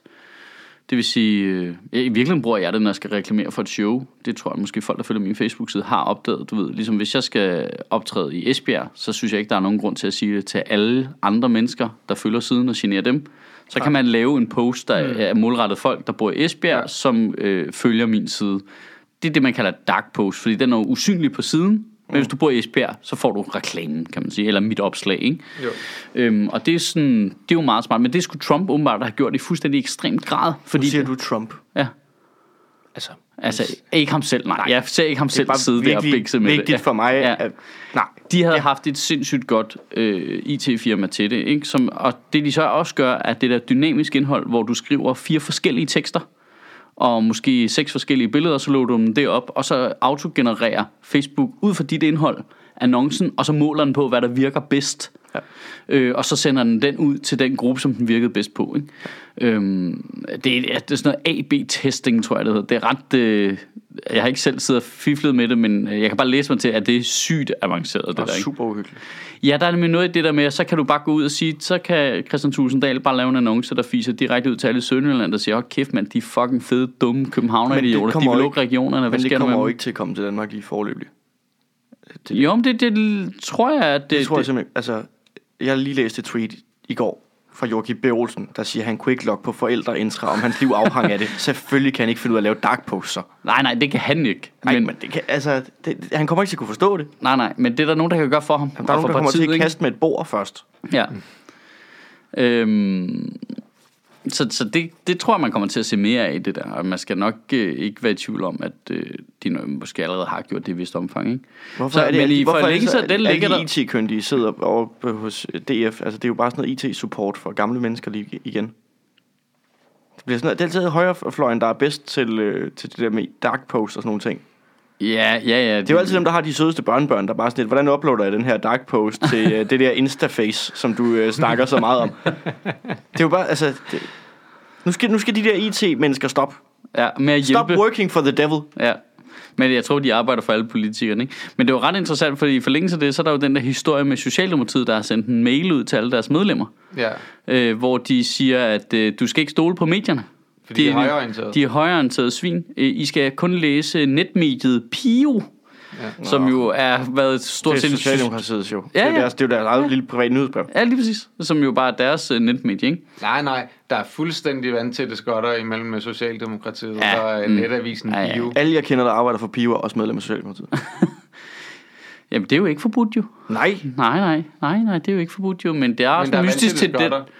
Speaker 1: Det vil sige, øh, ja, i virkeligheden bruger jeg det, når jeg skal reklamere for et show. Det tror jeg måske folk, der følger min Facebook-side, har opdaget. Du ved, ligesom hvis jeg skal optræde i Esbjerg, så synes jeg ikke, der er nogen grund til at sige det til alle andre mennesker, der følger siden og generer dem. Så kan man lave en post, der er målrettet folk, der bor i Esbjerg, som øh, følger min side. Det er det, man kalder et dark post, fordi den er jo usynlig på siden. Men hvis du bor i Esbjerg, så får du reklamen, kan man sige, eller mit opslag, ikke?
Speaker 2: Jo.
Speaker 1: Øhm, og det er, sådan, det er jo meget smart, men det skulle Trump åbenbart have gjort i fuldstændig ekstremt grad. Fordi
Speaker 3: Nu siger du Trump.
Speaker 1: Ja.
Speaker 3: Altså,
Speaker 1: Altså, ikke ham selv, nej. nej. Jeg ser ikke ham
Speaker 3: det er
Speaker 1: selv
Speaker 3: bare
Speaker 1: sidde der og bikse
Speaker 3: virkelig
Speaker 1: med
Speaker 3: vigtigt
Speaker 1: det. Ja.
Speaker 3: for mig,
Speaker 1: Ja.
Speaker 3: ja. at, nej,
Speaker 1: De havde ja. haft et sindssygt godt øh, IT-firma til det, ikke? Som, og det de så også gør, er det der dynamiske indhold, hvor du skriver fire forskellige tekster, og måske seks forskellige billeder, så låter du dem det op, og så autogenererer Facebook ud fra dit indhold annoncen, og så måler den på, hvad der virker bedst. Ja. Øh, og så sender den den ud til den gruppe, som den virkede bedst på. Ikke? Øhm, det, er, det er sådan noget A-B-testing, tror jeg, det hedder. Det er ret... Øh, jeg har ikke selv siddet og fiflet med det, men øh, jeg kan bare læse mig til, at det er sygt avanceret, det,
Speaker 3: det
Speaker 1: der.
Speaker 3: er
Speaker 1: Ikke?
Speaker 3: super uhyggeligt.
Speaker 1: Ja, der er nemlig noget i det der med, at så kan du bare gå ud og sige, så kan Christian Tusinddal bare lave en annonce, der fiser direkte ud til alle i Sønderjylland, der siger, åh kæft mand, de er fucking fede, dumme københavner, de vil
Speaker 3: kommer jo
Speaker 1: lukke regionerne, hvad
Speaker 3: men
Speaker 1: sker
Speaker 3: det
Speaker 1: der med
Speaker 3: kommer jo
Speaker 1: dem?
Speaker 3: ikke til at komme til Danmark lige forløbig.
Speaker 1: Jo, men det, det tror jeg, at det,
Speaker 3: Det, tror jeg
Speaker 1: det,
Speaker 3: simpelthen, altså, jeg har lige læst et tweet i går fra Joachim B. Olsen, der siger, at han kunne ikke logge på forældreintra, om hans liv afhang af det. Selvfølgelig kan han ikke finde ud af at lave dark poster.
Speaker 1: nej, nej, det kan han ikke.
Speaker 3: Ej,
Speaker 1: men,
Speaker 3: men, men det kan, altså, det, han kommer ikke til at kunne forstå det.
Speaker 1: Nej, nej, men det er der nogen, der kan gøre for ham.
Speaker 3: Der er
Speaker 1: og
Speaker 3: nogen,
Speaker 1: for
Speaker 3: der kommer til at
Speaker 1: ikke?
Speaker 3: kaste med et bord først.
Speaker 1: Ja.
Speaker 3: Mm.
Speaker 1: Øhm, så så det, det tror jeg, man kommer til at se mere af det der. Og man skal nok øh, ikke være i tvivl om, at øh, de nok måske allerede har gjort det i et vist omfang. Ikke?
Speaker 3: Hvorfor
Speaker 1: så,
Speaker 3: er det,
Speaker 1: men
Speaker 3: at-
Speaker 1: i
Speaker 3: hvorfor er det
Speaker 1: forlængelse
Speaker 3: så,
Speaker 1: af den
Speaker 3: at
Speaker 1: ligger
Speaker 3: alle
Speaker 1: der...
Speaker 3: de IT-kyndige sidder over på- hos øh, DF? Altså, det er jo bare sådan noget IT-support for gamle mennesker lige igen. Det bliver sådan noget, det er altid højrefløjen, der er bedst til, øh, til det der med dark post og sådan nogle ting.
Speaker 1: Ja, ja, ja.
Speaker 3: Det er jo altid dem, der har de sødeste børnebørn, der bare sådan lidt, hvordan uploader jeg den her dark post til øh, det der Instaface, som du øh, snakker så meget om? Det er jo bare, altså... Det, nu skal, nu skal de der IT-mennesker stoppe.
Speaker 1: ja, med at
Speaker 3: Stop
Speaker 1: hjælpe.
Speaker 3: working for the devil.
Speaker 1: Ja. Men jeg tror, de arbejder for alle politikerne. Ikke? Men det var ret interessant, fordi i forlængelse af det, så er der jo den der historie med Socialdemokratiet, der har sendt en mail ud til alle deres medlemmer,
Speaker 2: Ja.
Speaker 1: øh, hvor de siger, at øh, du skal ikke stole på medierne.
Speaker 2: Fordi de er højreorienterede.
Speaker 1: De er højreorienterede svin. Øh, I skal kun læse netmediet Pio, ja. som jo er været et stort
Speaker 3: Det er
Speaker 1: set...
Speaker 3: Socialdemokratiets jo.
Speaker 1: Ja,
Speaker 3: Det er
Speaker 1: ja.
Speaker 3: deres, det er jo deres eget lille private nyhedsbrev.
Speaker 1: Ja, lige præcis. Som jo bare er deres øh, netmedie, ikke?
Speaker 2: Nej, nej, der er fuldstændig vandtætte skotter imellem med Socialdemokratiet
Speaker 1: Ja,
Speaker 2: ja. og
Speaker 1: mm.
Speaker 2: mm. netavisen
Speaker 1: Ja,
Speaker 2: ja,
Speaker 1: ja.
Speaker 2: ja. Bio.
Speaker 3: Alle jeg kender, der arbejder for Pio, er også medlem af Socialdemokratiet.
Speaker 1: Jamen, det er jo ikke forbudt jo.
Speaker 3: Nej.
Speaker 1: Nej, nej, nej, nej, det er jo ikke forbudt jo, men det er også
Speaker 2: der er
Speaker 1: mystisk til
Speaker 2: vandtætte
Speaker 1: det.
Speaker 2: skotter.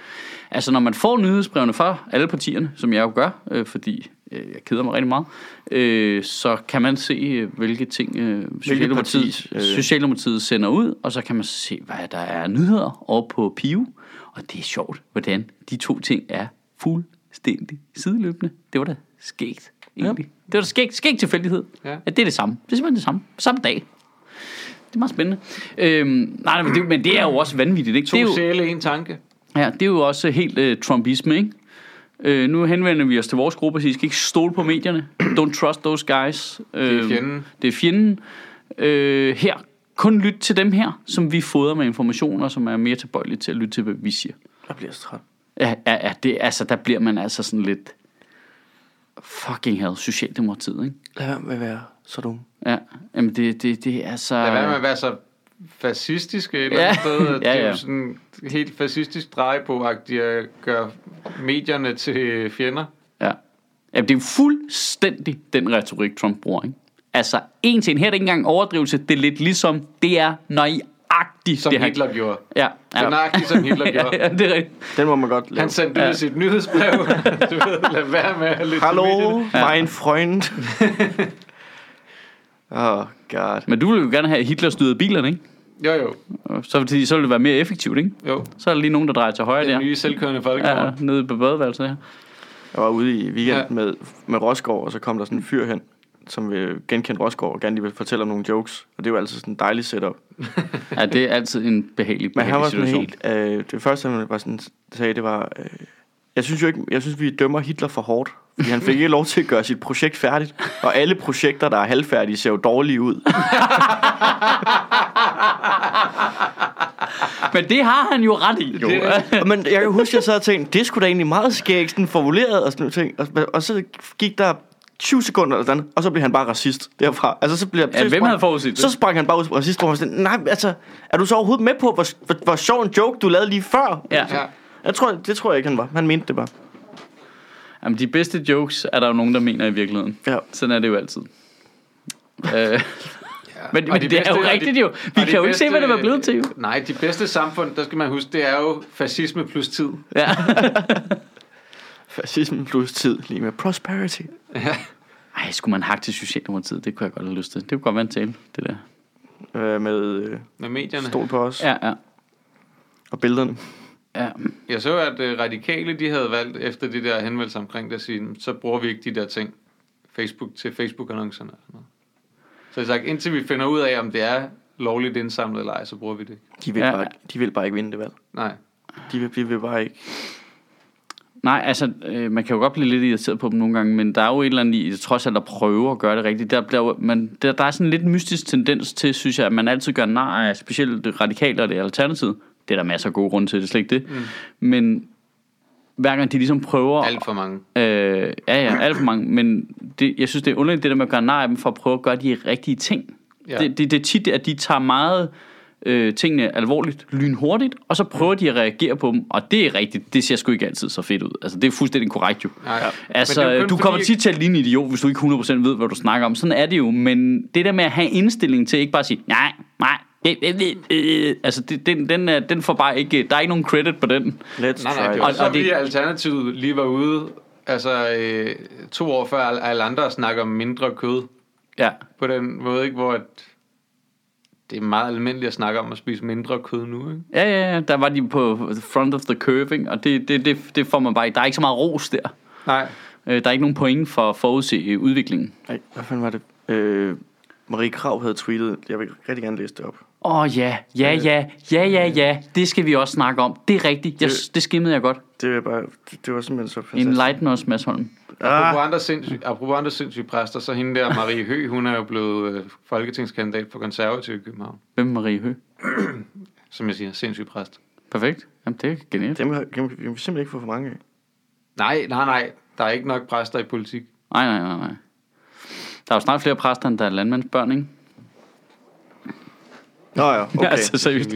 Speaker 1: Altså, når man får nyhedsbrevene fra alle partierne, som jeg jo gør, øh, fordi øh, jeg keder mig rigtig meget, øh, så kan man se, øh, hvilke ting øh, Socialdemokratiet,
Speaker 3: parti, øh.
Speaker 1: Socialdemokratiet sender ud, og så kan man se, hvad der er af nyheder over på Pio. Og det er sjovt, hvordan de to ting er fuldstændig sideløbende. Det var da skægt, egentlig. Ja. Det var da skægt, skægt tilfældighed,
Speaker 2: Ja.
Speaker 1: at det er det samme. Det er simpelthen det samme. Samme dag. Det er meget spændende. Øhm, nej, nej, men, det, men det er jo også vanvittigt. Ikke?
Speaker 2: To
Speaker 1: det er jo,
Speaker 2: sjæle, en tanke.
Speaker 1: Ja, det er jo også helt øh, trumpisme, ikke? Øh, nu henvender vi os til vores gruppe og siger, I skal ikke stole på medierne. Don't trust those guys. Øh,
Speaker 2: Det er fjenden.
Speaker 1: Det er fjenden. Øh, her, kun lyt til dem her, som vi fodrer med informationer, som er mere tilbøjelige til at lytte til, hvad vi siger.
Speaker 3: Jeg bliver så træt.
Speaker 1: Ja, ja, ja det, altså, der bliver man altså sådan lidt... Fucking hell, Socialdemokratiet, ikke?
Speaker 3: Lad være med at være så dum.
Speaker 1: Ja, jamen det, det, det er så...
Speaker 2: Lad være med at være så fascistisk et
Speaker 1: Øh.
Speaker 2: eller
Speaker 1: Ja.
Speaker 2: andet sted. at
Speaker 1: Ja,
Speaker 2: Det er
Speaker 1: ja.
Speaker 2: jo sådan en helt fascistisk drej på at de øh, gør medierne til fjender.
Speaker 1: Ja. Jamen, det er jo fuldstændig den retorik, Trump bruger, ikke? Altså, en til en. Her er det ikke engang overdrivelse. Det er lidt ligesom, det er nøjagtigt.
Speaker 2: Som
Speaker 1: det
Speaker 2: det
Speaker 1: han-
Speaker 2: Hitler gjorde.
Speaker 1: Ja.
Speaker 2: Det er nøjagtigt, som Hitler
Speaker 1: ja,
Speaker 2: gjorde.
Speaker 1: ja, det er rigtigt.
Speaker 3: Den må man godt lave.
Speaker 2: Han sendte ud
Speaker 1: Ja.
Speaker 2: i sit nyhedsbrev. du ved, lad være med at lytte
Speaker 3: Hallo,
Speaker 2: til medierne.
Speaker 3: mein Freund. oh god.
Speaker 1: Men du ville jo gerne have, at Hitler styrede bilerne, ikke?
Speaker 2: Jo, jo.
Speaker 1: Og Så, fordi, så ville det være mere effektivt, ikke?
Speaker 2: jo.
Speaker 1: Så er der lige nogen, der drejer til højre
Speaker 2: Den
Speaker 1: der.
Speaker 2: nye selvkørende
Speaker 1: Ja,
Speaker 2: folkevogn.
Speaker 1: ja, nede på badeværelset her.
Speaker 3: Jeg var ude i weekend
Speaker 2: Ja.
Speaker 3: ja. med, med Rosgaard, og så kom der sådan en fyr hen, som vil genkende Rosgaard og gerne lige vil fortælle om nogle jokes. Og det var altid sådan en dejlig setup.
Speaker 1: Ja, det er altid en behagelig,
Speaker 3: Men han
Speaker 1: behagelig
Speaker 3: var sådan
Speaker 1: situation.
Speaker 3: helt... Øh, det første, han var sådan, sagde, det var... Øh, jeg synes jo ikke, jeg synes, vi dømmer Hitler for hårdt. Fordi han fik ikke lov til at gøre sit projekt færdigt. Og alle projekter, der er halvfærdige, ser jo dårlige ud.
Speaker 1: Men det har han jo ret i, jo.
Speaker 2: Det er
Speaker 3: Men jeg kan huske, jeg sad og tænkte, det skulle da egentlig meget skægt, sådan formuleret og sådan nogle ting. Og, og så gik der 20 sekunder eller sådan, og så blev han bare racist derfra. Altså, så blev,
Speaker 1: Ja, hvem havde forudset det?
Speaker 3: Så sprang han bare ud som racist, hvor han var sådan, nej, altså, er du så overhovedet med på, hvor, hvor, hvor sjov en joke, du lavede lige før?
Speaker 1: Ja.
Speaker 2: Ja.
Speaker 3: Jeg tror, det tror jeg ikke, han var. Han mente det bare.
Speaker 1: Jamen, de bedste jokes er der jo nogen, der mener i virkeligheden.
Speaker 3: Ja.
Speaker 1: Sådan er det jo altid. Øh,
Speaker 2: Ja.
Speaker 1: Men-
Speaker 2: Og
Speaker 1: men
Speaker 2: de
Speaker 1: det er jo
Speaker 2: og de-
Speaker 1: rigtigt jo. Vi
Speaker 2: og
Speaker 1: kan
Speaker 2: de
Speaker 1: jo ikke se, hvad det var blevet til, jo.
Speaker 2: Nej, de bedste samfund, der skal man huske, det er jo fascisme plus tid.
Speaker 1: ja.
Speaker 3: Fascisme plus tid, lige med prosperity.
Speaker 1: Ej, skulle man hakke til Socialdemokratiet? Det kunne jeg godt have lyst til. Det kunne godt være en tale, det der.
Speaker 3: Øh, med øh,
Speaker 2: Med medierne.
Speaker 3: stol på os ja.
Speaker 1: Ja, ja.
Speaker 3: og billederne.
Speaker 1: ja.
Speaker 2: Jeg så, at øh, radikale, de havde valgt efter det der henvendelse omkring det, at sige, så bruger vi ikke de der ting Facebook til Facebook-annoncerne. Og sådan noget. Så jeg har sagt, indtil vi finder ud af, om det er lovligt indsamlet eller ej, så bruger vi det. ikke."
Speaker 3: De vil,
Speaker 1: Ja.
Speaker 3: ja. bare, de vil bare ikke vinde det valg.
Speaker 2: Nej.
Speaker 3: De vil, de vil bare ikke.
Speaker 1: Nej, altså, øh, man kan jo godt blive lidt irriteret på dem nogle gange, men der er jo et eller andet i, trods alt at prøve at gøre det rigtigt. Der, bliver, jo- man, der, der er sådan lidt en mystisk tendens til, synes jeg, at man altid gør nej, specielt det radikale og det alternative. Det er der masser af gode grunde til, det er slet ikke det. Mm. Men hver gang de ligesom prøver...
Speaker 2: Alt for mange.
Speaker 1: Øh, ja, ja, alt for mange. Men det, jeg synes, det er underligt, det der med at gøre nej af dem, for at prøve at gøre de rigtige ting. Ja.
Speaker 2: Ja.
Speaker 1: Det, det, det er tit, at de tager meget øh, tingene alvorligt, lynhurtigt, og så prøver de at reagere på dem. Og det er rigtigt, det ser sgu ikke altid så fedt ud. Altså, det er fuldstændig korrekt jo.
Speaker 2: Nej. Men det er
Speaker 1: Altså,
Speaker 2: jo
Speaker 1: du
Speaker 2: kun
Speaker 1: kommer
Speaker 2: fordi-
Speaker 1: tit til at ligne en idiot, hvis du ikke 100% ved, hvad du snakker om. Sådan er det jo, men det der med at have indstilling til ikke bare at sige, nej, nej, øh, øh, øh, øh," altså det, den, den, er, den får bare ikke, der er ikke nogen credit på den.
Speaker 3: Let's
Speaker 2: Nej, nej,
Speaker 3: try
Speaker 2: det
Speaker 3: it.
Speaker 2: var
Speaker 1: Og-
Speaker 2: og, så,
Speaker 1: og
Speaker 2: og
Speaker 1: det-
Speaker 2: det... Alternativet lige var ude, altså øh, to år før alle alle andre snakker om mindre kød,
Speaker 1: Ja,
Speaker 2: på den måde, ikke, hvor at det er meget almindeligt at snakke om at spise mindre kød nu, ikke?
Speaker 1: Ja, ja, ja, der var de på front of the curve, ikke? og det, det, det, det får man bare ikke. Der er ikke så meget ros der.
Speaker 2: Nej.
Speaker 1: Øh, Der er ikke nogen point for at forudse øh, udviklingen.
Speaker 3: Ej, hvad fanden var det? Øh, Marie Krav havde tweetet, jeg vil rigtig gerne læse det op.
Speaker 1: Åh oh, ja, ja, ja, ja, ja, ja, det skal vi også snakke om. Det er rigtigt, jeg, øh, det skimmede jeg godt.
Speaker 3: Det, var bare, det, det var simpelthen så fantastisk.
Speaker 1: Enlighten os, Mads Holm.
Speaker 2: Apropos
Speaker 3: Ah,
Speaker 2: andre, sindssyge, apropos andre sindssyge præster, så hende der, Marie Hø, hun er jo blevet øh, folketingskandidat for konservativ i København.
Speaker 1: Hvem er Marie Hø?
Speaker 2: Som jeg siger, sindssyg præst.
Speaker 1: Perfekt. Jamen, det er genialt.
Speaker 3: dem, har- dem kan vi simpelthen ikke få for mange af.
Speaker 2: Nej, nej, nej. Der er ikke nok præster i politik.
Speaker 1: Nej, nej, nej, nej. Der er jo snart flere præster, end der er landmandsbørn, ikke?
Speaker 3: Nå ja, okay.
Speaker 1: altså, seriøst.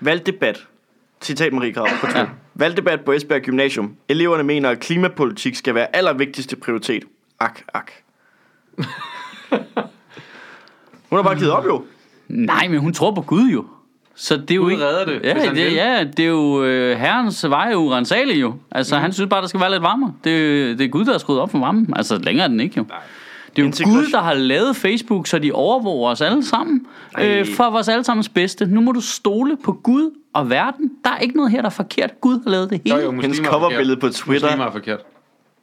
Speaker 3: Valgdebat. Citat Marie Krav på Twitter. Valgdebat på Esbjerg Gymnasium. Eleverne mener, at klimapolitik skal være allervigtigste prioritet. Ak, ak. Hun har bare givet op jo.
Speaker 1: Nej, men hun tror på Gud jo. Så det er jo
Speaker 2: Gud
Speaker 1: ikke...
Speaker 2: redder det, hvis
Speaker 1: ja,
Speaker 2: han
Speaker 1: det,
Speaker 2: vil.
Speaker 1: ja, det er jo øh, herrens veje urensagelige jo. Altså,
Speaker 2: Mhm.
Speaker 1: mm. han synes bare, der skal være lidt varmere. Det, det er Gud, der har skruet op for varmen. Altså, længere er den ikke jo. Nej. Det er jo
Speaker 3: Integration-
Speaker 1: Gud, der har lavet Facebook, så de overvåger os alle sammen.
Speaker 3: Ej.
Speaker 1: Øh, for vores allesammens bedste. Nu må du stole på Gud og verden. Der er ikke noget her, der er forkert. Gud har lavet det hele.
Speaker 2: Jo, jo, muslimer
Speaker 3: Hendes
Speaker 2: er forkert.
Speaker 3: coverbillede på Twitter.
Speaker 2: Muslimer er forkert.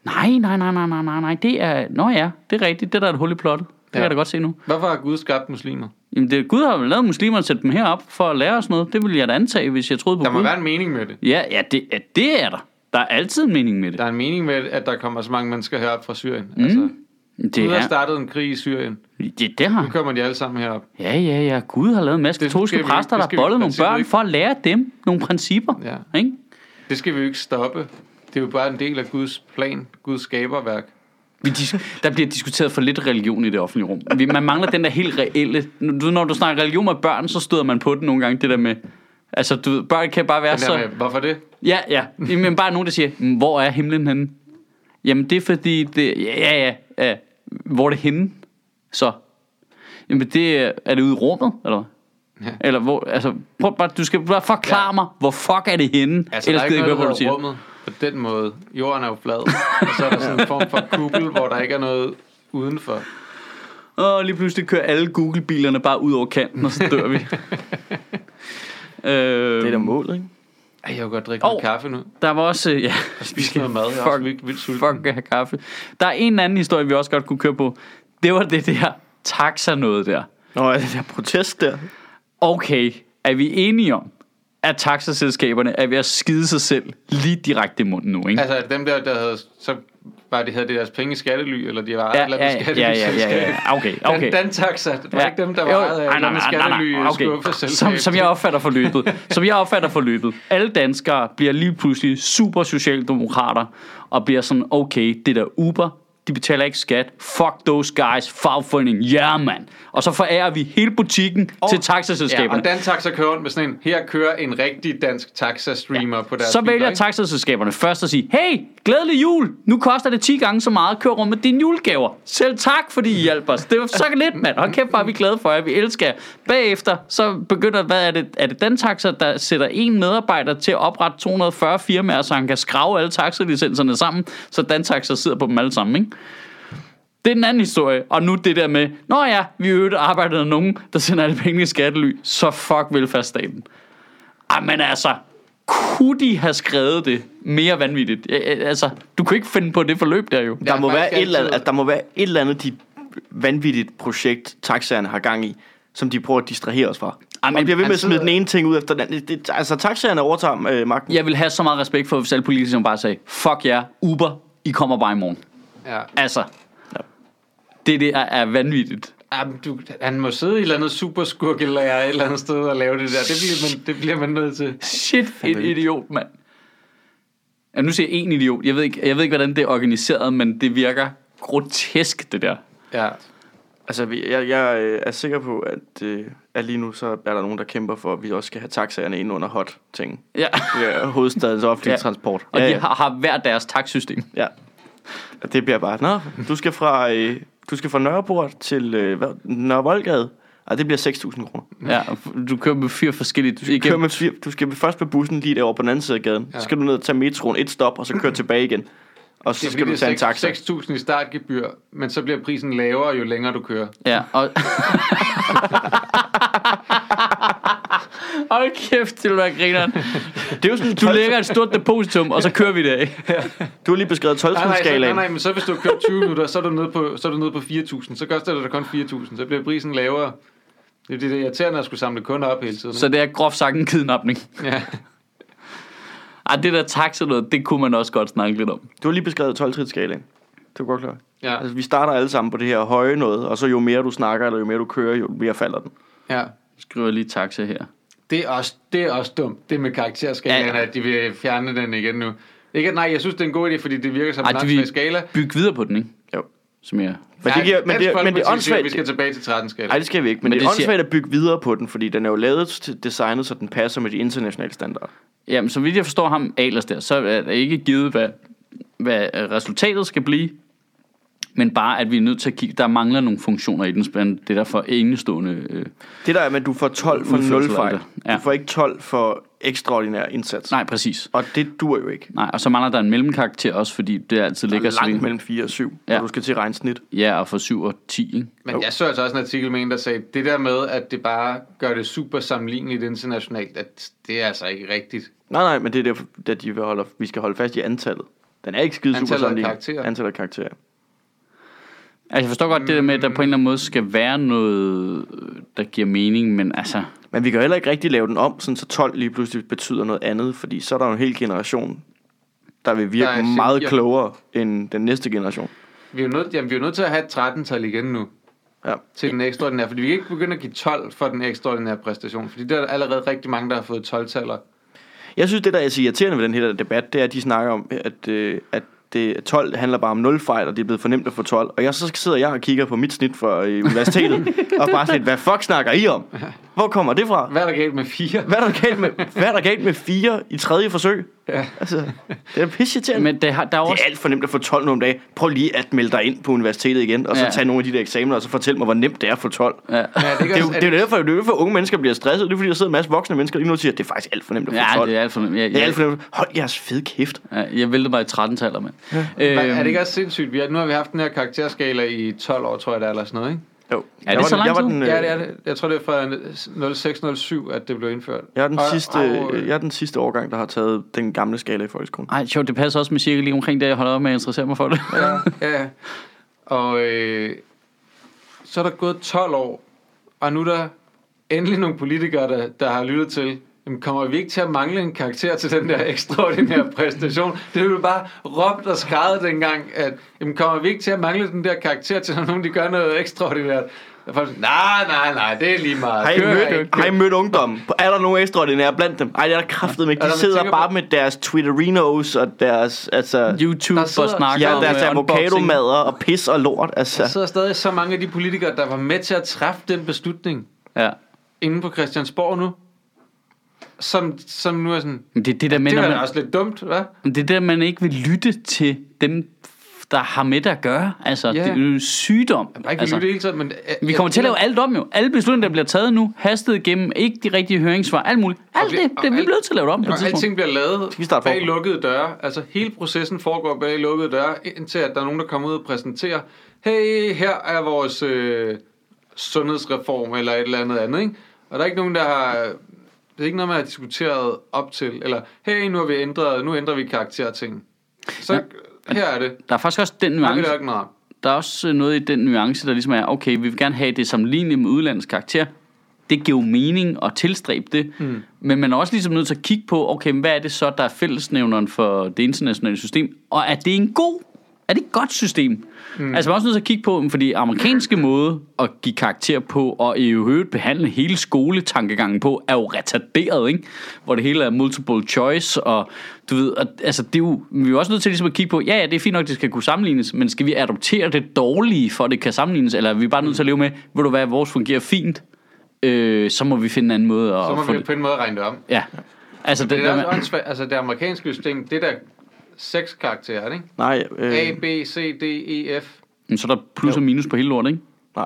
Speaker 1: Nej, nej, nej, nej, nej, nej, nej. Det er... Nå ja, det er rigtigt. Det der er et hul i plottet. Det kan
Speaker 2: Ja.
Speaker 1: jeg da godt se nu.
Speaker 2: Hvorfor har Gud skabt muslimer?
Speaker 1: Jamen, det, Gud har vel lavet muslimer og sat dem herop for at lære os noget. Det ville jeg da antage, hvis jeg troede på
Speaker 2: Der
Speaker 1: Gud.
Speaker 2: må være en mening med det.
Speaker 1: Ja, ja det, ja, det er der. Der er altid en mening med det.
Speaker 2: Der er en mening med, at der kommer så mange mennesker herop fra Syrien. Mm. Altså, Gud
Speaker 1: det,
Speaker 2: har
Speaker 1: er,
Speaker 2: startet en krig i Syrien.
Speaker 1: det, det
Speaker 2: Nu
Speaker 1: har.
Speaker 2: kommer de alle sammen herop.
Speaker 1: Ja, ja, ja. Gud har lavet en masse
Speaker 2: Det
Speaker 1: katolske
Speaker 2: skal vi-
Speaker 1: præster,
Speaker 2: det
Speaker 1: der
Speaker 2: skal
Speaker 1: har
Speaker 2: vi i
Speaker 1: bollet nogle
Speaker 2: princippet
Speaker 1: børn
Speaker 2: ikke.
Speaker 1: for at lære dem nogle principper.
Speaker 2: Ja.
Speaker 1: Ikke?
Speaker 2: Det skal vi jo ikke stoppe. Det er jo bare en del af Guds plan, Guds skaberværk.
Speaker 1: Vi dis- der bliver diskuteret for lidt religion i det offentlige rum. Vi, man mangler den der helt reelle... Du, ved, når du snakker religion med børn, så støder man på det nogle gange, det der med... Altså, du, ved, børn kan bare være
Speaker 2: Den der
Speaker 1: så...
Speaker 2: med, hvorfor det?
Speaker 1: Ja, ja. Men bare nogen, der siger, "Mm, hvor er himlen henne? Jamen, det er fordi... Det, ja, ja, ja, ja. Hvor er det henne? Så. Jamen, det er, er det ude i rummet, eller hvad?
Speaker 2: Ja.
Speaker 1: Eller hvor, altså, prøv bare, du skal bare forklare
Speaker 2: Ja.
Speaker 1: ja. mig, hvor fuck er det henne?
Speaker 2: Altså, Ellers der er
Speaker 1: gider
Speaker 2: ikke
Speaker 1: jeg
Speaker 2: noget,
Speaker 1: høre,
Speaker 2: der
Speaker 1: hvad
Speaker 2: hedder rummet på den måde. Jorden er jo flad, og så er der sådan en form for kuppel, hvor der ikke er noget udenfor.
Speaker 1: Og lige pludselig kører alle Google-bilerne bare ud over kanten, og så dør vi. øh,
Speaker 3: Det er da målet, ikke?
Speaker 2: Ej, jeg vil godt drikke oh. noget
Speaker 1: Åh.
Speaker 2: kaffe nu.
Speaker 1: der var også... øh, Ja,
Speaker 2: Vi skal noget mad, jeg er også
Speaker 1: fuck,
Speaker 2: vildt, vildt sulten.
Speaker 1: fuck have kaffe. Der er en anden historie, vi også godt kunne køre på. Det var det der taxa noget der.
Speaker 3: Nå, er det der protest der?
Speaker 1: Okay, er vi enige om, at taxaselskaberne er ved at skide sig selv lige direkte i munden nu, ikke?
Speaker 2: Altså, at dem der, der havde, så var det, havde det deres penge i skattely, eller de var ejet
Speaker 1: Ja,
Speaker 2: af et eller andet
Speaker 1: ja, ja, ja, ja, ja, ja. Okay,
Speaker 2: Dan,
Speaker 1: okay.
Speaker 2: Dantaxa, det var
Speaker 1: Ja.
Speaker 2: ikke dem, der var øh,
Speaker 1: Jo,
Speaker 2: ejet af et
Speaker 1: nej,
Speaker 2: eller
Speaker 1: nej,
Speaker 2: andet
Speaker 1: nej, nej, nej,
Speaker 2: skattely øh,
Speaker 1: okay.
Speaker 2: skuffeselskab.
Speaker 1: Som, som jeg opfatter forløbet. som jeg opfatter forløbet. Alle danskere bliver lige pludselig super socialdemokrater, og bliver sådan, okay, det der Uber, de betaler ikke skat. Fuck those guys, fagforening, yeah man. Og så forærer vi hele butikken og, til
Speaker 2: Ja,
Speaker 1: taxaselskaberne.
Speaker 2: og Dantaxa kører rundt med sådan en, her kører en rigtig dansk taxa-streamer ja. på deres
Speaker 1: så
Speaker 2: biler,
Speaker 1: vælger
Speaker 2: ikke?
Speaker 1: taxaselskaberne først at sige, hey, glædelig jul, nu koster det 10 gange så meget, kør rundt med dine julegaver. Selv tak, fordi I hjalp os. Det var så lidt, mand. Hold kæft, bare vi er glade for jer, vi elsker jer. Bagefter, så begynder, hvad er det, er det den taxa, der sætter en medarbejder til at oprette 240 firmaer, så han kan skrave alle taxalicenserne sammen, så den taxa sidder på dem alle sammen, ikke? Det er den anden historie. Og nu det der med, nå ja, vi i øvrigt arbejder med nogen, der sender alle pengene i skattely, så fuck velfærdsstaten. Ej, men altså, kunne de have skrevet det mere vanvittigt? Øh, øh, Altså, du kunne ikke finde på det forløb der jo.
Speaker 2: Ja,
Speaker 3: Der må,
Speaker 2: faktisk
Speaker 3: være et eller
Speaker 2: altid-
Speaker 3: andet, altså, der må være et eller andet, de vanvittigt projekt, taxaerne har gang i, som de prøver at distrahere os fra. Ej,
Speaker 1: men
Speaker 3: men, og bliver ved
Speaker 1: han
Speaker 3: med at smide
Speaker 2: sidder-
Speaker 3: den ene ting ud efter den anden. Det, altså, taxaerne overtager øh, magten.
Speaker 1: Jeg vil have så meget respekt for, hvis alle politikere bare sagde, fuck jer, Uber, I kommer bare i morgen.
Speaker 2: Ja.
Speaker 1: Altså, det der er vanvittigt.
Speaker 2: Jamen, du, han må sidde i et eller andet superskurkelærer et eller andet sted og lave det der. Det bliver man, det bliver man nødt til.
Speaker 1: Shit, en idiot, mand. Ja, nu siger jeg en idiot. Jeg ved, ikke, jeg ved ikke, hvordan det er organiseret, men det virker grotesk, det der.
Speaker 2: Ja.
Speaker 3: Altså, vi- jeg, jeg øh, er sikker på, at, øh, at lige nu så er der nogen, der kæmper for, at vi også skal have taxaerne ind under hot ting.
Speaker 1: Ja.
Speaker 3: Ja, hovedstadens offentlige
Speaker 1: Ja.
Speaker 3: ja. transport.
Speaker 1: Og
Speaker 3: ja,
Speaker 1: de
Speaker 3: ja.
Speaker 1: har, har hver deres taksystem.
Speaker 3: ja. Og Det bliver bare, nå, du skal fra, øh, du skal fra Nørreport til øh, hvad, Nørre Voldgade. Ej, det bliver 6.000 kroner.
Speaker 1: Ja, du kører med fire forskellige... Du,
Speaker 3: Kør med fire, du skal først med bussen lige derovre på den anden side af gaden.
Speaker 2: Ja.
Speaker 3: Ja. Så skal du ned og tage metroen et stop, og så køre tilbage igen. Og så skal du tage en taxa.
Speaker 2: 6.000 i startgebyr, men så bliver prisen lavere, jo længere du kører.
Speaker 1: Ja, og... Hold kæft, til du er grineren.
Speaker 3: Det er jo sådan,
Speaker 1: Du lægger et stort depositum, og så kører vi det af.
Speaker 3: Du har lige beskrevet 12
Speaker 2: Nej, nej, så, nej,
Speaker 3: skalaen
Speaker 2: nej, men så hvis du har kørt 20 minutter, så er du nede på, så er du nede på 4.000. Så koster det dig kun 4.000. Så bliver prisen lavere. Det er det, der er irriterende at skulle samle kunder op hele tiden. ikke?
Speaker 1: Så det er groft sagt en kidnapning.
Speaker 2: Ja.
Speaker 1: Ej, det der taxa noget, det kunne man også godt snakke lidt om.
Speaker 3: Du har lige beskrevet 12 skalaen Det er godt klart.
Speaker 2: Ja.
Speaker 3: Altså, vi starter alle sammen på det her høje noget, og så jo mere du snakker, eller jo mere du kører, jo mere falder den.
Speaker 2: ja.
Speaker 1: Skriver lige taxa her.
Speaker 2: Det er også, det er også dumt, det med karakterskalaen, ja,
Speaker 1: Ja,
Speaker 2: ja.
Speaker 1: ja.
Speaker 2: at de vil fjerne den igen nu. Ikke, at- nej, jeg synes, det er en god idé, fordi det virker som
Speaker 1: Ej,
Speaker 2: en
Speaker 1: de vil
Speaker 2: åndssvag skala.
Speaker 1: bygge videre på den, ikke?
Speaker 3: Jo.
Speaker 1: Som jeg...
Speaker 3: Men det, giver, men det, men det er
Speaker 2: åndssvagt. Vi
Speaker 3: åndssvagt.
Speaker 2: skal tilbage til 13 skala.
Speaker 3: Nej, det skal vi ikke.
Speaker 1: Men
Speaker 3: Men, men det
Speaker 1: det
Speaker 3: er
Speaker 1: siger-
Speaker 3: åndssvagt at bygge videre på den, fordi den er jo lavet til designet, så den passer med de internationale standarder.
Speaker 1: Jamen, så vidt jeg forstår ham Alers der, så er det ikke givet, hvad, hvad øh, resultatet skal blive, men bare, at vi er nødt til at kigge, der mangler nogle funktioner i den spænd. Det er derfor enestående... Øh,
Speaker 3: Det der er, at du får 12 for
Speaker 1: Udførsel
Speaker 3: 0
Speaker 1: af
Speaker 3: fejl.
Speaker 1: det. Ja.
Speaker 3: Du får ikke 12 for ekstraordinær indsats.
Speaker 1: nej, præcis.
Speaker 3: Og det dur jo ikke.
Speaker 1: Nej, og så mangler der en mellemkarakter også, fordi det altid ligger
Speaker 3: ligger
Speaker 1: så
Speaker 3: langt
Speaker 1: vidt-
Speaker 3: mellem 4 og 7, ja.
Speaker 1: Ja.
Speaker 3: når du skal til regnsnit.
Speaker 1: Ja, og for 7 og 10, ikke?
Speaker 2: Men jeg så altså også en artikel med en, der sagde, det der med, at det bare gør det super sammenligneligt internationalt, at det er altså ikke rigtigt.
Speaker 3: Nej, nej, men det er derfor, at de vil holde, vi skal holde fast i antallet. Den er ikke skide
Speaker 2: Antallet
Speaker 3: super
Speaker 2: af
Speaker 3: sammenlignet.
Speaker 2: karakterer.
Speaker 3: Antallet af karakterer.
Speaker 1: Altså, jeg forstår godt det der med, at der på en eller anden måde skal være noget, øh, der giver mening, men altså...
Speaker 3: Men vi kan jo heller ikke rigtig lave den om, sådan så 12 lige pludselig betyder noget andet, fordi så er der jo en hel generation, der vil virke
Speaker 2: Der er sim-
Speaker 3: meget
Speaker 2: ja.
Speaker 3: klogere end den næste generation.
Speaker 2: Vi er jo nødt, jamen, vi er jo nødt til at have et 13-tal igen nu.
Speaker 3: Ja.
Speaker 2: Til den ekstraordinære, fordi vi kan ikke begynde at give 12 for den ekstraordinære præstation, fordi der er allerede rigtig mange, der har fået 12-taller.
Speaker 3: Jeg synes, det der er så irriterende ved den her debat, det er, at de snakker om, at, øh, at det, 12 handler bare om 0 fejl, og det er blevet for nemt at få 12. Og jeg, så sidder jeg og kigger på mit snit fra øh, universitetet, og bare sådan, hvad fuck snakker I om? Hvor kommer det fra?
Speaker 2: Hvad er der galt med 4?
Speaker 3: Hvad er der galt med, hvad er der galt med 4 i tredje forsøg?
Speaker 2: Ja.
Speaker 3: Altså, det er pisse irriterende.
Speaker 1: Men det har, der er
Speaker 3: Det
Speaker 1: også...
Speaker 3: er alt for nemt at få 12 nu om dagen. Prøv lige at melde dig ind på universitetet igen, og så
Speaker 1: Ja.
Speaker 3: ja. tage nogle af de der eksamener, og så fortæl mig, hvor nemt det er at få 12.
Speaker 1: Ja.
Speaker 2: Ja, det,
Speaker 3: Det er, jo, det er jo derfor, det er jo derfor, unge mennesker bliver stresset. Det er fordi, der sidder en masse voksne mennesker lige nu og siger, at det er faktisk alt for nemt at få
Speaker 1: Ja,
Speaker 3: 12.
Speaker 1: det er alt for nemt. Jeg,
Speaker 3: Det er
Speaker 1: jeg,
Speaker 3: alt for nemt. Hold jeres fede kæft.
Speaker 1: ja, jeg væltede bare i 13-taller, mand. Øhm,
Speaker 2: er
Speaker 3: øh-
Speaker 2: det ikke også sindssygt? Vi har, nu har vi haft den her karakterskala i 12 år, tror jeg, det er, eller sådan noget, ikke?
Speaker 3: Jo.
Speaker 1: Er det så lang tid?
Speaker 3: øh,
Speaker 2: Ja, det er det. Jeg tror, det er fra 06-07, at det blev indført.
Speaker 3: Jeg er, den
Speaker 2: Og-
Speaker 3: sidste,
Speaker 2: og, øh,
Speaker 3: jeg er den sidste årgang, der har taget den gamle skala i folkeskolen.
Speaker 1: Øhm, Ej, sjovt, det passer også med cirka lige omkring det, jeg holder op med at interessere mig for det.
Speaker 2: ja, ja. Og øh, så er der gået 12 år, og nu er der endelig nogle politikere, der, der har lyttet til, jamen kommer vi ikke til at mangle en karakter til den der ekstraordinære præstation? Det blev bare råbt og skrevet dengang, at jamen kommer vi ikke til at mangle den der karakter til, når nogen de gør noget ekstraordinært? Og folk siger, nej, nej, nej, det er lige meget.
Speaker 3: Har I
Speaker 2: Det er ikke-
Speaker 3: mødt, har I mødt ungdommen? Er der nogen ekstraordinære blandt dem? Ej, det er der kraftedeme ikke.
Speaker 2: Og
Speaker 3: De
Speaker 2: når man
Speaker 3: sidder
Speaker 2: tænker
Speaker 3: bare
Speaker 2: på-
Speaker 3: med deres Twitterinos og deres... Altså,
Speaker 1: YouTube
Speaker 2: Der sidder-
Speaker 1: og snakker
Speaker 3: ja,
Speaker 1: om
Speaker 3: deres
Speaker 1: øh, unboxing.
Speaker 3: avocadomader og pis og lort.
Speaker 2: Der
Speaker 3: Altså.
Speaker 2: sidder stadig så mange af de politikere, der var med til at træffe den beslutning
Speaker 1: Ja.
Speaker 2: inde på Christiansborg nu, som, som nu er sådan,
Speaker 1: Men det er det der med,
Speaker 2: det
Speaker 1: når
Speaker 2: var
Speaker 1: man,
Speaker 2: da også lidt dumt, hva'?
Speaker 1: Men Det er der, man ikke vil lytte til dem, der har med det at gøre. Altså,
Speaker 2: Ja.
Speaker 1: yeah. det er jo sygdom.
Speaker 2: Bare ikke altså,
Speaker 1: altså,
Speaker 2: lytte hele tiden, men... øh,
Speaker 1: vi
Speaker 2: jeg-
Speaker 1: kommer til at lave alt om jo. Alle beslutninger, der bliver taget nu, hastet igennem, ikke de rigtige høringssvar, alt muligt. Alt
Speaker 2: vi-
Speaker 1: det,
Speaker 2: og
Speaker 1: det vi
Speaker 2: alt-
Speaker 1: bliver nødt til at lave det om på et
Speaker 2: Og
Speaker 1: tidspunkt.
Speaker 2: alting bliver lavet
Speaker 3: vi starte
Speaker 2: bag
Speaker 3: forfra?
Speaker 2: lukkede døre. Altså hele processen foregår bag lukkede døre, indtil at der er nogen, der kommer ud og præsenterer, hey, her er vores øh, sundhedsreform, eller et eller andet andet, ikke? Og der er ikke nogen, der har... Det er ikke noget, man har diskuteret op til, eller hey, nu har vi ændret, nu ændrer vi karakterting. Så her er det.
Speaker 1: Der er faktisk også den
Speaker 2: Nu
Speaker 1: nuance,
Speaker 2: er det noget.
Speaker 1: der er også øh, noget i den nuance, der ligesom er, okay, vi vil gerne have det sammenlignet med udlandets karakter. Det giver jo mening at tilstræbe det. Mm. Men man er også ligesom nødt til at kigge på, okay, men hvad er det så, der er fællesnævneren for det internationale system? Og er det en god, er det et godt system? Mm. Altså man er også nødt til at kigge på, fordi amerikanske måde at give karakter på, og i øvrigt behandle hele skoletankegangen på, er jo retarderet, ikke? Hvor det hele er multiple choice, og du ved, og, altså det er jo, vi er jo også nødt til ligesom at kigge på, ja, ja, det er fint nok, det skal kunne sammenlignes, men skal vi adoptere det dårlige, for at det kan sammenlignes, eller er vi bare nødt til at leve med, ved du hvad, vores fungerer fint, øh, så må vi finde en anden måde at
Speaker 2: Så
Speaker 1: få
Speaker 2: må vi
Speaker 1: det.
Speaker 2: på en måde regne det om.
Speaker 1: Ja. Altså, det,
Speaker 2: Det er også
Speaker 1: det,
Speaker 2: åndssvagt. Altså det amerikanske system, det er der seks karakterer, ikke?
Speaker 3: Nej,
Speaker 2: A,
Speaker 3: øh,
Speaker 2: B, C, D, E, F.
Speaker 1: man, så er der plus og minus på hele lortet, ikke?
Speaker 3: nej.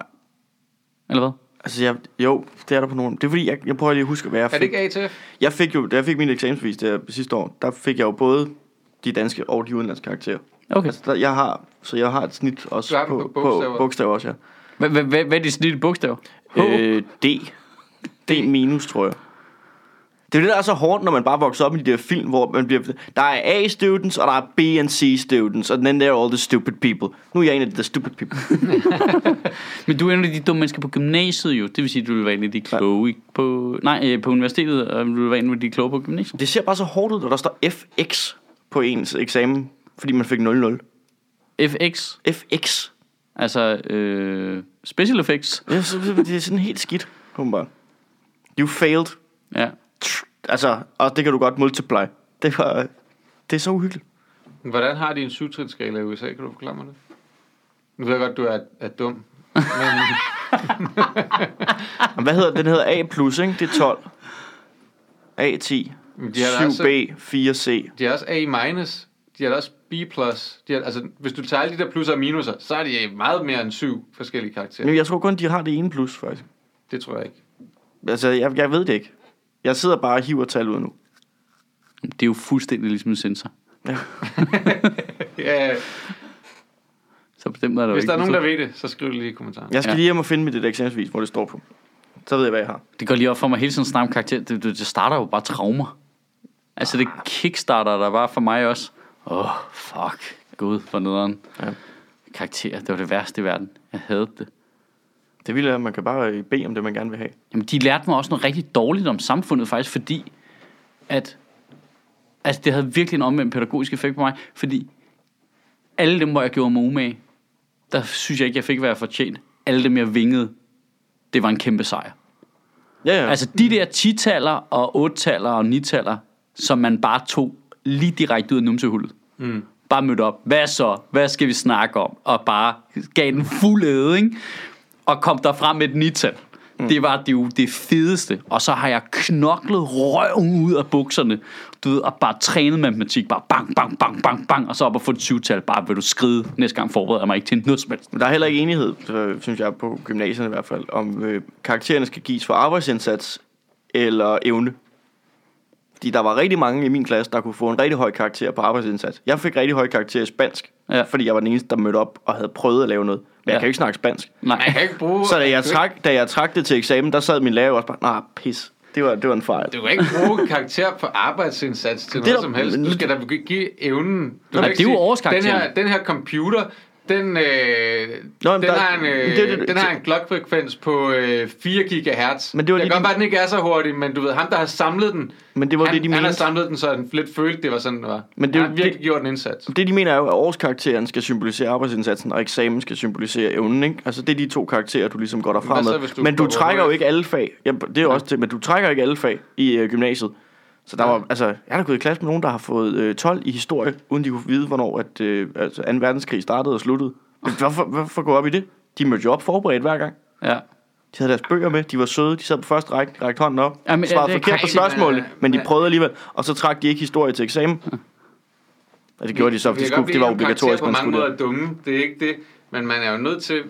Speaker 1: Eller hvad?
Speaker 3: Altså, jeg, jo, det er der på nogen. Det er fordi, jeg, jeg prøver lige at huske, hvad jeg
Speaker 2: Er
Speaker 3: fik.
Speaker 2: det ikke A til F?
Speaker 3: Jeg fik jo, da jeg fik min eksamensbevis der sidste år, der fik jeg jo både de danske og de udenlandske karakterer.
Speaker 1: Okay.
Speaker 3: Altså, der, jeg har, så jeg har et snit
Speaker 2: Du
Speaker 3: også
Speaker 2: har dem
Speaker 3: på,
Speaker 2: på
Speaker 3: på
Speaker 2: bogstaver.
Speaker 3: bogstaver også, ja.
Speaker 1: Hvad- hvad- Hvad hvad er de snitlige bogstaver? H?
Speaker 3: Øh, D. D minus, tror jeg. Det er jo det, der er så hårdt, når man bare vokser op i de der film, hvor man bliver... Der er A-students, og der er B and C-students, og then there are all the stupid people. Nu er jeg en af de der stupid people.
Speaker 1: Men du er en af de dumme mennesker på gymnasiet jo. Det vil sige, at du vil være en af de kloge i- på... Nej, øh, på universitetet, og du vil være en af de kloge på gymnasiet.
Speaker 3: Det ser bare så hårdt ud, når der står FX på ens eksamen, fordi man fik 00.
Speaker 1: FX,
Speaker 3: FX.
Speaker 1: altså øh, special effects.
Speaker 3: Det er så- det er sådan helt skidt, åbenbart. You failed.
Speaker 1: Ja.
Speaker 3: Altså, og det kan du godt multiply. Det var... Det er så uhyggeligt.
Speaker 2: Hvordan har de en syvtrinsskala i USA? Kan du forklare mig det? Nu ved jeg godt, du er, er dum. Men,
Speaker 3: Jamen, Hvad hedder den? Den hedder A+, ikke? Det er 12. A10.
Speaker 2: Men de har da altså-
Speaker 3: 7B, 4C.
Speaker 2: de er også A-, minus, de er da også B+. De er, altså, hvis du tager alle de der plusser og minuser, så er de meget mere end syv forskellige karakterer.
Speaker 3: Men jeg tror kun, de har det ene plus, faktisk.
Speaker 2: Det tror jeg ikke.
Speaker 3: Altså, jeg, jeg ved det ikke. Jeg sidder bare og hiver tal ud nu.
Speaker 1: Det er jo fuldstændig ligesom en sensor.
Speaker 2: Ja,
Speaker 1: Så bestemmer der jo
Speaker 2: hvis der er
Speaker 1: ikke.
Speaker 2: nogen, der ved det, så skriv det lige i kommentaren.
Speaker 3: Jeg skal
Speaker 1: Ja.
Speaker 3: ja. lige hjem og finde mit det der eksamensvis, hvor det står på. Så ved jeg, hvad jeg har.
Speaker 1: Det går lige op for mig hele tiden snart karakter. Det, det, det starter jo bare traumer. Altså det kickstarter der bare for mig også. Åh, oh, fuck. Gud, for nederen.
Speaker 3: Ja.
Speaker 1: Karakter, det var det værste i verden. Jeg havde det.
Speaker 3: Det ville at man kan bare øh, bede om det, man gerne vil have.
Speaker 1: Jamen, de lærte mig også noget rigtig dårligt om samfundet faktisk, fordi at Altså, det havde virkelig en omvendt pædagogisk effekt på mig, fordi alle dem, hvor jeg gjorde mig umage, der synes jeg ikke, jeg fik, hvad jeg fortjent. Alle dem, jeg vingede, det var en kæmpe sejr.
Speaker 3: Ja, ja. Altså,
Speaker 1: Altså de der 10-taller og 8-taller og 9-taller, som man bare tog lige direkte ud af numsehullet. Mm. Bare mødte op. Hvad så? Hvad skal vi snakke om? Og bare gav den fuld æde, ikke? Og kom der frem med et 9-tal. Mm. Det var det, det fedeste. Og så har jeg knoklet røven ud af bukserne. Du ved, og bare trænet matematik. Bare bang, bang, bang, bang, bang. Og så op og få et 20-tal. Bare vil du skride. Næste gang forbereder jeg mig ikke til noget som helst.
Speaker 3: der er heller ikke enighed, øh, synes jeg, på gymnasierne i hvert fald, om øh, karaktererne skal gives for arbejdsindsats eller evne. Fordi der var rigtig mange i min klasse, der kunne få en rigtig høj karakter på arbejdsindsats. Jeg fik rigtig høj karakter i spansk,
Speaker 1: Ja.
Speaker 3: ja. fordi jeg var den eneste, der mødte op og havde prøvet at lave noget. Men ja.
Speaker 1: Ja.
Speaker 3: jeg kan jo ikke snakke spansk.
Speaker 2: Jeg
Speaker 1: Nej.
Speaker 2: kan ikke bruge...
Speaker 3: Så da jeg,
Speaker 2: du kan
Speaker 3: trak, da jeg trak det til eksamen, der sad min lærer jo også bare, nej, pis, det var, det var en fejl.
Speaker 2: ikke- Du kan ikke bruge karakter på arbejdsindsats til
Speaker 3: Det er
Speaker 2: noget
Speaker 3: der-
Speaker 2: som helst. Du skal da give evnen. Du kan
Speaker 1: men
Speaker 2: ikke
Speaker 1: det er jo
Speaker 2: sige,
Speaker 1: årskarakteren.
Speaker 2: den her, den her computer, den, øh,
Speaker 3: Nå, men
Speaker 2: den,
Speaker 3: der-
Speaker 2: har en, øh,
Speaker 3: det- det-
Speaker 2: den har en clockfrekvens på øh, 4 GHz.
Speaker 3: Men det var
Speaker 2: jeg kan
Speaker 3: lige
Speaker 2: godt
Speaker 3: din-
Speaker 2: være, den ikke er så hurtig, men du ved, ham der har samlet den,
Speaker 3: Men det var
Speaker 2: han,
Speaker 3: det, de
Speaker 2: han har
Speaker 3: mente.
Speaker 2: samlet den, så han lidt følte, det var sådan, det var.
Speaker 3: Men det er jo-
Speaker 2: han har virkelig
Speaker 3: det-
Speaker 2: gjort en indsats.
Speaker 3: Det de mener er jo, at årskarakteren skal symbolisere arbejdsindsatsen, og eksamen skal symbolisere evnen, ikke? Altså det er de to karakterer, du ligesom går derfra
Speaker 2: Hvad så,
Speaker 3: med.
Speaker 2: hvis du
Speaker 3: men du
Speaker 2: dropper
Speaker 3: trækker jo
Speaker 2: HF?
Speaker 3: ikke alle fag. Jamen, det er jo også det, men du trækker ikke alle fag i øh, gymnasiet. Så der var, altså, jeg har da gået i klasse med nogen, der har fået øh, 12 i historie, uden de kunne vide, hvornår at, øh, altså, 2. verdenskrig startede og sluttede. Men Hvorfor, hvorfor gå op i det? De mødte jo op forberedt hver gang.
Speaker 1: Ja.
Speaker 3: De havde deres bøger med, de var søde, de sad på første række, de rakte hånden op,
Speaker 1: Ja, men,
Speaker 3: Jamen, svarede
Speaker 1: ja, det er
Speaker 3: forkert på
Speaker 1: crazy,
Speaker 3: spørgsmålene,
Speaker 2: men, øh,
Speaker 3: men de
Speaker 2: men-
Speaker 3: prøvede alligevel, og så trak de ikke historie til eksamen. Ja, det gjorde de så,
Speaker 2: Vi
Speaker 3: fordi
Speaker 2: kan godt
Speaker 3: skulle, det
Speaker 2: blive enige
Speaker 3: var
Speaker 2: om,
Speaker 3: obligatorisk, man
Speaker 2: karakterer
Speaker 3: skulle det.
Speaker 2: på mange måder er dumme, det er ikke det. Men man er jo nødt til,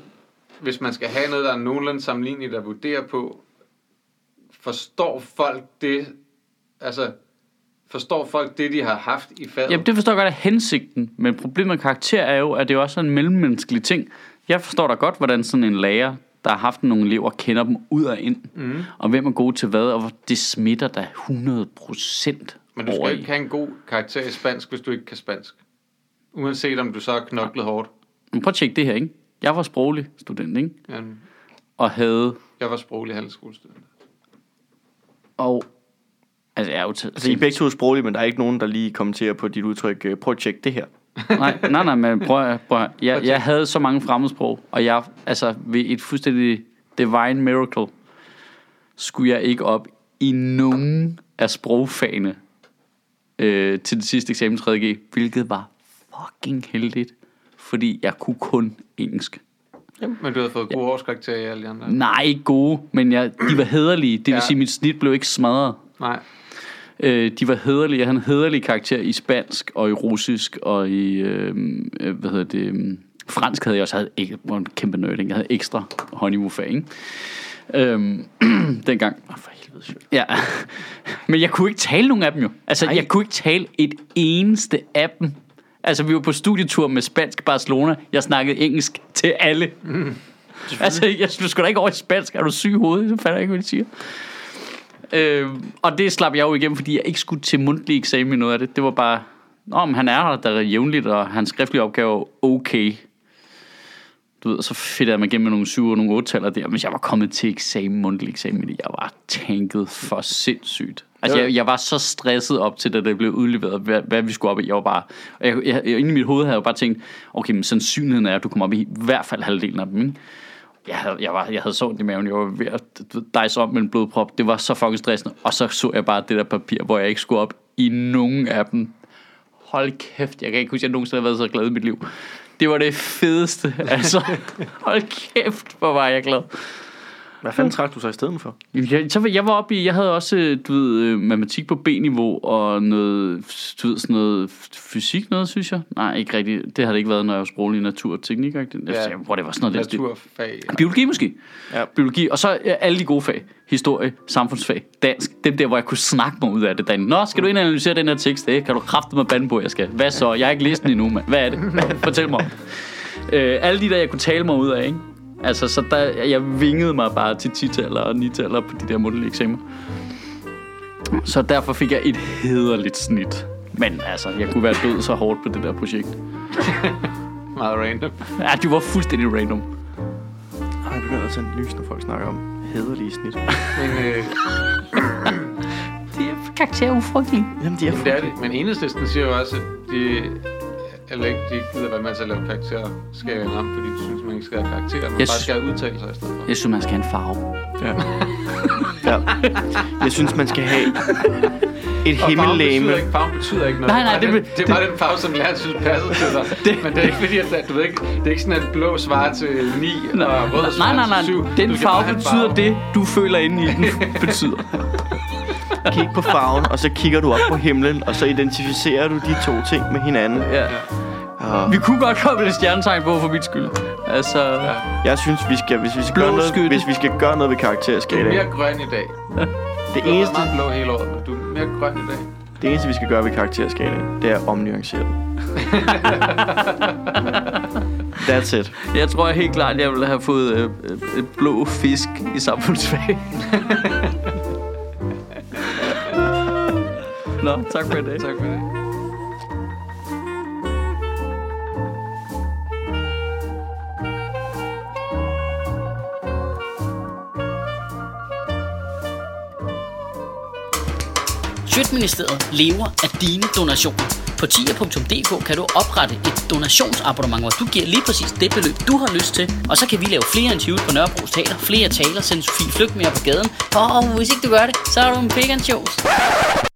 Speaker 2: hvis man skal have noget, der er nogenlunde sammenligneligt at vurdere på, forstår folk det, altså, forstår folk det, de har haft i faget?
Speaker 1: Jamen, det forstår jeg godt af hensigten, men problemet med karakter er jo, at det er jo også er en mellemmenneskelig ting. Jeg forstår da godt, hvordan sådan en lærer, der har haft nogle elever, kender dem ud og ind,
Speaker 2: Mhm.
Speaker 1: mm. og hvem er god til hvad, og hvor det smitter da 100 procent
Speaker 2: Men du skal ikke have en god karakter i spansk, hvis du ikke kan spansk. Uanset om du så har knoklet hårdt.
Speaker 1: Men prøv at tjekke det her, ikke? Jeg var sproglig student, ikke?
Speaker 2: Jamen,
Speaker 1: Og havde...
Speaker 2: Jeg var sproglig handelsskolestuderende.
Speaker 1: Og, altså, jeg er jo til,
Speaker 3: Altså, I er begge to sproglige, men der er ikke nogen, der lige kommenterer på dit udtryk. øh, Prøv at tjekke det her.
Speaker 1: nej, nej, nej, men prøv, at- prøv at- jeg,
Speaker 2: at
Speaker 1: jeg havde så mange fremmedsprog, og jeg, altså ved et fuldstændig divine miracle, skulle jeg ikke op i nogen af sprogfagene øh, til det sidste eksamen 3.G, hvilket var fucking heldigt, fordi jeg kunne kun engelsk.
Speaker 2: Men du havde fået gode årskarakterer i alle de andre.
Speaker 3: Mm.
Speaker 1: Nej, ikke gode, men jeg, de var hederlige. Det vil
Speaker 2: Ja.
Speaker 1: sige, at mit snit blev ikke smadret.
Speaker 2: Nej.
Speaker 1: Øh, de var hederlige. Jeg havde en hederlig karakter i spansk og i russisk og i, øh, øh, hvad hedder det, øh, fransk havde jeg også. Jeg havde ikke, var en kæmpe nerd, ikke? Jeg havde ekstra honeymoon-fag, ikke? Øhm, dengang.
Speaker 3: Åh, for helvede, sjovt.
Speaker 1: Ja. Men jeg kunne ikke tale nogen af dem jo. Altså,
Speaker 3: Ej.
Speaker 1: jeg kunne ikke tale et eneste af dem. Altså, vi var på studietur med spansk Barcelona. Jeg snakkede engelsk til alle. Mm. Altså, jeg skulle sgu da ikke over i spansk. Er du syg i hovedet? Det fatter jeg ikke, hvad de siger. Øh, og det slap jeg jo igennem, fordi jeg ikke skulle til mundtlig eksamen i noget af det. Det var bare, Nå, men han er her der jævnligt, og hans skriftlige opgave er okay. Du ved, og så fedt jeg mig igennem med nogle syv og nogle otte taler der, men jeg var kommet til eksamen, mundtlig eksamen, fordi jeg var tænket for sindssygt. Altså,
Speaker 3: Ja.
Speaker 1: jeg, jeg var så stresset op til, da det blev udleveret, hvad, hvad vi skulle op i. Jeg var bare, og jeg, jeg, jeg, inde i mit hoved havde jeg jo bare tænkt, okay, men sandsynligheden er, at du kommer op i i hvert fald halvdelen af dem, ikke? jeg havde, jeg, var, jeg havde så ondt i maven, jeg var ved at dejse om med en blodprop. Det var så fucking stressende. Og så så jeg bare det der papir, hvor jeg ikke skulle op i nogen af dem. Hold kæft, jeg kan ikke huske, at jeg nogensinde har været så glad i mit liv. Det var det fedeste, altså. Hold kæft, hvor var jeg glad.
Speaker 3: Hvad fanden trak du så i stedet for?
Speaker 1: Jeg, så var- jeg var oppe i, jeg havde også, øh, du ved, øh, matematik på B-niveau og noget, du ved, sådan noget f- fysik noget, synes jeg. Nej, ikke rigtigt. Det har det ikke været, når jeg var sproglig natur og teknik. Ja.
Speaker 2: Ja.
Speaker 1: Jeg, hvor det var sådan noget. lidt-
Speaker 2: Naturfag.
Speaker 1: Biologi måske.
Speaker 3: Ja.
Speaker 1: Biologi, og så øh, alle de gode fag. Historie, samfundsfag, dansk. Dem der, hvor jeg kunne snakke mig ud af det. Dan. Nå, skal du ind og analysere den her tekst? Det kan du kræfte mig bande på, jeg skal. Hvad så? Jeg har ikke læst den endnu, mand. Hvad er det? Fortæl mig om. det. øh, alle de der, jeg kunne tale mig ud af, ikke? Altså, så der, jeg vingede mig bare til 10-taller og 9-taller på de der mundtlige eksamener. Så derfor fik jeg et hederligt snit. Men altså, jeg kunne være død så hårdt på det der projekt.
Speaker 2: Meget random.
Speaker 1: Ja, det var fuldstændig random.
Speaker 3: Ej, jeg begynder at
Speaker 2: øh,
Speaker 3: tænde lys, når folk snakker om hederlige snit.
Speaker 2: Men øh,
Speaker 1: Det er karakterer ufrygtelige.
Speaker 3: Jamen, de er
Speaker 2: Jamen, det er det. Men enhedslisten siger jo også, at de, eller ikke, de ikke gider være med til at lave karakterer, skal være ramme, fordi de synes, man ikke skal have karakterer, men
Speaker 1: Jeg
Speaker 2: yes. bare
Speaker 1: sy-
Speaker 2: skal have udtalelser i stedet for.
Speaker 1: Jeg synes, man skal have en farve.
Speaker 3: Ja. ja. Jeg synes, man skal have et
Speaker 2: Og farven
Speaker 3: himmellæme.
Speaker 2: betyder, ikke, farven betyder ikke noget.
Speaker 1: Nej, nej,
Speaker 2: det,
Speaker 1: det be-
Speaker 2: er bare den- det, er bare den farve, som læreren synes passer til dig. det, men det er ikke fordi, at der- du ved ikke, det er ikke sådan, at blå svarer til 9 og rød
Speaker 1: Nej,
Speaker 2: svarer
Speaker 1: nej, nej.
Speaker 2: til 7.
Speaker 1: Den farve betyder det, du føler inde i den betyder.
Speaker 3: Kig på farven, og så kigger du op på himlen, og så identificerer du de to ting med hinanden.
Speaker 1: Ja.
Speaker 3: Og
Speaker 1: Vi kunne godt komme lidt stjernetegn på, for mit skyld. Altså, ja.
Speaker 3: jeg synes, vi skal, hvis vi skal,
Speaker 1: Blå
Speaker 3: gøre noget,
Speaker 1: skytte.
Speaker 3: hvis vi skal gøre noget ved
Speaker 2: Du er
Speaker 3: karakterskalaen,
Speaker 2: mere grøn i dag.
Speaker 3: det
Speaker 2: Du er
Speaker 3: eneste,
Speaker 2: meget blå hele året, men du er mere grøn i dag.
Speaker 3: det eneste, vi skal gøre ved karakterskalaen, det er at omnuancere den. That's it.
Speaker 1: Jeg tror helt klart, jeg ville have fået øh, øh, blå fisk i samfundsfag. Nå, tak for i dag.
Speaker 2: Tak for det.
Speaker 4: Sjøtministeriet lever af dine donationer. På tier.dk kan du oprette et donationsabonnement, hvor du giver lige præcis det beløb, du har lyst til. Og så kan vi lave flere interviews på Nørrebro Teater, flere taler, sende Sofie Flygt mere på gaden. Og hvis ikke du gør det, så er du en pekan